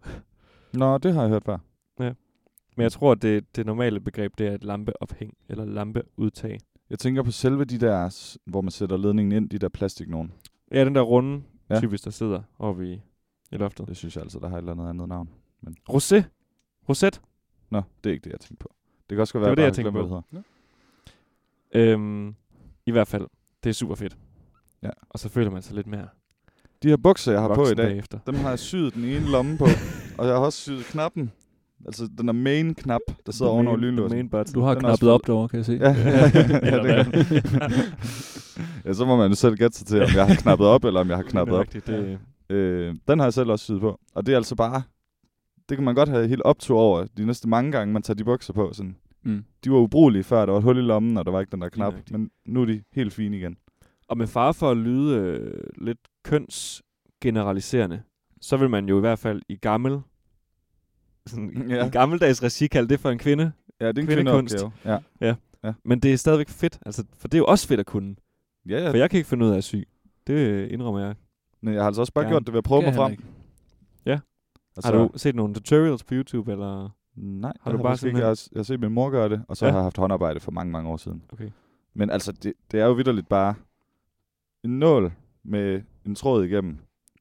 [SPEAKER 4] Nå, det har jeg hørt før.
[SPEAKER 3] Men jeg tror, at det, det normale begreb, det er et lampeophæng, eller lampeudtag.
[SPEAKER 4] Jeg tænker på selve de der, s- hvor man sætter ledningen ind, de der plastik nogen.
[SPEAKER 3] Ja, den der runde, ja.
[SPEAKER 4] Ja.
[SPEAKER 3] typisk, der sidder oppe i, i loftet.
[SPEAKER 4] Det synes jeg altså, der har et eller andet andet navn.
[SPEAKER 3] Rosé. Roset.
[SPEAKER 4] Nå, det er ikke det, jeg tænkte på. Det kan også godt
[SPEAKER 3] Det
[SPEAKER 4] være,
[SPEAKER 3] var det, jeg
[SPEAKER 4] bare
[SPEAKER 3] tænkte
[SPEAKER 4] glemt, hvad
[SPEAKER 3] på.
[SPEAKER 4] det
[SPEAKER 3] Øhm, I hvert fald. Det er super fedt.
[SPEAKER 4] Ja.
[SPEAKER 3] Og så føler man sig lidt mere
[SPEAKER 4] hedder. De her bukser, jeg har på i
[SPEAKER 3] voksen
[SPEAKER 4] dag,
[SPEAKER 3] bagefter.
[SPEAKER 4] Dem har jeg syet den ene lomme på, og jeg har også syet knappen. Altså den der main-knap, der sidder ovenover
[SPEAKER 3] The
[SPEAKER 4] lynlåsen.
[SPEAKER 3] main button.
[SPEAKER 5] Du har
[SPEAKER 4] Den er
[SPEAKER 5] knappet
[SPEAKER 4] også
[SPEAKER 5] op derovre, kan jeg se.
[SPEAKER 4] Ja, ja,
[SPEAKER 5] Eller
[SPEAKER 4] det
[SPEAKER 5] hvad?
[SPEAKER 4] ja, så må man jo selv gætte sig til, om jeg har knappet op, eller om jeg har knappet
[SPEAKER 3] Det er
[SPEAKER 4] op.
[SPEAKER 3] rigtigt, det,
[SPEAKER 4] Øh, den har jeg selv også syet på. Og det er altså bare... Det kan man godt have helt optur over de næste mange gange, man tager de bukser på. Sådan.
[SPEAKER 5] Mm.
[SPEAKER 4] De var ubrugelige før, der var et hul i lommen, og der var ikke den der knap.
[SPEAKER 3] nøjagtigt.
[SPEAKER 4] Men nu er de helt fine igen.
[SPEAKER 3] Og med far for at lyde øh, lidt kønsgeneraliserende, så vil man jo i hvert fald i gammel sådan, ja.
[SPEAKER 4] Ja.
[SPEAKER 3] i gammeldags regi kalde det for en kvinde.
[SPEAKER 4] Ja, det er en
[SPEAKER 3] Kvindekunst.
[SPEAKER 4] kvindeopgave. Ja.
[SPEAKER 3] Men det er stadigvæk fedt, altså, for det er jo også fedt at kunne.
[SPEAKER 4] Ja, ja.
[SPEAKER 3] For jeg kan ikke finde ud af at sy. Det øh, indrømmer jeg.
[SPEAKER 4] Men jeg har altså også bare
[SPEAKER 3] Ja.
[SPEAKER 4] gjort det ved at prøve
[SPEAKER 5] Kan
[SPEAKER 4] mig
[SPEAKER 5] jeg
[SPEAKER 4] frem. Altså,
[SPEAKER 5] heller ikke.
[SPEAKER 3] Har du set nogle tutorials på YouTube, eller...
[SPEAKER 4] Nej,
[SPEAKER 3] Har
[SPEAKER 4] har
[SPEAKER 3] du
[SPEAKER 4] du har
[SPEAKER 3] bare
[SPEAKER 4] bare ikke.
[SPEAKER 3] simpelthen-
[SPEAKER 4] Jeg, har- jeg har set min mor gøre det, og så
[SPEAKER 3] Ja.
[SPEAKER 4] ja. har jeg haft håndarbejde for mange, mange år siden.
[SPEAKER 3] Okay.
[SPEAKER 4] Men altså, det, det er jo vidderligt bare en nål med en tråd igennem,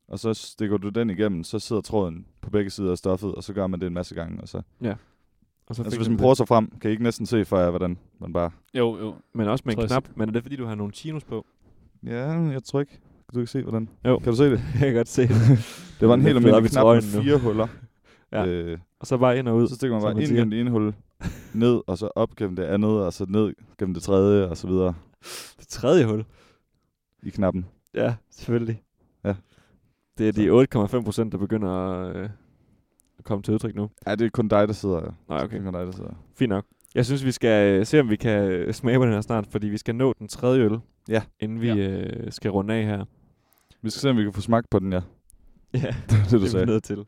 [SPEAKER 4] og så stikker du den igennem, så sidder tråden på begge sider af stoffet, og så gør man det en masse gange. Og så,
[SPEAKER 3] Og så fik
[SPEAKER 4] altså, hvis
[SPEAKER 3] den
[SPEAKER 4] man
[SPEAKER 3] det.
[SPEAKER 4] prøver sig frem, kan I ikke næsten se for jer, hvordan man bare...
[SPEAKER 5] Jo, jo.
[SPEAKER 3] Men også med
[SPEAKER 5] Tror
[SPEAKER 3] en
[SPEAKER 5] jeg
[SPEAKER 3] knap. Men er det fordi, du har nogle chinos på?
[SPEAKER 4] Ja, jeg tror ikke. Du kan se, hvordan...
[SPEAKER 3] Jo.
[SPEAKER 4] Kan du se det?
[SPEAKER 3] jeg kan godt se det.
[SPEAKER 4] Det var en
[SPEAKER 3] Den
[SPEAKER 4] helt
[SPEAKER 3] er flyttet op i
[SPEAKER 4] almindelig knap
[SPEAKER 3] trøjen
[SPEAKER 4] med
[SPEAKER 3] nu.
[SPEAKER 4] fire huller.
[SPEAKER 3] Ja.
[SPEAKER 4] øh,
[SPEAKER 3] Og så bare ind og ud.
[SPEAKER 4] så stikker man
[SPEAKER 3] som
[SPEAKER 4] bare
[SPEAKER 3] man
[SPEAKER 4] ind
[SPEAKER 3] siger.
[SPEAKER 4] gennem det ene hul, ned, og så op gennem det andet, og så ned gennem det tredje, og så videre
[SPEAKER 3] Det tredje hul.
[SPEAKER 4] i knappen.
[SPEAKER 3] Ja, selvfølgelig.
[SPEAKER 4] Ja.
[SPEAKER 3] Det er de 8,5 procent, der begynder at, øh, at komme til udtryk nu.
[SPEAKER 4] Ja, det er kun dig, der sidder. ja.
[SPEAKER 3] Nej,
[SPEAKER 4] Det
[SPEAKER 3] okay.
[SPEAKER 4] er kun dig, der sidder.
[SPEAKER 3] Fint nok. Jeg synes, vi skal øh, se, om vi kan øh, smage på den her snart, fordi vi skal nå den tredje øl,
[SPEAKER 4] Ja.
[SPEAKER 3] inden vi
[SPEAKER 5] Ja.
[SPEAKER 3] øh, skal runde af her.
[SPEAKER 4] Vi skal se, om vi kan få smagt på den, ja.
[SPEAKER 3] Ja,
[SPEAKER 4] Det er det, du
[SPEAKER 3] det er vi
[SPEAKER 4] sagde.
[SPEAKER 3] nødt til.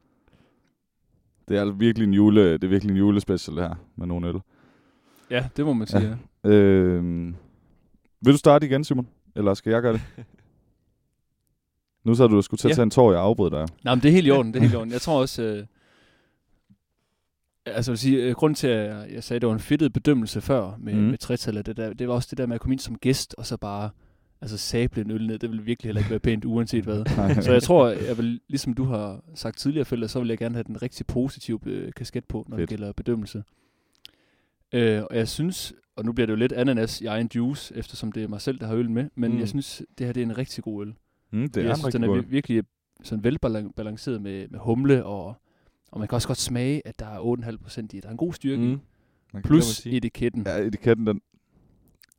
[SPEAKER 4] Det er altså virkelig en jule, det er virkelig en julespecial, det her, med nogle øl.
[SPEAKER 5] Ja, det må man sige. Ja.
[SPEAKER 4] Øhm, vil du starte igen, Simon? Eller skal jeg gøre det? nu sagde du, at du skulle til at
[SPEAKER 5] Ja.
[SPEAKER 4] tage en tår, jeg afbrød dig.
[SPEAKER 5] Nej, men det er helt i orden, det er helt i orden. Jeg tror også, øh, altså jeg vil sige, øh, grunden til, at jeg sagde, at det var en fedtet bedømmelse før med,
[SPEAKER 4] Mhm.
[SPEAKER 5] mm. med tretallet, det, der, det var også det der med at komme ind som gæst, og så bare altså sable en øl ned, det ville virkelig heller ikke være pænt, uanset hvad. Så jeg tror, jeg vil, ligesom du har sagt tidligere, Felder, så vil jeg gerne have den rigtig positive øh, kasket på, når Fedt.
[SPEAKER 4] Fedt.
[SPEAKER 5] det gælder bedømmelse. Øh, og jeg synes, og nu bliver det jo lidt ananas i egen juice, eftersom det er mig selv, der har øl med, men
[SPEAKER 3] Mm.
[SPEAKER 5] mm. jeg synes, det her det er en rigtig god øl.
[SPEAKER 4] Mm, det
[SPEAKER 5] jeg
[SPEAKER 4] er en
[SPEAKER 5] synes,
[SPEAKER 4] rigtig
[SPEAKER 5] den er
[SPEAKER 4] god.
[SPEAKER 5] vir- virkelig sådan velbalanceret med, med humle, og, og man kan også godt smage, at der er 8,5 procent i. Der er en god styrke. Mm.
[SPEAKER 3] Mm.
[SPEAKER 4] Man kan-
[SPEAKER 5] Plus
[SPEAKER 3] sige.
[SPEAKER 5] etiketten. Ja,
[SPEAKER 4] Ja, etiketten, den...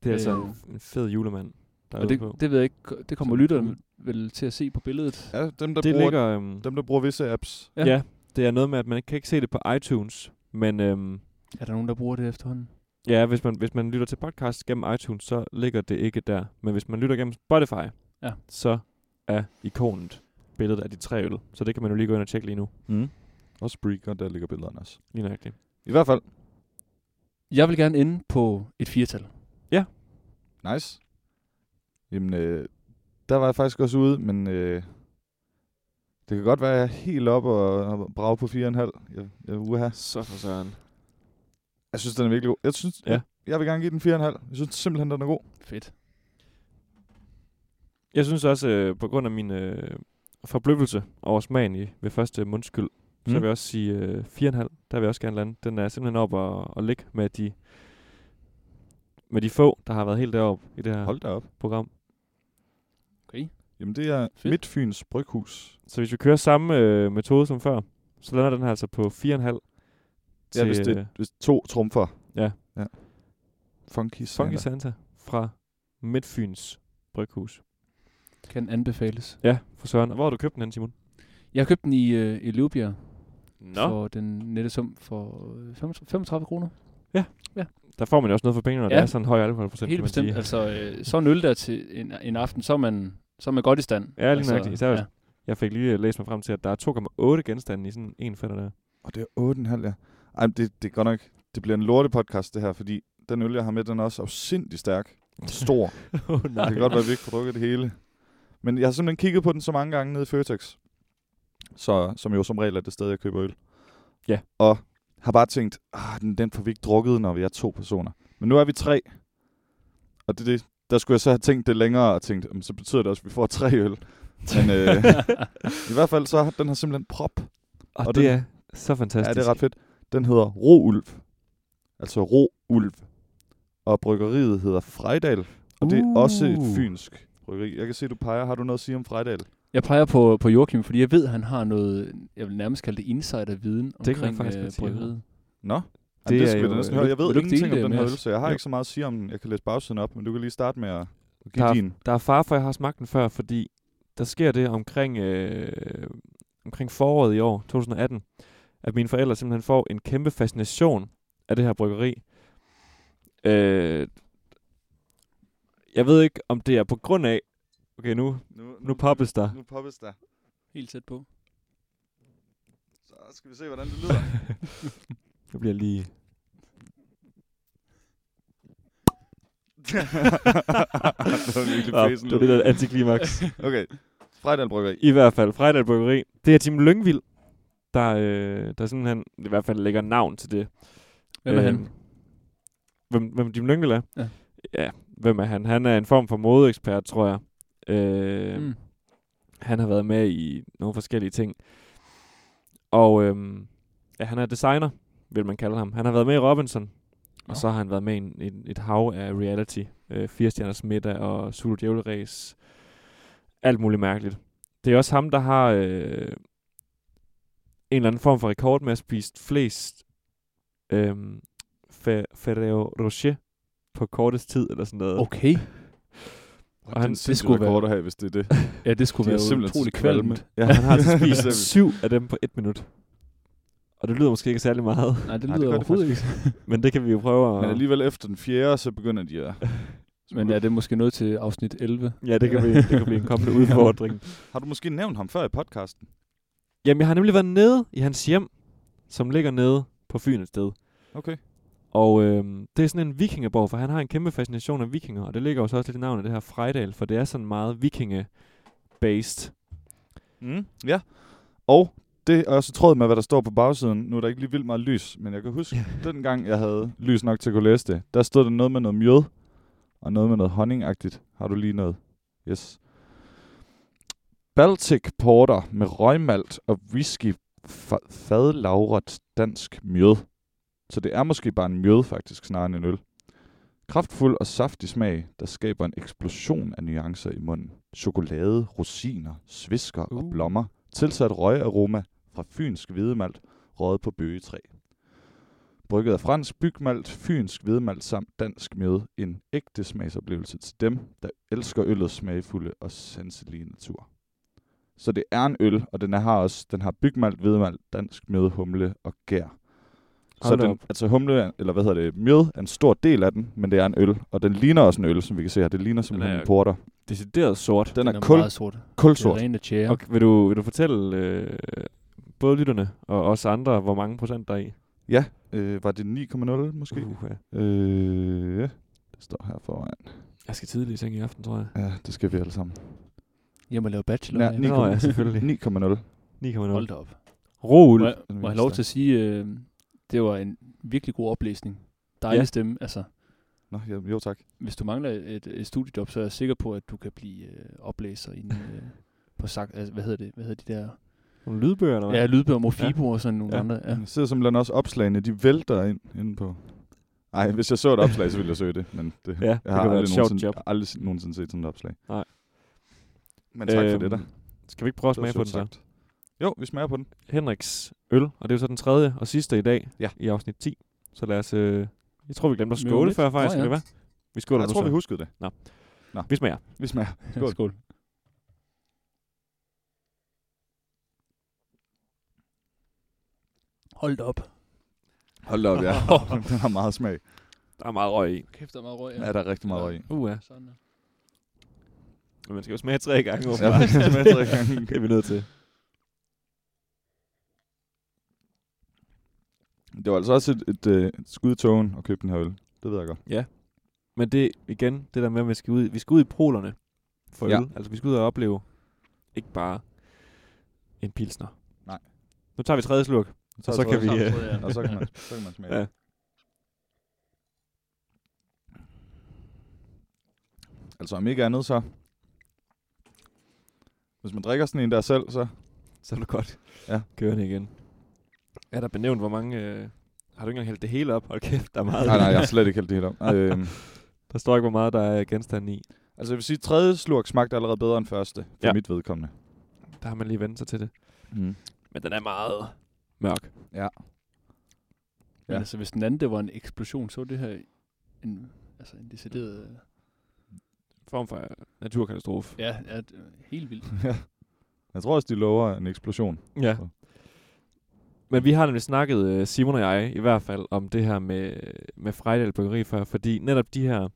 [SPEAKER 3] Det er altså
[SPEAKER 5] Øh.
[SPEAKER 3] en- en fed julemand, der er
[SPEAKER 5] og
[SPEAKER 3] ude
[SPEAKER 5] det,
[SPEAKER 3] på.
[SPEAKER 5] det ved jeg ikke, det kommer
[SPEAKER 3] Så-
[SPEAKER 5] lytteren vel til at se på billedet.
[SPEAKER 4] Ja, dem, der,
[SPEAKER 3] det
[SPEAKER 4] bruger,
[SPEAKER 3] ligger... Øhm,
[SPEAKER 4] dem, der bruger visse apps.
[SPEAKER 3] ja.
[SPEAKER 5] Ja.
[SPEAKER 3] ja, det er noget med, at man ikke kan ikke se det på iTunes, men øhm,
[SPEAKER 5] Er der nogen, der bruger det efterhånden?
[SPEAKER 3] ja, hvis man, hvis man lytter til podcast gennem iTunes, så ligger det ikke der. Men hvis man lytter gennem Spotify,
[SPEAKER 5] Ja.
[SPEAKER 3] så er ikonet billedet af de tre øl. Så det kan man jo lige gå ind og tjekke lige nu.
[SPEAKER 4] Mm. Også Spreaker, der ligger billederne også.
[SPEAKER 3] Lige nøjagtigt.
[SPEAKER 4] I hvert fald.
[SPEAKER 5] Jeg vil gerne ende på et firtal.
[SPEAKER 4] Nice. Jamen, øh, der var jeg faktisk også ude, men øh, det kan godt være, at jeg er helt op og, og brage på 4,5. Jeg, jeg er ude her.
[SPEAKER 3] Så for søren.
[SPEAKER 4] Jeg synes, den er virkelig god. Jeg synes,
[SPEAKER 3] Ja.
[SPEAKER 4] ja. jeg, jeg vil gerne give den 4,5. Jeg synes simpelthen, den er god.
[SPEAKER 5] Fedt.
[SPEAKER 3] Jeg synes også, øh, på grund af min øh, forbløffelse over smagen i, ved første mundskyld, mm. så
[SPEAKER 4] Mm.
[SPEAKER 3] vil jeg også sige øh, 4,5. Der vil jeg også gerne lande. Den er simpelthen op og, og ligge med de, med de få, der har været helt deroppe i det her Hold.
[SPEAKER 4] Hold da op.
[SPEAKER 3] program.
[SPEAKER 5] Okay.
[SPEAKER 4] Jamen, det er
[SPEAKER 5] Fedt.
[SPEAKER 4] Midtfyns Bryghus.
[SPEAKER 3] Så hvis vi kører samme øh, metode som før, så lander den her altså på 4,5 til
[SPEAKER 4] Ja, hvis, det, hvis to trumfer.
[SPEAKER 3] ja.
[SPEAKER 4] ja. Funky Santa.
[SPEAKER 3] øh, Funky Santa fra Midtfyns Bryghus.
[SPEAKER 5] Kan anbefales.
[SPEAKER 3] Ja, for Søren. Og hvor har du købt den hen, Simon?
[SPEAKER 5] Jeg købte den i, øh, i Lubia
[SPEAKER 3] Nå.
[SPEAKER 5] for den nette sum for øh, 35 35 kroner.
[SPEAKER 3] Der får man jo også noget for pengene, når ja.
[SPEAKER 5] Ja.
[SPEAKER 3] der er sådan en høj alkoholprocent,
[SPEAKER 5] Helt
[SPEAKER 3] kan man
[SPEAKER 5] bestemt.
[SPEAKER 3] sige.
[SPEAKER 5] Altså, øh, så en øl der til en, en aften, så er, man, så er man godt i stand.
[SPEAKER 3] Ja, lige
[SPEAKER 5] altså,
[SPEAKER 3] nøjagtigt. Især hvis- Jeg fik lige øh, læst mig frem til, at der er 2,8 genstande i sådan en fætter der.
[SPEAKER 4] Og det er 8,5, ja. Ej, men det, det er godt nok... Det bliver en lortepodcast, det her, fordi den øl, jeg har med, den er også afsindig stærk. Stor.
[SPEAKER 3] oh,
[SPEAKER 4] Det kan godt være, at vi ikke får drukket det hele. Men jeg har simpelthen kigget på den så mange gange nede i Føtex. Så, som jo som regel er det sted, jeg køber øl.
[SPEAKER 3] Ja.
[SPEAKER 4] Og har bare tænkt, ah, den, den får vi ikke drukket, når vi er to personer. Men nu er vi tre. Og det, er det, der skulle jeg så have tænkt det længere og tænkt, "Jamen, så betyder det også, at vi får tre øl. Men øh, i hvert fald så har den her simpelthen prop.
[SPEAKER 3] Og,
[SPEAKER 4] Og
[SPEAKER 3] det
[SPEAKER 4] den-
[SPEAKER 3] er så fantastisk.
[SPEAKER 4] Ja, det er ret fedt. Den hedder Roulv. Altså Roulv. Og bryggeriet hedder Frejdal. Og det er også
[SPEAKER 3] Uh.
[SPEAKER 4] et fynsk bryggeri. Jeg kan se, du peger. Har du noget at sige om Frejdal?
[SPEAKER 5] Jeg peger på, på Joachim, fordi jeg ved, han har noget, jeg vil nærmest kalde det insider-viden
[SPEAKER 3] kan man
[SPEAKER 5] omkring
[SPEAKER 3] faktisk
[SPEAKER 5] øh,
[SPEAKER 3] godt sige, ja.
[SPEAKER 5] bryggeriet.
[SPEAKER 4] Nå, Jamen,
[SPEAKER 3] Det
[SPEAKER 4] det,
[SPEAKER 3] er
[SPEAKER 4] det skal vi
[SPEAKER 3] jo-
[SPEAKER 4] da næsten
[SPEAKER 3] øh,
[SPEAKER 4] høre. Jeg ved
[SPEAKER 5] vil du ikke
[SPEAKER 4] ingenting om
[SPEAKER 5] dele det
[SPEAKER 4] den her
[SPEAKER 5] med
[SPEAKER 4] øl, så jeg har
[SPEAKER 3] Jo.
[SPEAKER 4] ikke så meget at sige om den. Jeg kan læse bagsiden op, men du kan lige starte med at give
[SPEAKER 3] Der-
[SPEAKER 4] din.
[SPEAKER 3] Der er far for, at jeg har smagt den før, fordi der sker det omkring, øh, omkring foråret i år, 2018, at mine forældre simpelthen får en kæmpe fascination af det her bryggeri. Øh, jeg ved ikke, om det er på grund af... Okay, nu,
[SPEAKER 4] Nu,
[SPEAKER 3] nu poppes der.
[SPEAKER 4] Nu poppes der.
[SPEAKER 5] Helt tæt på.
[SPEAKER 4] Så skal vi se, hvordan det lyder.
[SPEAKER 3] Nu bliver jeg lige...
[SPEAKER 4] det var virkelig
[SPEAKER 3] Nå,
[SPEAKER 4] fæsen
[SPEAKER 3] det var
[SPEAKER 4] lyd.
[SPEAKER 3] lidt af et antiklimaks.
[SPEAKER 4] Okay, Frejdal Bryggeri.
[SPEAKER 3] I hvert fald, Frejdal Bryggeri. Det er Tim Lyngvild, der, øh, der simpelthen i hvert fald lægger navn til det.
[SPEAKER 5] Hvem er
[SPEAKER 3] Øhm,
[SPEAKER 5] han?
[SPEAKER 3] Hvem, hvem Jim Lyngvild er?
[SPEAKER 5] Ja.
[SPEAKER 3] ja hvem er han? Han er en form for modeekspert, tror jeg. Øh, mm.
[SPEAKER 5] Mm.
[SPEAKER 3] Han har været med i nogle forskellige ting. Og øhm, ja, han er designer, vil man kalde ham. Han har været med i Robinson. Og så har han været med i en, en, et hav af reality. Øh, Firestjerners middag og Zulu Djævleræs. Alt muligt mærkeligt. Det er også ham, der har øh, en eller anden form for rekord med at spise flest øh, Ferrero Rocher på kortest tid eller sådan noget.
[SPEAKER 5] Okay.
[SPEAKER 4] Og
[SPEAKER 3] han-
[SPEAKER 4] han,
[SPEAKER 3] det
[SPEAKER 4] det skulle
[SPEAKER 5] skulle være-
[SPEAKER 4] rekord at have, hvis det er det.
[SPEAKER 5] Ja, det skulle
[SPEAKER 4] De er
[SPEAKER 5] være
[SPEAKER 4] simpelthen
[SPEAKER 5] utrolig
[SPEAKER 4] så kvalme.
[SPEAKER 5] kvalmt.
[SPEAKER 4] Ja,
[SPEAKER 3] Han har altså
[SPEAKER 4] Simpelthen.
[SPEAKER 3] spist syv af dem på et minut. Og det lyder måske ikke særlig meget,
[SPEAKER 5] Nej, det
[SPEAKER 4] Nej, det
[SPEAKER 5] lyder
[SPEAKER 4] gør det
[SPEAKER 5] overhovedet ikke.
[SPEAKER 3] men det kan vi jo prøve
[SPEAKER 4] Men
[SPEAKER 3] at...
[SPEAKER 4] alligevel efter den fjerde, så begynder de at...
[SPEAKER 5] Men er det måske noget til afsnit 11?
[SPEAKER 3] Ja, det kan, vi, det kan blive en kommende udfordring.
[SPEAKER 4] Har du måske nævnt ham før i podcasten?
[SPEAKER 3] Jamen, jeg har nemlig været nede i hans hjem, som ligger nede på Fyn et sted.
[SPEAKER 4] Okay.
[SPEAKER 3] Og øhm, det er sådan en vikingeborg, for han har en kæmpe fascination af vikinger, og det ligger jo så også lidt i navnet det her Frejdal, for det er sådan meget vikinge-based.
[SPEAKER 4] Mm, ja. Og det er også i tråd med, hvad der står på bagsiden. Nu er der ikke lige vildt meget lys, men jeg kan huske, den gang jeg havde lys nok til at kunne læse det, der stod der noget med noget mjød, og noget med noget honningagtigt. Har du lige noget? Yes. Baltic Porter med røgmalt og whisky fa- fadlagret dansk mjød. Så det er måske bare en mjød faktisk, snarere end en øl. Kraftfuld og saftig smag, der skaber en eksplosion af nuancer i munden. Chokolade, rosiner, svisker uh. og
[SPEAKER 3] Uh.
[SPEAKER 4] blommer. Tilsat røgaroma fra fynsk hvedemalt, røget på bøgetræ. Brygget af fransk bygmalt, fynsk hvedemalt samt dansk mjød. En ægte smagsoplevelse til dem, der elsker øllets smagfulde og sanselige natur. Så det er en øl, og den har også den har bygmalt, hvedemalt, dansk mjød, humle og gær. Så
[SPEAKER 3] Hold da
[SPEAKER 4] den,
[SPEAKER 3] op.
[SPEAKER 4] altså humle, er- eller hvad hedder det, mjød er en stor del af den, men det er en øl. Og den ligner også en øl, som vi kan se her. Det ligner simpelthen
[SPEAKER 3] er-
[SPEAKER 4] en porter.
[SPEAKER 3] Decideret sort.
[SPEAKER 4] Den,
[SPEAKER 5] Den
[SPEAKER 4] er,
[SPEAKER 5] er
[SPEAKER 4] kul,
[SPEAKER 5] meget sort. Det er
[SPEAKER 4] kulsort.
[SPEAKER 5] rene tjære.
[SPEAKER 3] Og vil du, vil du fortælle øh, både lytterne og os andre, hvor mange procent der er i?
[SPEAKER 4] Øh, var det 9,0 måske?
[SPEAKER 3] Uh, ja.
[SPEAKER 4] Uh. Øh, ja. det står her foran.
[SPEAKER 3] Jeg skal tidligt i seng i aften, tror jeg.
[SPEAKER 4] Ja, det skal vi alle sammen.
[SPEAKER 5] Hjem og lave bachelor.
[SPEAKER 4] Ja,
[SPEAKER 5] Ja,
[SPEAKER 3] Nå, ja, selvfølgelig.
[SPEAKER 4] 9,0
[SPEAKER 5] Hold
[SPEAKER 3] 9,0.
[SPEAKER 5] da op.
[SPEAKER 3] Roul.
[SPEAKER 5] Må jeg, må jeg have lov til at sige, øh, det var en virkelig god oplæsning. Dejlig
[SPEAKER 3] Ja.
[SPEAKER 5] ja. stemme. Altså,
[SPEAKER 4] Nå, ja, jo tak.
[SPEAKER 5] hvis du mangler et, et studiejob, så er jeg sikker på, at du kan blive øh, oplæser i en, øh, på sagt, altså, hvad hedder det, hvad hedder de der?
[SPEAKER 3] Nogle lydbøger, eller hvad?
[SPEAKER 5] Ja, lydbøger, Mofibo ja. og sådan nogle
[SPEAKER 4] Ja.
[SPEAKER 5] ja. andre. Ja.
[SPEAKER 4] Jeg sidder simpelthen også opslagene, de vælter ind inde på... Nej, hvis jeg så et opslag, så ville jeg søge det, men det,
[SPEAKER 3] Ja,
[SPEAKER 4] jeg
[SPEAKER 3] det
[SPEAKER 4] har
[SPEAKER 3] kan være
[SPEAKER 4] aldrig,
[SPEAKER 3] et sjovt
[SPEAKER 4] nogensinde,
[SPEAKER 3] job.
[SPEAKER 4] jeg har aldrig nogensinde set sådan et opslag.
[SPEAKER 3] Nej.
[SPEAKER 4] Men tak øhm, for det der.
[SPEAKER 3] Skal vi ikke prøve at
[SPEAKER 4] Det var
[SPEAKER 3] smage på den
[SPEAKER 4] sødt
[SPEAKER 3] så?
[SPEAKER 4] sagt. Jo, vi smager på den.
[SPEAKER 3] Henriks øl, og det er jo så den tredje og sidste i dag
[SPEAKER 4] Ja.
[SPEAKER 3] i afsnit 10. Så lad os... Øh, jeg tror, vi glemte at
[SPEAKER 5] Møve
[SPEAKER 3] skåle
[SPEAKER 5] lidt.
[SPEAKER 3] før, faktisk.
[SPEAKER 5] Nå,
[SPEAKER 3] Skal
[SPEAKER 5] ja.
[SPEAKER 3] det være? Vi skåler
[SPEAKER 4] jeg
[SPEAKER 3] nu
[SPEAKER 4] tror,
[SPEAKER 3] så.
[SPEAKER 4] vi huskede det.
[SPEAKER 3] vi smager.
[SPEAKER 4] Vi smager. Skål.
[SPEAKER 5] Skål. Skål. Hold da op.
[SPEAKER 4] Hold da op, ja. den har meget smag.
[SPEAKER 3] Der er meget røg i.
[SPEAKER 5] Kæft, der er meget røg.
[SPEAKER 4] Ja, der er rigtig meget røg i.
[SPEAKER 3] Uh, ja.
[SPEAKER 5] Sådan der.
[SPEAKER 3] Men man skal jo smage tre gange.
[SPEAKER 4] Ja,
[SPEAKER 3] åbenbart.
[SPEAKER 4] det smager tre gange.
[SPEAKER 3] det er vi nødt til.
[SPEAKER 4] Det var altså også et, et, øh, et skud i tågen at købe den her øl. Det ved jeg godt.
[SPEAKER 3] Men det, igen, det der med, at vi skal ud, vi skal ud i polerne for
[SPEAKER 4] Ja.
[SPEAKER 3] øl. Altså, vi skal ud og opleve ikke bare en pilsner.
[SPEAKER 4] Nej.
[SPEAKER 3] Nu tager vi tredje slurk.
[SPEAKER 4] tager
[SPEAKER 3] så
[SPEAKER 4] vi
[SPEAKER 3] kan
[SPEAKER 4] tredje
[SPEAKER 3] vi,
[SPEAKER 4] slurk.
[SPEAKER 5] Rød, ja.
[SPEAKER 4] Og så kan man, så kan man smage.
[SPEAKER 3] Ja.
[SPEAKER 4] Ja. Altså om ikke andet så... Hvis man drikker sådan en der selv, så...
[SPEAKER 3] Så er det godt.
[SPEAKER 4] Ja.
[SPEAKER 3] Kørende igen. Er der benævnt, hvor mange... Øh, har du ikke engang hældt det hele op? Hold kæft, der er meget.
[SPEAKER 4] Nej, nej, jeg har slet ikke helt det helt om. øhm,
[SPEAKER 3] Der står ikke, hvor meget der er genstande i.
[SPEAKER 4] altså jeg vil sige, tredje slurk smagte allerede bedre end første, for
[SPEAKER 3] Ja.
[SPEAKER 4] ja. mit vedkommende.
[SPEAKER 3] Der har man lige vendt sig til det.
[SPEAKER 4] Mm.
[SPEAKER 3] Men den er meget mørk.
[SPEAKER 5] Men
[SPEAKER 4] Ja.
[SPEAKER 5] altså, hvis den anden, det var en eksplosion, så var det her en, altså en decideret... øh,
[SPEAKER 3] Form for øh, naturkatastrofe.
[SPEAKER 5] Ja, ja det er helt vildt.
[SPEAKER 4] ja. Jeg tror også, de lover en eksplosion.
[SPEAKER 3] Ja. Men vi har nemlig snakket, øh, Simon og jeg i hvert fald, om det her med, med Frejdal Bryggeri før, fordi netop de her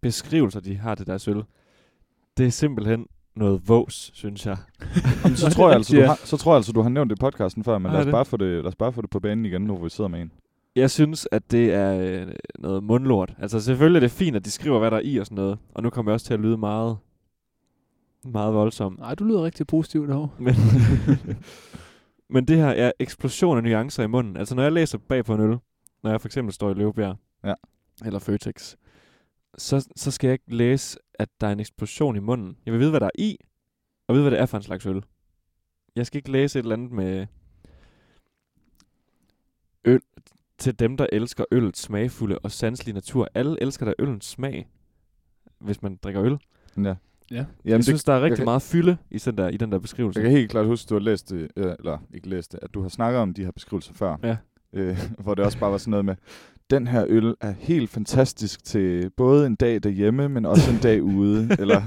[SPEAKER 3] beskrivelser, de har til deres øl, det er simpelthen noget vås, synes jeg.
[SPEAKER 4] Jamen, så, tror jeg altså, du har, så tror jeg altså, du har nævnt det i podcasten før, men
[SPEAKER 3] Har
[SPEAKER 4] lad
[SPEAKER 3] jeg
[SPEAKER 4] os,
[SPEAKER 3] det?
[SPEAKER 4] bare få det, lad os bare få det på banen igen, nu hvor vi sidder med en.
[SPEAKER 3] Jeg synes, at det er øh, noget mundlort. Altså selvfølgelig er det fint, at de skriver, hvad der er i og sådan noget, og nu kommer jeg også til at lyde meget, meget voldsom.
[SPEAKER 5] Nej, du lyder rigtig positiv derovre.
[SPEAKER 3] Men, men det her er eksplosion af nuancer i munden. Altså når jeg læser bag på en øl, når jeg for eksempel står i Løvebjerg,
[SPEAKER 4] Ja.
[SPEAKER 3] eller Føtex, så, så skal jeg ikke læse, at der er en eksplosion i munden. Jeg vil vide, hvad der er i, og vide, hvad det er for en slags øl. Jeg skal ikke læse et eller andet med øl til dem, der elsker øllets smagfulde og sanselige natur. Alle elsker da øllens smag, hvis man drikker øl.
[SPEAKER 4] Ja.
[SPEAKER 5] Ja.
[SPEAKER 3] Jamen jeg
[SPEAKER 4] Jamen, det,
[SPEAKER 3] synes, der er rigtig
[SPEAKER 4] kan-
[SPEAKER 3] meget fylde i, sådan der, i den der
[SPEAKER 4] jeg
[SPEAKER 3] beskrivelse.
[SPEAKER 4] kan helt klart huske, du har læst det, øh, eller ikke læst det, at du har snakket om de her beskrivelser før.
[SPEAKER 3] Ja.
[SPEAKER 4] Øh, hvor det også bare var sådan noget med, den her øl er helt fantastisk til både en dag derhjemme, men også en dag ude. Eller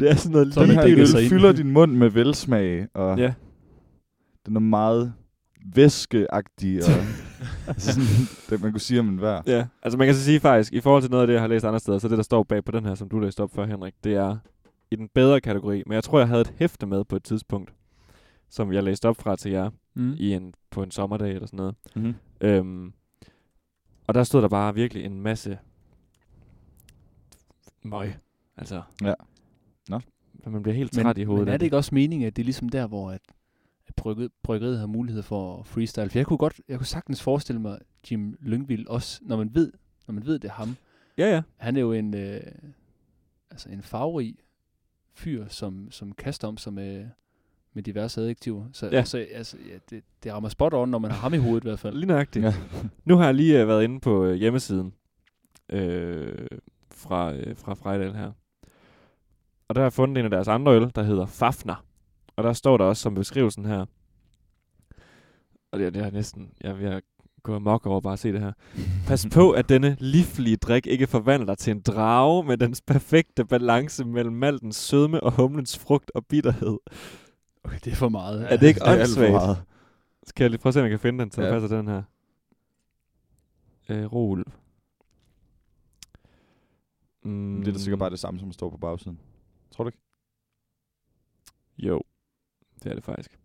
[SPEAKER 3] Det er sådan noget
[SPEAKER 5] Så er
[SPEAKER 4] den
[SPEAKER 5] man
[SPEAKER 4] her
[SPEAKER 5] dækket sig
[SPEAKER 4] øl
[SPEAKER 5] ind.
[SPEAKER 4] fylder din mund med velsmag, og
[SPEAKER 3] Ja.
[SPEAKER 4] den er meget væskeagtig, og altså sådan, det man kunne sige om en vær.
[SPEAKER 3] Ja, altså man kan så sige faktisk, i forhold til noget af det, jeg har læst andre steder, så det, der står bag på den her, som du læste op for, Henrik, det er i den bedre kategori. Men jeg tror, jeg havde et hæfte med på et tidspunkt, som jeg læste op fra til jer
[SPEAKER 5] Mm.
[SPEAKER 3] i en, på en sommerdag eller sådan noget.
[SPEAKER 5] Mhm.
[SPEAKER 4] Mm-hmm.
[SPEAKER 3] Øhm, og der stod der bare virkelig en masse møg. Altså,
[SPEAKER 4] Ja. Nå.
[SPEAKER 3] Man bliver helt
[SPEAKER 5] Men,
[SPEAKER 3] træt i hovedet.
[SPEAKER 5] men
[SPEAKER 3] af
[SPEAKER 5] er det ikke også meningen, at det er ligesom der, hvor at, at brygget, bryggeriet har mulighed for at freestyle? For jeg kunne, godt, jeg kunne sagtens forestille mig Jim Lyngvild også, når man ved, når man ved det er ham.
[SPEAKER 3] Ja, ja.
[SPEAKER 5] Han er jo en, øh, altså en farverig fyr, som, som kaster om sig med, med diverse adjektiver. Så
[SPEAKER 3] Ja.
[SPEAKER 5] ja. altså, altså, ja, det, det rammer spot on, når man har ham i hovedet i hvert fald.
[SPEAKER 3] Lige nøjagtigt.
[SPEAKER 4] Ja.
[SPEAKER 3] Nu har jeg lige øh, været inde på øh, hjemmesiden øh, fra, øh, fra Frejdal her. Og der har jeg fundet en af deres andre øl, der hedder Fafner. Og der står der også som beskrivelsen her. Og det, er- det er næsten... Jeg vil gå amok over bare at se det her. Pas på, at denne livlige drik ikke forvandler dig til en drage med dens perfekte balance mellem maltens sødme og humlens frugt og bitterhed.
[SPEAKER 5] Okay, det er for meget.
[SPEAKER 3] Er det ikke
[SPEAKER 4] Det er alt for
[SPEAKER 3] åndssvagt?
[SPEAKER 4] meget.
[SPEAKER 3] Skal jeg lige prøve at se, om jeg kan finde den, så ja.
[SPEAKER 4] Ja.
[SPEAKER 3] der passer til den her. Øh, Roel. Mm,
[SPEAKER 4] Det er da sikkert bare det samme, som står på bagsiden. Tror du ikke?
[SPEAKER 3] Mm, Jo, det er det faktisk.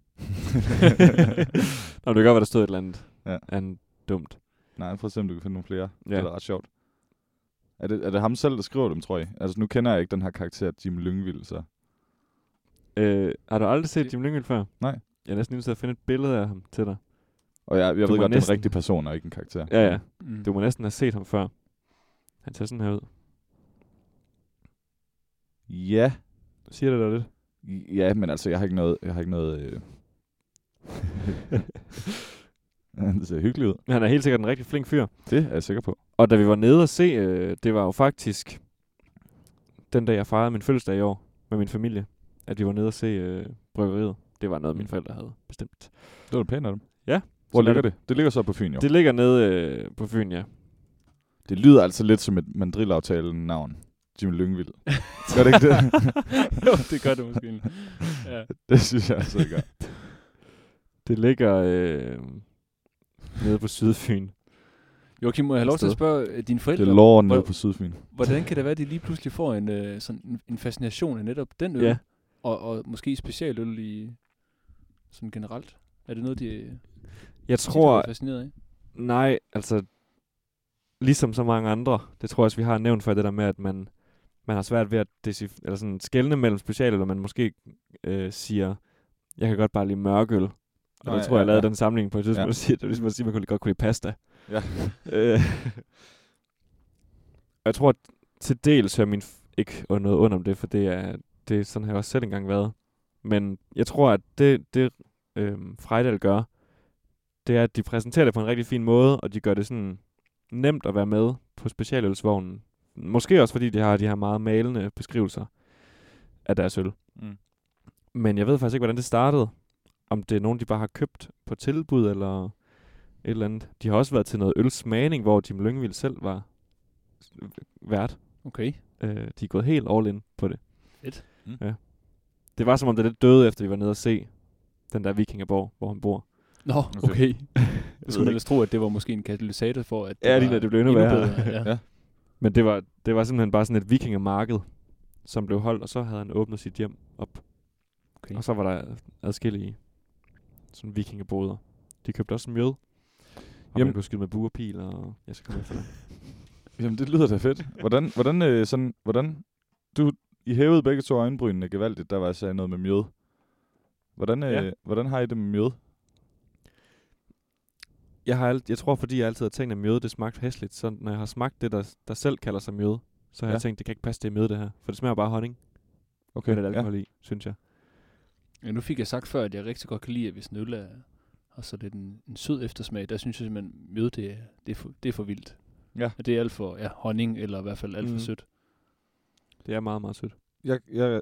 [SPEAKER 3] Nå, men det kan godt være, der stod et eller andet.
[SPEAKER 4] Ja.
[SPEAKER 3] andet dumt.
[SPEAKER 4] Nej, prøv at se, om du kan finde nogle flere.
[SPEAKER 3] Ja.
[SPEAKER 4] Ja. Det er da ret sjovt. Er det, er det ham selv, der skriver dem, tror jeg? Altså, nu kender jeg ikke den her karakter, Jim Lyngvild, så...
[SPEAKER 3] Øh, har du aldrig set
[SPEAKER 5] Det-
[SPEAKER 3] Jim Lyngvild før?
[SPEAKER 4] Nej.
[SPEAKER 3] Jeg er næsten nødt til at finde et billede af ham til dig.
[SPEAKER 4] Og jeg, jeg
[SPEAKER 3] må
[SPEAKER 4] ved godt, det er en
[SPEAKER 3] næsten-
[SPEAKER 4] rigtig person, og ikke en karakter.
[SPEAKER 3] Ja, ja.
[SPEAKER 5] Mm.
[SPEAKER 3] Du må næsten have set ham før. Han ser sådan her ud.
[SPEAKER 4] Ja,
[SPEAKER 3] Siger det dig lidt?
[SPEAKER 4] ja men altså, jeg har ikke noget... Jeg har ikke noget øh... Han ser hyggelig ud.
[SPEAKER 3] Men Han er helt sikkert en rigtig flink fyr.
[SPEAKER 4] Det er jeg sikker på.
[SPEAKER 3] Og da vi var nede og se, øh, det var jo faktisk den dag, jeg fejrede min fødselsdag i år med min familie, at vi var nede og se øh, bryggeriet. Det var noget, mine forældre havde bestemt.
[SPEAKER 4] Det var da pænt af dem.
[SPEAKER 3] Ja.
[SPEAKER 4] Hvor
[SPEAKER 3] Så
[SPEAKER 4] ligger
[SPEAKER 3] er
[SPEAKER 4] det? Det ligger så på Fyn, jo. Det,
[SPEAKER 3] Det ligger nede øh, på Fyn, ja.
[SPEAKER 4] det lyder altså lidt som et mandrilaftale-navn. Jim Lyngvild. Gør det ikke det?
[SPEAKER 5] jo, det gør det måske. egentlig. Ja.
[SPEAKER 4] det synes jeg altså ikke. er.
[SPEAKER 3] Det ligger øh, nede på Sydfyn.
[SPEAKER 5] Joachim, må jeg have lov til at
[SPEAKER 3] Sted.
[SPEAKER 5] spørge øh, dine
[SPEAKER 4] Det
[SPEAKER 5] forældre,
[SPEAKER 4] lår nede
[SPEAKER 5] hvor-
[SPEAKER 4] på Sydfyn.
[SPEAKER 5] hvordan kan det være, at de lige pludselig får en, øh, sådan en, en fascination af netop den øl,
[SPEAKER 3] Ja.
[SPEAKER 5] og, og måske specialøl i, sådan generelt? Er det noget, de øh, tit
[SPEAKER 3] Jeg
[SPEAKER 5] har
[SPEAKER 3] tror,
[SPEAKER 5] været fascineret af?
[SPEAKER 3] nej, altså ligesom så mange andre, det tror jeg også, vi har nævnt før, det der med, at man, man har svært ved at decif- eller sådan skælne mellem special, eller man måske øh, siger, jeg kan godt bare lide mørkøl. Og
[SPEAKER 4] Nå,
[SPEAKER 3] Nå, der
[SPEAKER 4] ja,
[SPEAKER 3] tror jeg, jeg
[SPEAKER 4] ja,
[SPEAKER 3] lavede
[SPEAKER 4] ja.
[SPEAKER 3] den sammenligning på et tidspunkt.
[SPEAKER 4] Ja.
[SPEAKER 3] Ja. Sige, det er ligesom at sige, at man kunne lige godt kunne lide pasta.
[SPEAKER 4] Ja.
[SPEAKER 3] Øh, og jeg tror, at til dels hører min f- ikke og noget ondt om det, for det er, det er sådan, har jeg også selv engang været. Men jeg tror, at det, det øh, Frejdal gør, det er, at de præsenterer det på en rigtig fin måde, og de gør det sådan nemt at være med på specialølsvognen. Måske også, fordi de har de her meget malende beskrivelser af deres øl.
[SPEAKER 4] Mm.
[SPEAKER 3] Men jeg ved faktisk ikke, hvordan det startede. Om det er nogen, de bare har købt på tilbud, eller et eller andet. De har også været til noget ølsmagning, hvor Jim Lyngvild selv var vært.
[SPEAKER 5] Okay.
[SPEAKER 3] Øh, de er gået helt all in på det.
[SPEAKER 5] Fedt.
[SPEAKER 4] Mm.
[SPEAKER 3] Ja. Det var som om, det lidt døde, efter vi var nede og se den der vikingeborg, hvor han bor.
[SPEAKER 5] Nå, okay.
[SPEAKER 4] Okay.
[SPEAKER 5] okay.
[SPEAKER 3] ved
[SPEAKER 5] Det skulle
[SPEAKER 3] ikke.
[SPEAKER 5] man ellers tro, at det var måske en katalysator for, at
[SPEAKER 3] Ja,
[SPEAKER 5] var
[SPEAKER 3] lige når det blev endnu værre.
[SPEAKER 5] bedre, ja.
[SPEAKER 4] Ja.
[SPEAKER 3] Men det var, det var simpelthen bare sådan et vikingemarked, som blev holdt, og så havde han åbnet sit hjem op.
[SPEAKER 5] Okay.
[SPEAKER 3] Og så var der adskillige sådan vikingeboder. De købte også mjød. Og
[SPEAKER 4] Jamen-
[SPEAKER 3] man kunne skyde med buerpil, og jeg skal komme efter dig.
[SPEAKER 4] Jamen, det lyder da fedt. Hvordan, hvordan, øh, sådan, hvordan, du, I hævede begge to øjenbrynene gevaldigt, der var jeg sagde noget med mjød. Hvordan, øh,
[SPEAKER 3] Ja.
[SPEAKER 4] ja. hvordan har I det med mjød?
[SPEAKER 3] Jeg, har alt, jeg tror, fordi jeg altid har tænkt, at mjød det smagte hæsligt, så når jeg har smagt det, der, der selv kalder sig mjød, Så har ja.
[SPEAKER 4] Ja.
[SPEAKER 3] jeg tænkt, det kan ikke passe, det er med det her. For det smager bare honning
[SPEAKER 4] Okay,
[SPEAKER 3] med lidt alkohol ja. i, synes jeg.
[SPEAKER 5] Ja, nu fik jeg sagt før, at jeg rigtig godt kan lide, at hvis en øl er, har så lidt en, en sød eftersmag, der synes jeg simpelthen, at møde det, er- det, er for, det er for vildt.
[SPEAKER 4] Ja.
[SPEAKER 5] At det er alt for ja, honning, eller i hvert fald alt for
[SPEAKER 3] Mhm.
[SPEAKER 5] sødt.
[SPEAKER 3] Det er meget, meget sødt.
[SPEAKER 4] jeg, jeg,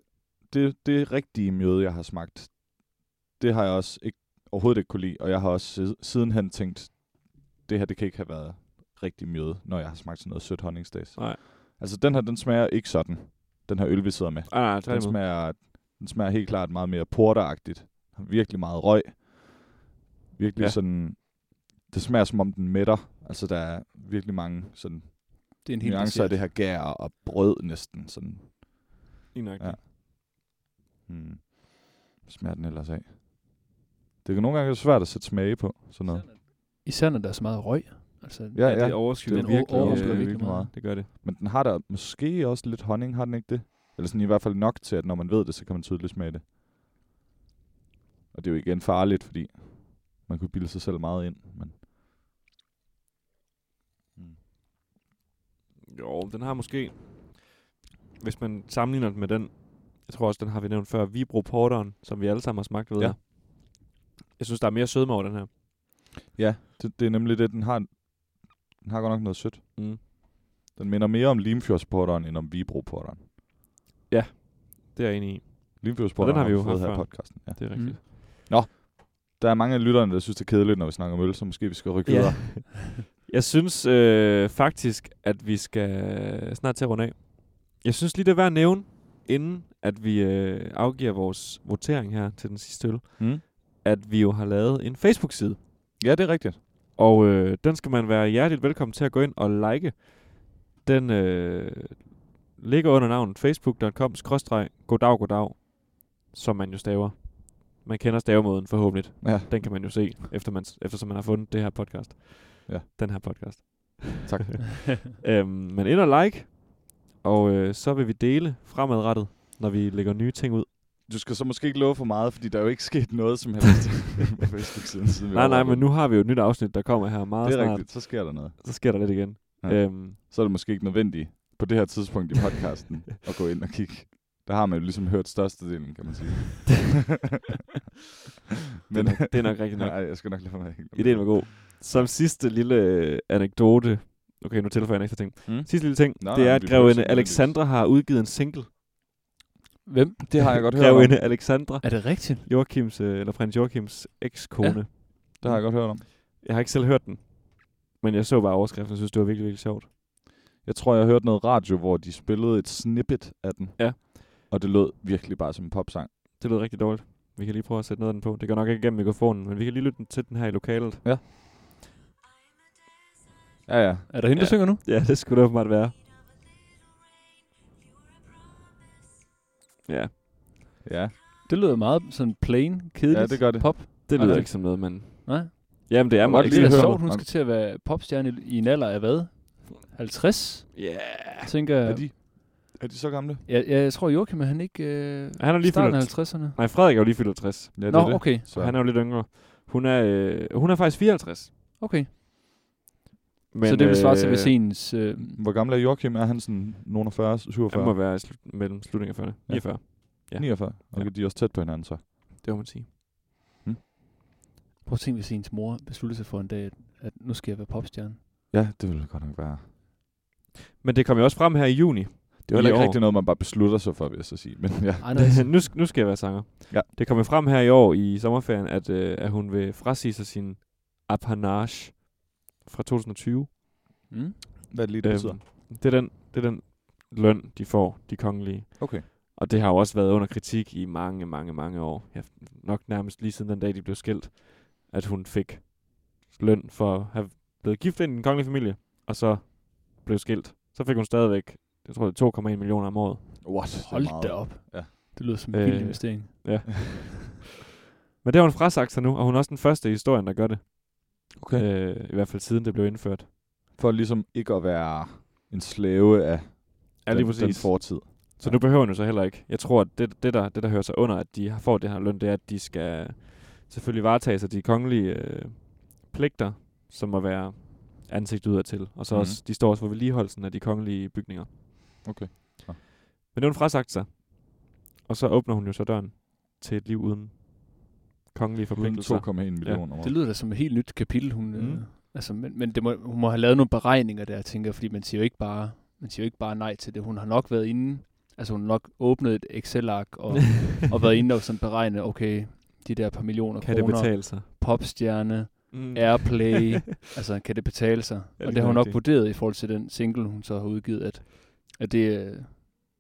[SPEAKER 4] det, det rigtige mjøde, jeg har smagt, det har jeg også ikke, overhovedet ikke kunne lide, og jeg har også sid- sidenhen tænkt, det her, det kan ikke have været rigtig mjøde, når jeg har smagt sådan noget sødt honningsdags.
[SPEAKER 3] Nej.
[SPEAKER 4] Altså, den her, den smager ikke sådan, den her øl, vi sidder med.
[SPEAKER 3] Ah, nej,
[SPEAKER 4] Den
[SPEAKER 3] tværtimod.
[SPEAKER 4] smager, den smager helt klart meget mere porteragtigt. Har Virkelig meget røg. Virkelig
[SPEAKER 3] Ja.
[SPEAKER 4] ja. sådan... Det smager som om den mætter. Altså der er virkelig mange sådan
[SPEAKER 5] Det er en helt
[SPEAKER 4] nuancer af det her gær og brød næsten. Sådan.
[SPEAKER 3] Lige nok.
[SPEAKER 4] Ja. Hmm. Hvad smager den ellers af? Det kan nogle gange være svært at sætte smage på. Sådan noget.
[SPEAKER 5] Især når der er så meget røg. Altså, ja.
[SPEAKER 4] Ja,
[SPEAKER 3] ja, det
[SPEAKER 4] ja.
[SPEAKER 3] overskygger
[SPEAKER 5] Den
[SPEAKER 3] det virkelig,
[SPEAKER 5] overskygger
[SPEAKER 3] øh,
[SPEAKER 5] virkelig meget.
[SPEAKER 3] Det gør det.
[SPEAKER 4] Men den har der måske også lidt honning, har den ikke det? Eller sådan i hvert fald nok til, at når man ved det, så kan man tydeligt smage det. Og det er jo igen farligt, fordi man kunne bilde sig selv meget ind. Men
[SPEAKER 3] Jo, den har måske... Hvis man sammenligner den med den... Jeg tror også, den har vi nævnt før. Vibro Porteren, som vi alle sammen har smagt ved.
[SPEAKER 4] Ja.
[SPEAKER 3] Ja. Jeg synes, der er mere sødme over den her.
[SPEAKER 4] Ja, det, det er nemlig det, den har. Den har godt nok noget sødt.
[SPEAKER 3] Mm.
[SPEAKER 4] Den minder mere om Limfjordsporteren, end om Vibroporteren.
[SPEAKER 3] Det er jeg enig i. Og
[SPEAKER 4] Limfjordsporteren
[SPEAKER 3] den har vi jo
[SPEAKER 4] vi
[SPEAKER 3] haft
[SPEAKER 4] fået her i
[SPEAKER 3] før.
[SPEAKER 4] podcasten. Ja.
[SPEAKER 3] Det
[SPEAKER 5] Mm.
[SPEAKER 3] er rigtigt.
[SPEAKER 4] Der er mange af lytterne, der synes, det er kedeligt, når vi snakker om øl, så måske vi skal rykke
[SPEAKER 3] Ja.
[SPEAKER 4] videre.
[SPEAKER 3] Jeg synes øh, faktisk, at vi skal snart til at runde af. Jeg synes lige, det er værd at nævne, inden at vi øh, afgiver vores votering her til den sidste øl,
[SPEAKER 4] Mm.
[SPEAKER 3] at vi jo har lavet en Facebook-side.
[SPEAKER 4] Ja, det er rigtigt.
[SPEAKER 3] Og øh, den skal man være hjerteligt velkommen til at gå ind og like. Den øh, ligger under navnet facebook.com goddag goddag, som man jo staver. Man kender stavemåden forhåbentlig.
[SPEAKER 4] Ja,
[SPEAKER 3] Den kan man jo se, efter man, eftersom man har fundet det her podcast.
[SPEAKER 4] Ja.
[SPEAKER 3] Den her podcast.
[SPEAKER 4] tak.
[SPEAKER 3] Øhm, men ind og like, og øh, så vil vi dele fremadrettet, når vi lægger nye ting ud.
[SPEAKER 4] Du skal så måske ikke love for meget, fordi der er jo ikke sket noget som helst på Facebook-siden. Siden vi
[SPEAKER 3] Nej, nej,
[SPEAKER 4] overvejede
[SPEAKER 3] men
[SPEAKER 4] den.
[SPEAKER 3] nu har vi jo et nyt afsnit, der kommer her meget
[SPEAKER 4] Det er
[SPEAKER 3] snart.
[SPEAKER 4] rigtigt, så sker der noget.
[SPEAKER 3] Så sker der lidt igen.
[SPEAKER 4] Ja.
[SPEAKER 3] Øhm,
[SPEAKER 4] Så er det måske ikke nødvendigt på det her tidspunkt i podcasten at gå ind og kigge. Der har man jo ligesom hørt størstedelen, kan man sige.
[SPEAKER 3] men, det, er nok, det er nok rigtigt nok.
[SPEAKER 4] Nej, jeg skal nok lade være med at hænge dem.
[SPEAKER 3] Ideen var god. Som sidste lille øh, anekdote. Okay, nu tilføjer jeg en ekstra ting.
[SPEAKER 4] Mm.
[SPEAKER 3] Sidste lille ting,
[SPEAKER 4] Nå,
[SPEAKER 3] det
[SPEAKER 4] nej,
[SPEAKER 3] er,
[SPEAKER 4] men
[SPEAKER 3] at
[SPEAKER 4] vi behøver ikke
[SPEAKER 3] grevinde
[SPEAKER 4] sige nødvendigvis.
[SPEAKER 3] Alexandra har udgivet en single.
[SPEAKER 5] Hvem?
[SPEAKER 4] Det har jeg godt hørt om.
[SPEAKER 3] Grevinde Alexandra,
[SPEAKER 5] Er det rigtigt?
[SPEAKER 3] Joachims, øh, eller prins Joachims ekskone. Ja.
[SPEAKER 4] Det har jeg godt hørt om.
[SPEAKER 3] Jeg har ikke selv hørt den, men jeg så bare overskriften og synes, det var virkelig, virkelig sjovt.
[SPEAKER 4] Jeg tror, jeg hørte noget radio, hvor de spillede et snippet af den.
[SPEAKER 3] Ja.
[SPEAKER 4] Og det lød virkelig bare som en popsang.
[SPEAKER 3] Det lød rigtig dårligt. Vi kan lige prøve at sætte noget af den på. Det går nok ikke igennem mikrofonen, men vi kan lige lytte den til den her i lokalet.
[SPEAKER 4] Ja, ja.
[SPEAKER 5] Er der hende, der
[SPEAKER 3] Ja.
[SPEAKER 5] synger nu?
[SPEAKER 3] Ja, det skulle det åbenbart være. Ja,
[SPEAKER 4] Ja,
[SPEAKER 5] Det lyder meget sådan plain, kedeligt.
[SPEAKER 4] ja det gør det.
[SPEAKER 5] Pop.
[SPEAKER 3] det
[SPEAKER 4] Nej,
[SPEAKER 3] lyder
[SPEAKER 4] nej.
[SPEAKER 3] ikke som noget, men...
[SPEAKER 5] Nej.
[SPEAKER 3] Jamen, det er
[SPEAKER 4] Jeg
[SPEAKER 3] meget
[SPEAKER 4] kan
[SPEAKER 5] Det er
[SPEAKER 4] lige
[SPEAKER 5] da
[SPEAKER 4] høre
[SPEAKER 5] sjovt,
[SPEAKER 4] mig.
[SPEAKER 5] hun skal til at være popstjerne i- i en alder af hvad? 50?
[SPEAKER 3] Yeah.
[SPEAKER 5] Jeg tænker,
[SPEAKER 4] Er, de, er de så gamle?
[SPEAKER 5] ja, ja, jeg tror Joachim, er han ikke øh,
[SPEAKER 3] Han er lige
[SPEAKER 5] starten af
[SPEAKER 3] fyldt
[SPEAKER 5] 50'erne?
[SPEAKER 3] Nej, Frederik er jo lige fyldt 50.
[SPEAKER 4] Ja, det
[SPEAKER 5] Nå,
[SPEAKER 4] er det.
[SPEAKER 5] okay,
[SPEAKER 3] Så
[SPEAKER 4] Så.
[SPEAKER 3] han er jo lidt yngre. Hun er, øh, hun er faktisk 54.
[SPEAKER 5] okay.
[SPEAKER 3] Men,
[SPEAKER 5] så det vil svare til,
[SPEAKER 3] øh,
[SPEAKER 5] hvis ens... Øh,
[SPEAKER 4] Hvor gammel er Joachim? Er han sådan nogen af 40, 47?
[SPEAKER 3] Han må være i slut, mellem slutningen af 40'erne.
[SPEAKER 4] Ja.
[SPEAKER 3] 49. Ja. ja.
[SPEAKER 4] 49. Okay,
[SPEAKER 3] Ja.
[SPEAKER 4] de er også tæt på hinanden så.
[SPEAKER 3] Det må man sige.
[SPEAKER 5] prøv at tænke, hvis ens mor besluttede sig for en dag, at, at nu skal jeg være popstjerne.
[SPEAKER 4] Ja, det ville godt nok være.
[SPEAKER 3] Men det kom jo også frem her i juni.
[SPEAKER 4] Det var heller
[SPEAKER 3] I
[SPEAKER 4] ikke
[SPEAKER 3] år.
[SPEAKER 4] rigtig noget, man bare beslutter sig for, vil jeg så sige. Men ja,
[SPEAKER 5] Ej, nej,
[SPEAKER 3] nu, sk- nu skal jeg være sanger.
[SPEAKER 4] Ja.
[SPEAKER 3] Det kom jo frem her i år i sommerferien, at, øh, at hun vil frasige sig sin apanage fra 2020.
[SPEAKER 5] mm.
[SPEAKER 4] hvad er det lige, det betyder?
[SPEAKER 3] Øhm, det, er den, det er den løn, de får, de kongelige.
[SPEAKER 4] Okay.
[SPEAKER 3] Og det har jo også været under kritik i mange, mange, mange år. Ja, nok nærmest lige siden den dag, de blev skilt, at hun fik løn for at have blevet gift ind i den kongelige familie, og så blev skilt. Så fik hun stadigvæk, jeg tror det er 2,1 millioner om året.
[SPEAKER 4] What? Det er
[SPEAKER 5] Hold
[SPEAKER 4] meget.
[SPEAKER 5] da op.
[SPEAKER 4] Ja.
[SPEAKER 5] Det lyder som en vild
[SPEAKER 3] Øh.
[SPEAKER 5] investering.
[SPEAKER 3] Men det har hun frasagt sig nu, og hun er også den første i historien, der gør det.
[SPEAKER 4] Okay.
[SPEAKER 3] Øh, I hvert fald siden det blev indført.
[SPEAKER 4] For ligesom ikke at være en slave af
[SPEAKER 3] Ja, lige
[SPEAKER 4] den, den
[SPEAKER 3] præcis.
[SPEAKER 4] fortid.
[SPEAKER 3] Så nu behøver hun jo så heller ikke. Jeg tror, at det, det, der, det der hører sig under, at de har- får det her løn, det er, at de skal selvfølgelig varetage sig de kongelige øh, pligter, som må være ansigt udadtil. Og så mm.
[SPEAKER 4] Mhm.
[SPEAKER 3] også, de står også for vedligeholdelsen af de kongelige bygninger.
[SPEAKER 4] Okay. Nå.
[SPEAKER 3] Men det har hun frasagt sig. Og så åbner hun jo så døren til et liv uden kongelige
[SPEAKER 4] Uden
[SPEAKER 3] forpligtelser.
[SPEAKER 4] 2,1 millioner om
[SPEAKER 5] Det
[SPEAKER 4] året.
[SPEAKER 5] lyder da som et helt nyt kapitel, hun... Mm.
[SPEAKER 3] Mm.
[SPEAKER 5] Øh, altså, men, men det må, hun må have lavet nogle beregninger der, tænker jeg, fordi man siger jo ikke bare, man siger jo ikke bare nej til det. Hun har nok været inde, altså hun har nok åbnet et Excel-ark og, og været inde og sådan beregne, okay, de der par millioner
[SPEAKER 3] kan det
[SPEAKER 5] kroner,
[SPEAKER 3] betale sig?
[SPEAKER 5] popstjerne,
[SPEAKER 3] Mm.
[SPEAKER 5] airplay, altså kan det betale sig?
[SPEAKER 3] det
[SPEAKER 5] og det
[SPEAKER 3] kan
[SPEAKER 5] har hun
[SPEAKER 3] nok
[SPEAKER 5] nok
[SPEAKER 3] det.
[SPEAKER 5] vurderet i forhold til den single, hun så har udgivet, at, at det, øh,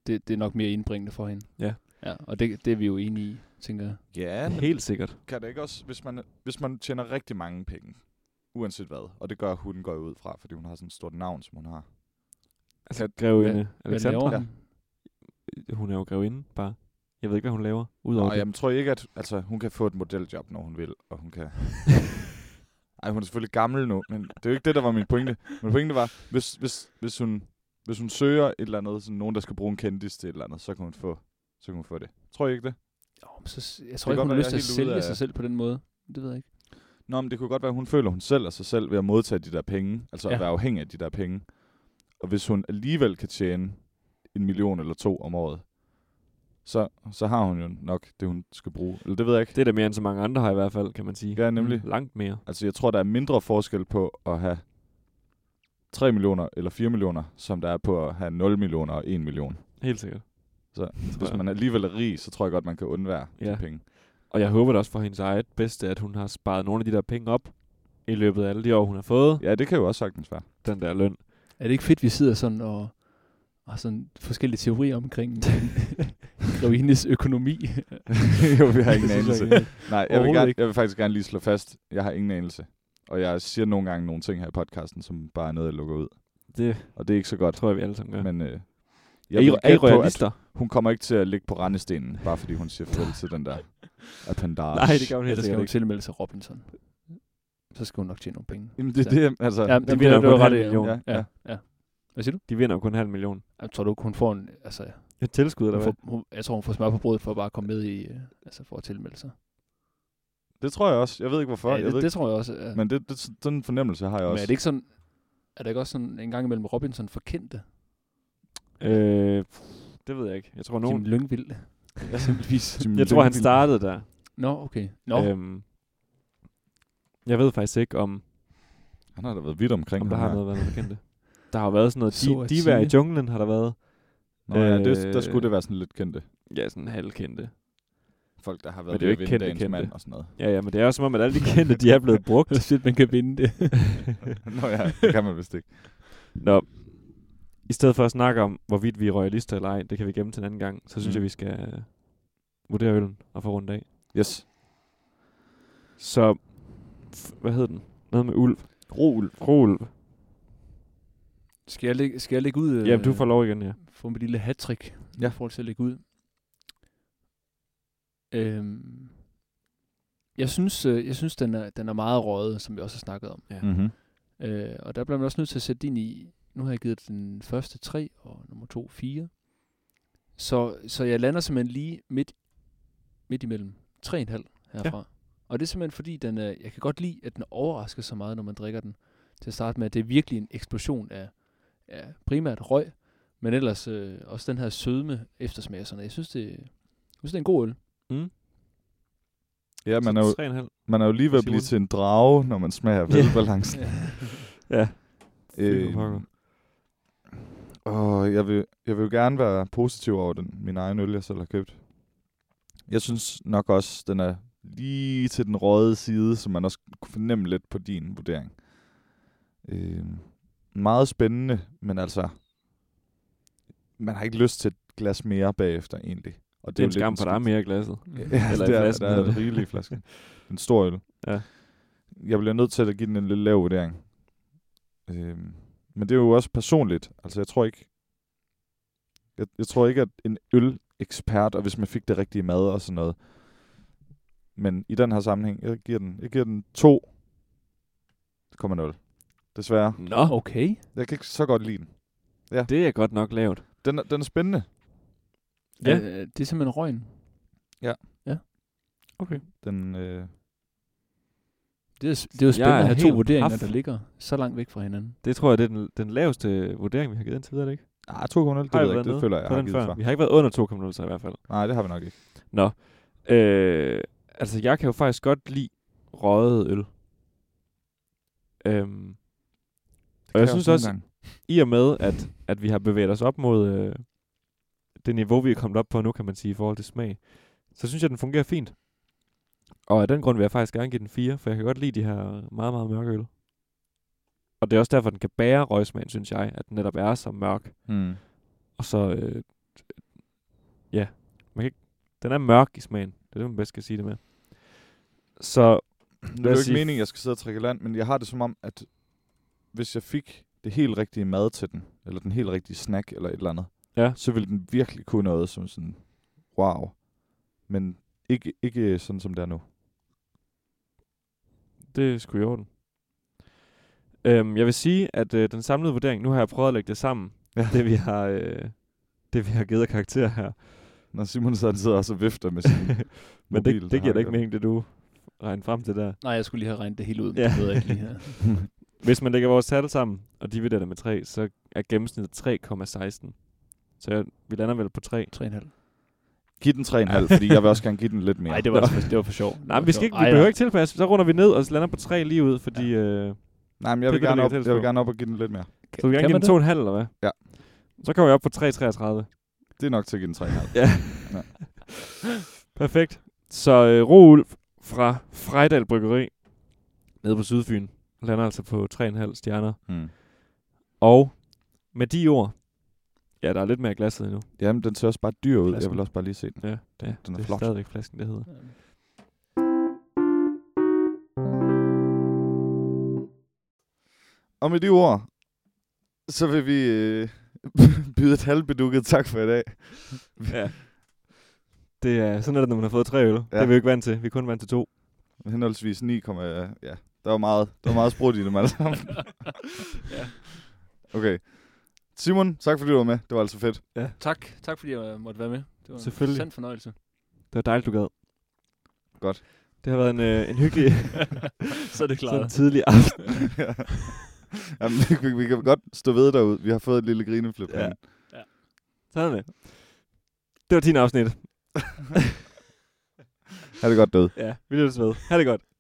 [SPEAKER 5] det, det er nok mere indbringende for hende.
[SPEAKER 3] Ja.
[SPEAKER 5] ja og det, det er vi jo enige i, tænker jeg.
[SPEAKER 4] Ja, men
[SPEAKER 3] Helt sikkert.
[SPEAKER 4] kan det ikke også, hvis man, hvis man tjener rigtig mange penge, uanset hvad, og det gør hun, går jeg ud fra, fordi hun har sådan et stort navn, som hun har.
[SPEAKER 3] Altså, grevinde
[SPEAKER 5] Hvad laver
[SPEAKER 3] Alexandra,
[SPEAKER 5] hun?
[SPEAKER 3] Øh, hun er jo grevinde, bare. Jeg ved ikke, hvad hun laver, udover
[SPEAKER 4] Okay. Og
[SPEAKER 3] det.
[SPEAKER 4] jamen, tror I ikke, at altså, hun kan få et modeljob, når hun vil, og hun kan... Ej, hun er selvfølgelig gammel nu, men det er jo ikke det, der var min pointe. Min pointe var, hvis, hvis, hvis, hun, hvis hun søger et eller andet, sådan nogen, der skal bruge en kendis til et eller andet, så kan hun få, så kan hun få det. Tror I ikke det?
[SPEAKER 5] Jo, men så, s- jeg
[SPEAKER 4] kan
[SPEAKER 5] tror ikke,
[SPEAKER 4] godt
[SPEAKER 5] hun har
[SPEAKER 4] være,
[SPEAKER 5] lyst til
[SPEAKER 4] jeg er helt ude
[SPEAKER 5] at sælge
[SPEAKER 4] af-
[SPEAKER 5] sig selv på den måde. Det ved jeg ikke.
[SPEAKER 4] Nå, men det kunne godt være, at hun føler, hun sælger sig selv ved at modtage de der penge. Altså ja.
[SPEAKER 5] Ja.
[SPEAKER 4] at være afhængig af de der penge. Og hvis hun alligevel kan tjene en million eller to om året, så, så har hun jo nok det, hun skal bruge. Eller det ved jeg ikke.
[SPEAKER 3] Det er da mere end så mange andre har i hvert fald, kan man sige. Mm.
[SPEAKER 4] Ja, nemlig.
[SPEAKER 3] Langt mere.
[SPEAKER 4] Altså jeg tror, der er mindre forskel på at have 3 millioner eller 4 millioner, som der er på at have 0 millioner og 1 million.
[SPEAKER 3] Helt sikkert.
[SPEAKER 4] Så
[SPEAKER 3] Tror
[SPEAKER 4] Hvis
[SPEAKER 3] jeg.
[SPEAKER 4] man alligevel er rig, så tror jeg godt, man kan undvære ja.
[SPEAKER 3] Ja.
[SPEAKER 4] de penge.
[SPEAKER 3] Og jeg håber da også for hendes eget bedste, at hun har sparet nogle af de der penge op i løbet af alle de år, hun har fået
[SPEAKER 4] Ja, det kan jo også sagtens være.
[SPEAKER 3] den der løn.
[SPEAKER 5] Er det ikke fedt, vi sidder sådan og og har sådan forskellige teorier omkring Grevines økonomi?
[SPEAKER 4] jo, vi har ingen
[SPEAKER 5] Det synes
[SPEAKER 4] anelse.
[SPEAKER 5] jeg ikke.
[SPEAKER 4] Nej, jeg vil,
[SPEAKER 5] Overhovedet
[SPEAKER 4] gerne,
[SPEAKER 5] ikke.
[SPEAKER 4] jeg vil faktisk gerne lige slå fast, jeg har ingen anelse. Og jeg siger nogle gange nogle ting her i podcasten, som bare er noget, jeg lukker ud.
[SPEAKER 3] Det
[SPEAKER 4] Og det er ikke så godt.
[SPEAKER 3] tror jeg, vi alle sammen gør.
[SPEAKER 4] Ja.
[SPEAKER 3] Men,
[SPEAKER 4] Men øh,
[SPEAKER 3] jeg
[SPEAKER 4] jeg
[SPEAKER 3] er I,
[SPEAKER 4] vil
[SPEAKER 3] er I
[SPEAKER 4] gætte på, at
[SPEAKER 3] royalister?
[SPEAKER 4] hun kommer ikke til at ligge på rendestenen, bare fordi hun siger farvel til den der Altså, appendage.
[SPEAKER 3] Nej, det gør hun
[SPEAKER 5] Ja,
[SPEAKER 3] helt
[SPEAKER 5] der skal
[SPEAKER 3] sikkert
[SPEAKER 5] hun
[SPEAKER 3] ikke.
[SPEAKER 5] tilmelde sig Robinson. Så skal hun nok tjene nogle penge.
[SPEAKER 4] Jamen, det er det, altså...
[SPEAKER 5] Ja, det, det,
[SPEAKER 3] vinder
[SPEAKER 5] det, det
[SPEAKER 3] hun
[SPEAKER 5] var
[SPEAKER 3] en
[SPEAKER 5] ret
[SPEAKER 3] halv
[SPEAKER 5] i.
[SPEAKER 3] million.
[SPEAKER 5] Ja, ja. ja. Hvad siger du?
[SPEAKER 3] De vinder jo kun en halv million.
[SPEAKER 5] Jeg tror du ikke, hun får en... Altså,
[SPEAKER 3] Et tilskud,
[SPEAKER 5] hun
[SPEAKER 3] eller hvad?
[SPEAKER 5] får, hun, jeg tror, hun får smør på brødet for at bare komme med i... øh, Altså, for at tilmelde sig.
[SPEAKER 4] Det tror jeg også. Jeg ved ikke, hvorfor.
[SPEAKER 5] Ja,
[SPEAKER 4] jeg ved
[SPEAKER 5] det, det, tror jeg også. Ja.
[SPEAKER 4] ikke. Men det, det, sådan en fornemmelse har jeg
[SPEAKER 5] Men
[SPEAKER 4] også.
[SPEAKER 5] er det ikke sådan... Er der ikke også sådan en gang imellem Robinson forkendte?
[SPEAKER 3] Øh, pff, det ved jeg ikke. Jeg tror,
[SPEAKER 5] Nogen.
[SPEAKER 3] nogen...
[SPEAKER 5] Jim Lyngvild, eksempelvis.
[SPEAKER 3] Jeg tror, han startede der.
[SPEAKER 5] Nå, okay. Nå,
[SPEAKER 3] Øhm, jeg ved faktisk ikke, om,
[SPEAKER 4] Han har da været vidt omkring.
[SPEAKER 3] om der
[SPEAKER 4] ham
[SPEAKER 3] har
[SPEAKER 4] her.
[SPEAKER 3] noget været noget kendte. Der har jo været sådan noget...
[SPEAKER 5] Så at
[SPEAKER 3] De, de var i
[SPEAKER 5] sige.
[SPEAKER 3] junglen, har der været.
[SPEAKER 4] Nå, ja, det,
[SPEAKER 3] Øh,
[SPEAKER 4] der skulle det være sådan lidt kendte.
[SPEAKER 3] Ja, sådan halvkendte.
[SPEAKER 4] Folk, der har
[SPEAKER 3] været det er jo ved at ikke vinde kendte, dagens kendte. mand
[SPEAKER 4] og sådan noget.
[SPEAKER 3] Ja, ja, men det er jo som om, at alle de kendte, de er blevet brugt.
[SPEAKER 5] Det er fedt, man kan vinde det.
[SPEAKER 4] Nå ja, det kan man vist ikke.
[SPEAKER 3] Nå, i stedet for at snakke om, hvorvidt vi er royalister eller ej, det kan vi gemme til en anden gang, så synes
[SPEAKER 4] Mm.
[SPEAKER 3] mm. jeg, vi skal øh, vurdere øllen og få rundt af.
[SPEAKER 4] Yes.
[SPEAKER 3] Så, f- hvad hed den? Noget med ulv.
[SPEAKER 4] Roul.
[SPEAKER 3] Rolv.
[SPEAKER 5] Skal jeg lægge, skal jeg lægge ud?
[SPEAKER 3] Øh. Jamen, du får lov igen, ja.
[SPEAKER 5] Få mit lille hattrick
[SPEAKER 4] Ja.
[SPEAKER 5] ja. i forhold til at lægge ud. Øhm, jeg synes, øh, jeg synes den, er, den er meget røget, som vi også har snakket om.
[SPEAKER 4] Mm-hmm.
[SPEAKER 5] Øh, og der bliver man også nødt til at sætte det ind i, nu har jeg givet den første tre, og nummer to fire. Så, så jeg lander simpelthen lige midt, midt imellem. Tre en halv herfra. Ja. Og det er simpelthen fordi, den er, jeg kan godt lide, at den overrasker så meget, når man drikker den. Til at starte med, at det er virkelig en eksplosion af, af primært røg, men ellers øh, også den her sødme eftersmag. og Sådan. noget. Jeg synes, det, jeg synes, det er en god øl.
[SPEAKER 4] Ja, man er, jo,
[SPEAKER 3] 3,5.
[SPEAKER 4] man er jo lige ved at blive
[SPEAKER 3] Simon.
[SPEAKER 4] til en drage, når man smager velbalancen.
[SPEAKER 3] Ja.
[SPEAKER 4] Øh,
[SPEAKER 3] for pokker.
[SPEAKER 4] og jeg vil, jeg vil jo gerne være positiv over den, min egen øl, jeg selv har købt. Jeg synes nok også, den er lige til den røde side, som man også kunne fornemme lidt på din vurdering. Øh, meget spændende, men altså, man har ikke lyst til et glas mere bagefter egentlig. Og
[SPEAKER 3] Det er
[SPEAKER 4] jo
[SPEAKER 3] en
[SPEAKER 4] lidt
[SPEAKER 3] skam, for der er
[SPEAKER 4] skidt.
[SPEAKER 3] mere i glasset.
[SPEAKER 4] Ja,
[SPEAKER 3] Eller i
[SPEAKER 4] der,
[SPEAKER 3] flasken,
[SPEAKER 4] der er
[SPEAKER 3] hedder
[SPEAKER 4] en
[SPEAKER 3] det.
[SPEAKER 4] rigelig flaske. En stor øl.
[SPEAKER 3] Ja.
[SPEAKER 4] Jeg bliver nødt til at give den en lidt lav vurdering. Øhm, men det er jo også personligt. Altså, jeg tror ikke... Jeg, jeg tror ikke, at en ølekspert, og hvis man fik det rigtige mad og sådan noget... Men i den her sammenhæng, jeg giver den, jeg giver den 2,0. Desværre.
[SPEAKER 3] Nå,
[SPEAKER 5] Okay.
[SPEAKER 4] Jeg kan ikke så godt lide den.
[SPEAKER 3] det er godt nok lavt.
[SPEAKER 4] Den er, den er spændende.
[SPEAKER 3] Ja.
[SPEAKER 5] Ja. Øh, det er simpelthen røgen.
[SPEAKER 3] Okay.
[SPEAKER 4] Den, øh,
[SPEAKER 5] Det er, s- det er jo spændende
[SPEAKER 3] er
[SPEAKER 5] at have to
[SPEAKER 3] helt
[SPEAKER 5] vurderinger,
[SPEAKER 3] paf.
[SPEAKER 5] der ligger så langt væk fra hinanden.
[SPEAKER 3] Det tror jeg, det er den, den laveste vurdering, vi har givet indtil videre, er det ikke?
[SPEAKER 4] Ah, 2,0, det
[SPEAKER 3] Har vi
[SPEAKER 4] ved jeg
[SPEAKER 3] været
[SPEAKER 4] ikke.
[SPEAKER 3] nede
[SPEAKER 4] Det føler jeg,
[SPEAKER 3] på
[SPEAKER 4] jeg har
[SPEAKER 3] den
[SPEAKER 4] givet
[SPEAKER 3] før?
[SPEAKER 4] svar.
[SPEAKER 3] Vi har ikke været under 2,0 så i hvert fald.
[SPEAKER 4] Nej, det har vi nok ikke.
[SPEAKER 3] Nå. Øh, altså, jeg kan jo faktisk godt lide røget øl. Øhm, og jeg synes også,
[SPEAKER 4] Gang.
[SPEAKER 3] i og med, at, at vi har bevæget os op mod øh, det niveau, vi er kommet op på nu, kan man sige, i forhold til smag, så synes jeg, den fungerer fint. Og af den grund vil jeg faktisk gerne give den 4, for jeg kan godt lide de her meget, meget mørke øl. Og det er også derfor, den kan bære røgsmagen, synes jeg, at den netop er så mørk.
[SPEAKER 4] Mm.
[SPEAKER 3] Og så, øh, ja, man kan ikke, den er mørk i smagen. Det er det, man bedst kan sige det med. Så,
[SPEAKER 4] Det er jo ikke
[SPEAKER 3] sige-
[SPEAKER 4] meningen, at jeg skal sidde og trække land, men jeg har det som om, at hvis jeg fik det helt rigtige mad til den, eller den helt rigtige snack, eller et eller andet,
[SPEAKER 3] Ja.
[SPEAKER 4] så ville den virkelig kunne noget som sådan, wow. Men ikke, ikke sådan, som det er nu.
[SPEAKER 3] Det er sgu i orden. Øhm, jeg vil sige, at øh, den samlede vurdering, nu har jeg prøvet at lægge det sammen,
[SPEAKER 4] Ja.
[SPEAKER 3] det vi har, øh, det vi har givet af karakter her.
[SPEAKER 4] Når Simon så sidder også og vifter med sin
[SPEAKER 3] Men
[SPEAKER 4] mobil,
[SPEAKER 3] det,
[SPEAKER 4] der
[SPEAKER 3] det giver
[SPEAKER 4] har
[SPEAKER 3] da ikke
[SPEAKER 4] jeg-
[SPEAKER 3] mening, det du regner frem til der.
[SPEAKER 5] Nej, jeg skulle lige have regnet det hele ud, men
[SPEAKER 3] Ja.
[SPEAKER 5] det ved jeg ikke lige her.
[SPEAKER 3] Hvis man lægger vores tal sammen, og dividerer det med 3, så er gennemsnittet 3,16. Så jeg, vi lander vel på 3.
[SPEAKER 5] 3,5.
[SPEAKER 4] Giv den 3,5, fordi jeg vil også gerne give den lidt mere.
[SPEAKER 5] Nej, det var, det var for sjov.
[SPEAKER 3] Nej,
[SPEAKER 5] Det var
[SPEAKER 3] men
[SPEAKER 5] for
[SPEAKER 3] vi, skal
[SPEAKER 5] sjov.
[SPEAKER 3] ikke, vi
[SPEAKER 5] Ej,
[SPEAKER 3] behøver
[SPEAKER 5] nej.
[SPEAKER 3] ikke tilpasse. Så runder vi ned og lander på 3 lige ud, fordi... Øh,
[SPEAKER 4] Nej, men
[SPEAKER 3] det
[SPEAKER 4] jeg vil,
[SPEAKER 3] kan
[SPEAKER 4] gerne
[SPEAKER 3] du
[SPEAKER 4] op,
[SPEAKER 3] ikke
[SPEAKER 4] jeg vil
[SPEAKER 3] tilstå.
[SPEAKER 4] gerne op og give den lidt mere.
[SPEAKER 3] så du vil gerne
[SPEAKER 5] kan
[SPEAKER 3] give
[SPEAKER 5] man
[SPEAKER 3] den 2,5, eller hvad?
[SPEAKER 4] Ja.
[SPEAKER 3] Så kommer vi op på 3,33.
[SPEAKER 4] Det er nok til at give den 3,5.
[SPEAKER 3] Ja.
[SPEAKER 4] Ja.
[SPEAKER 3] Perfekt. Så øh, Roulf fra Frejdal Bryggeri nede på Sydfyn lander altså på 3,5 stjerner.
[SPEAKER 4] Mm.
[SPEAKER 3] Og med de ord, ja, der er lidt mere i glasset endnu.
[SPEAKER 4] Jamen, den ser også bare dyr ud. Jeg
[SPEAKER 3] Flasken.
[SPEAKER 4] vil også bare lige se den.
[SPEAKER 3] Ja, ja
[SPEAKER 4] Mm. den er
[SPEAKER 3] det
[SPEAKER 4] flot.
[SPEAKER 3] er stadigvæk flasken, det hedder.
[SPEAKER 4] Og med de ord, så vil vi øh, byde et halvbedukket tak for i dag.
[SPEAKER 3] Ja. Det er sådan er det, når man har fået tre øl. Ja. Det er vi jo ikke vant til. Vi er kun vant til to.
[SPEAKER 4] Henholdsvis 9, ja, der var meget, der var meget sprudt i det, man sammen. Okay. Simon, tak fordi du var med. Det var altså fedt.
[SPEAKER 5] Tak, tak fordi jeg måtte være med. Det var en
[SPEAKER 3] Selvfølgelig.
[SPEAKER 5] sand fornøjelse.
[SPEAKER 3] Det var dejligt, du gad.
[SPEAKER 4] Godt.
[SPEAKER 3] Det har været en, øh, en hyggelig
[SPEAKER 5] Så er
[SPEAKER 3] sådan
[SPEAKER 5] det klart.
[SPEAKER 3] tidlig aften.
[SPEAKER 4] Jamen, vi, vi, kan godt stå ved derude. Vi har fået et lille grineflip.
[SPEAKER 3] Ja.
[SPEAKER 4] Ja.
[SPEAKER 3] Sådan er det. Det var 10 afsnit.
[SPEAKER 4] Ha' det godt død.
[SPEAKER 3] Ja, vi lyttes ved. Ha' det godt.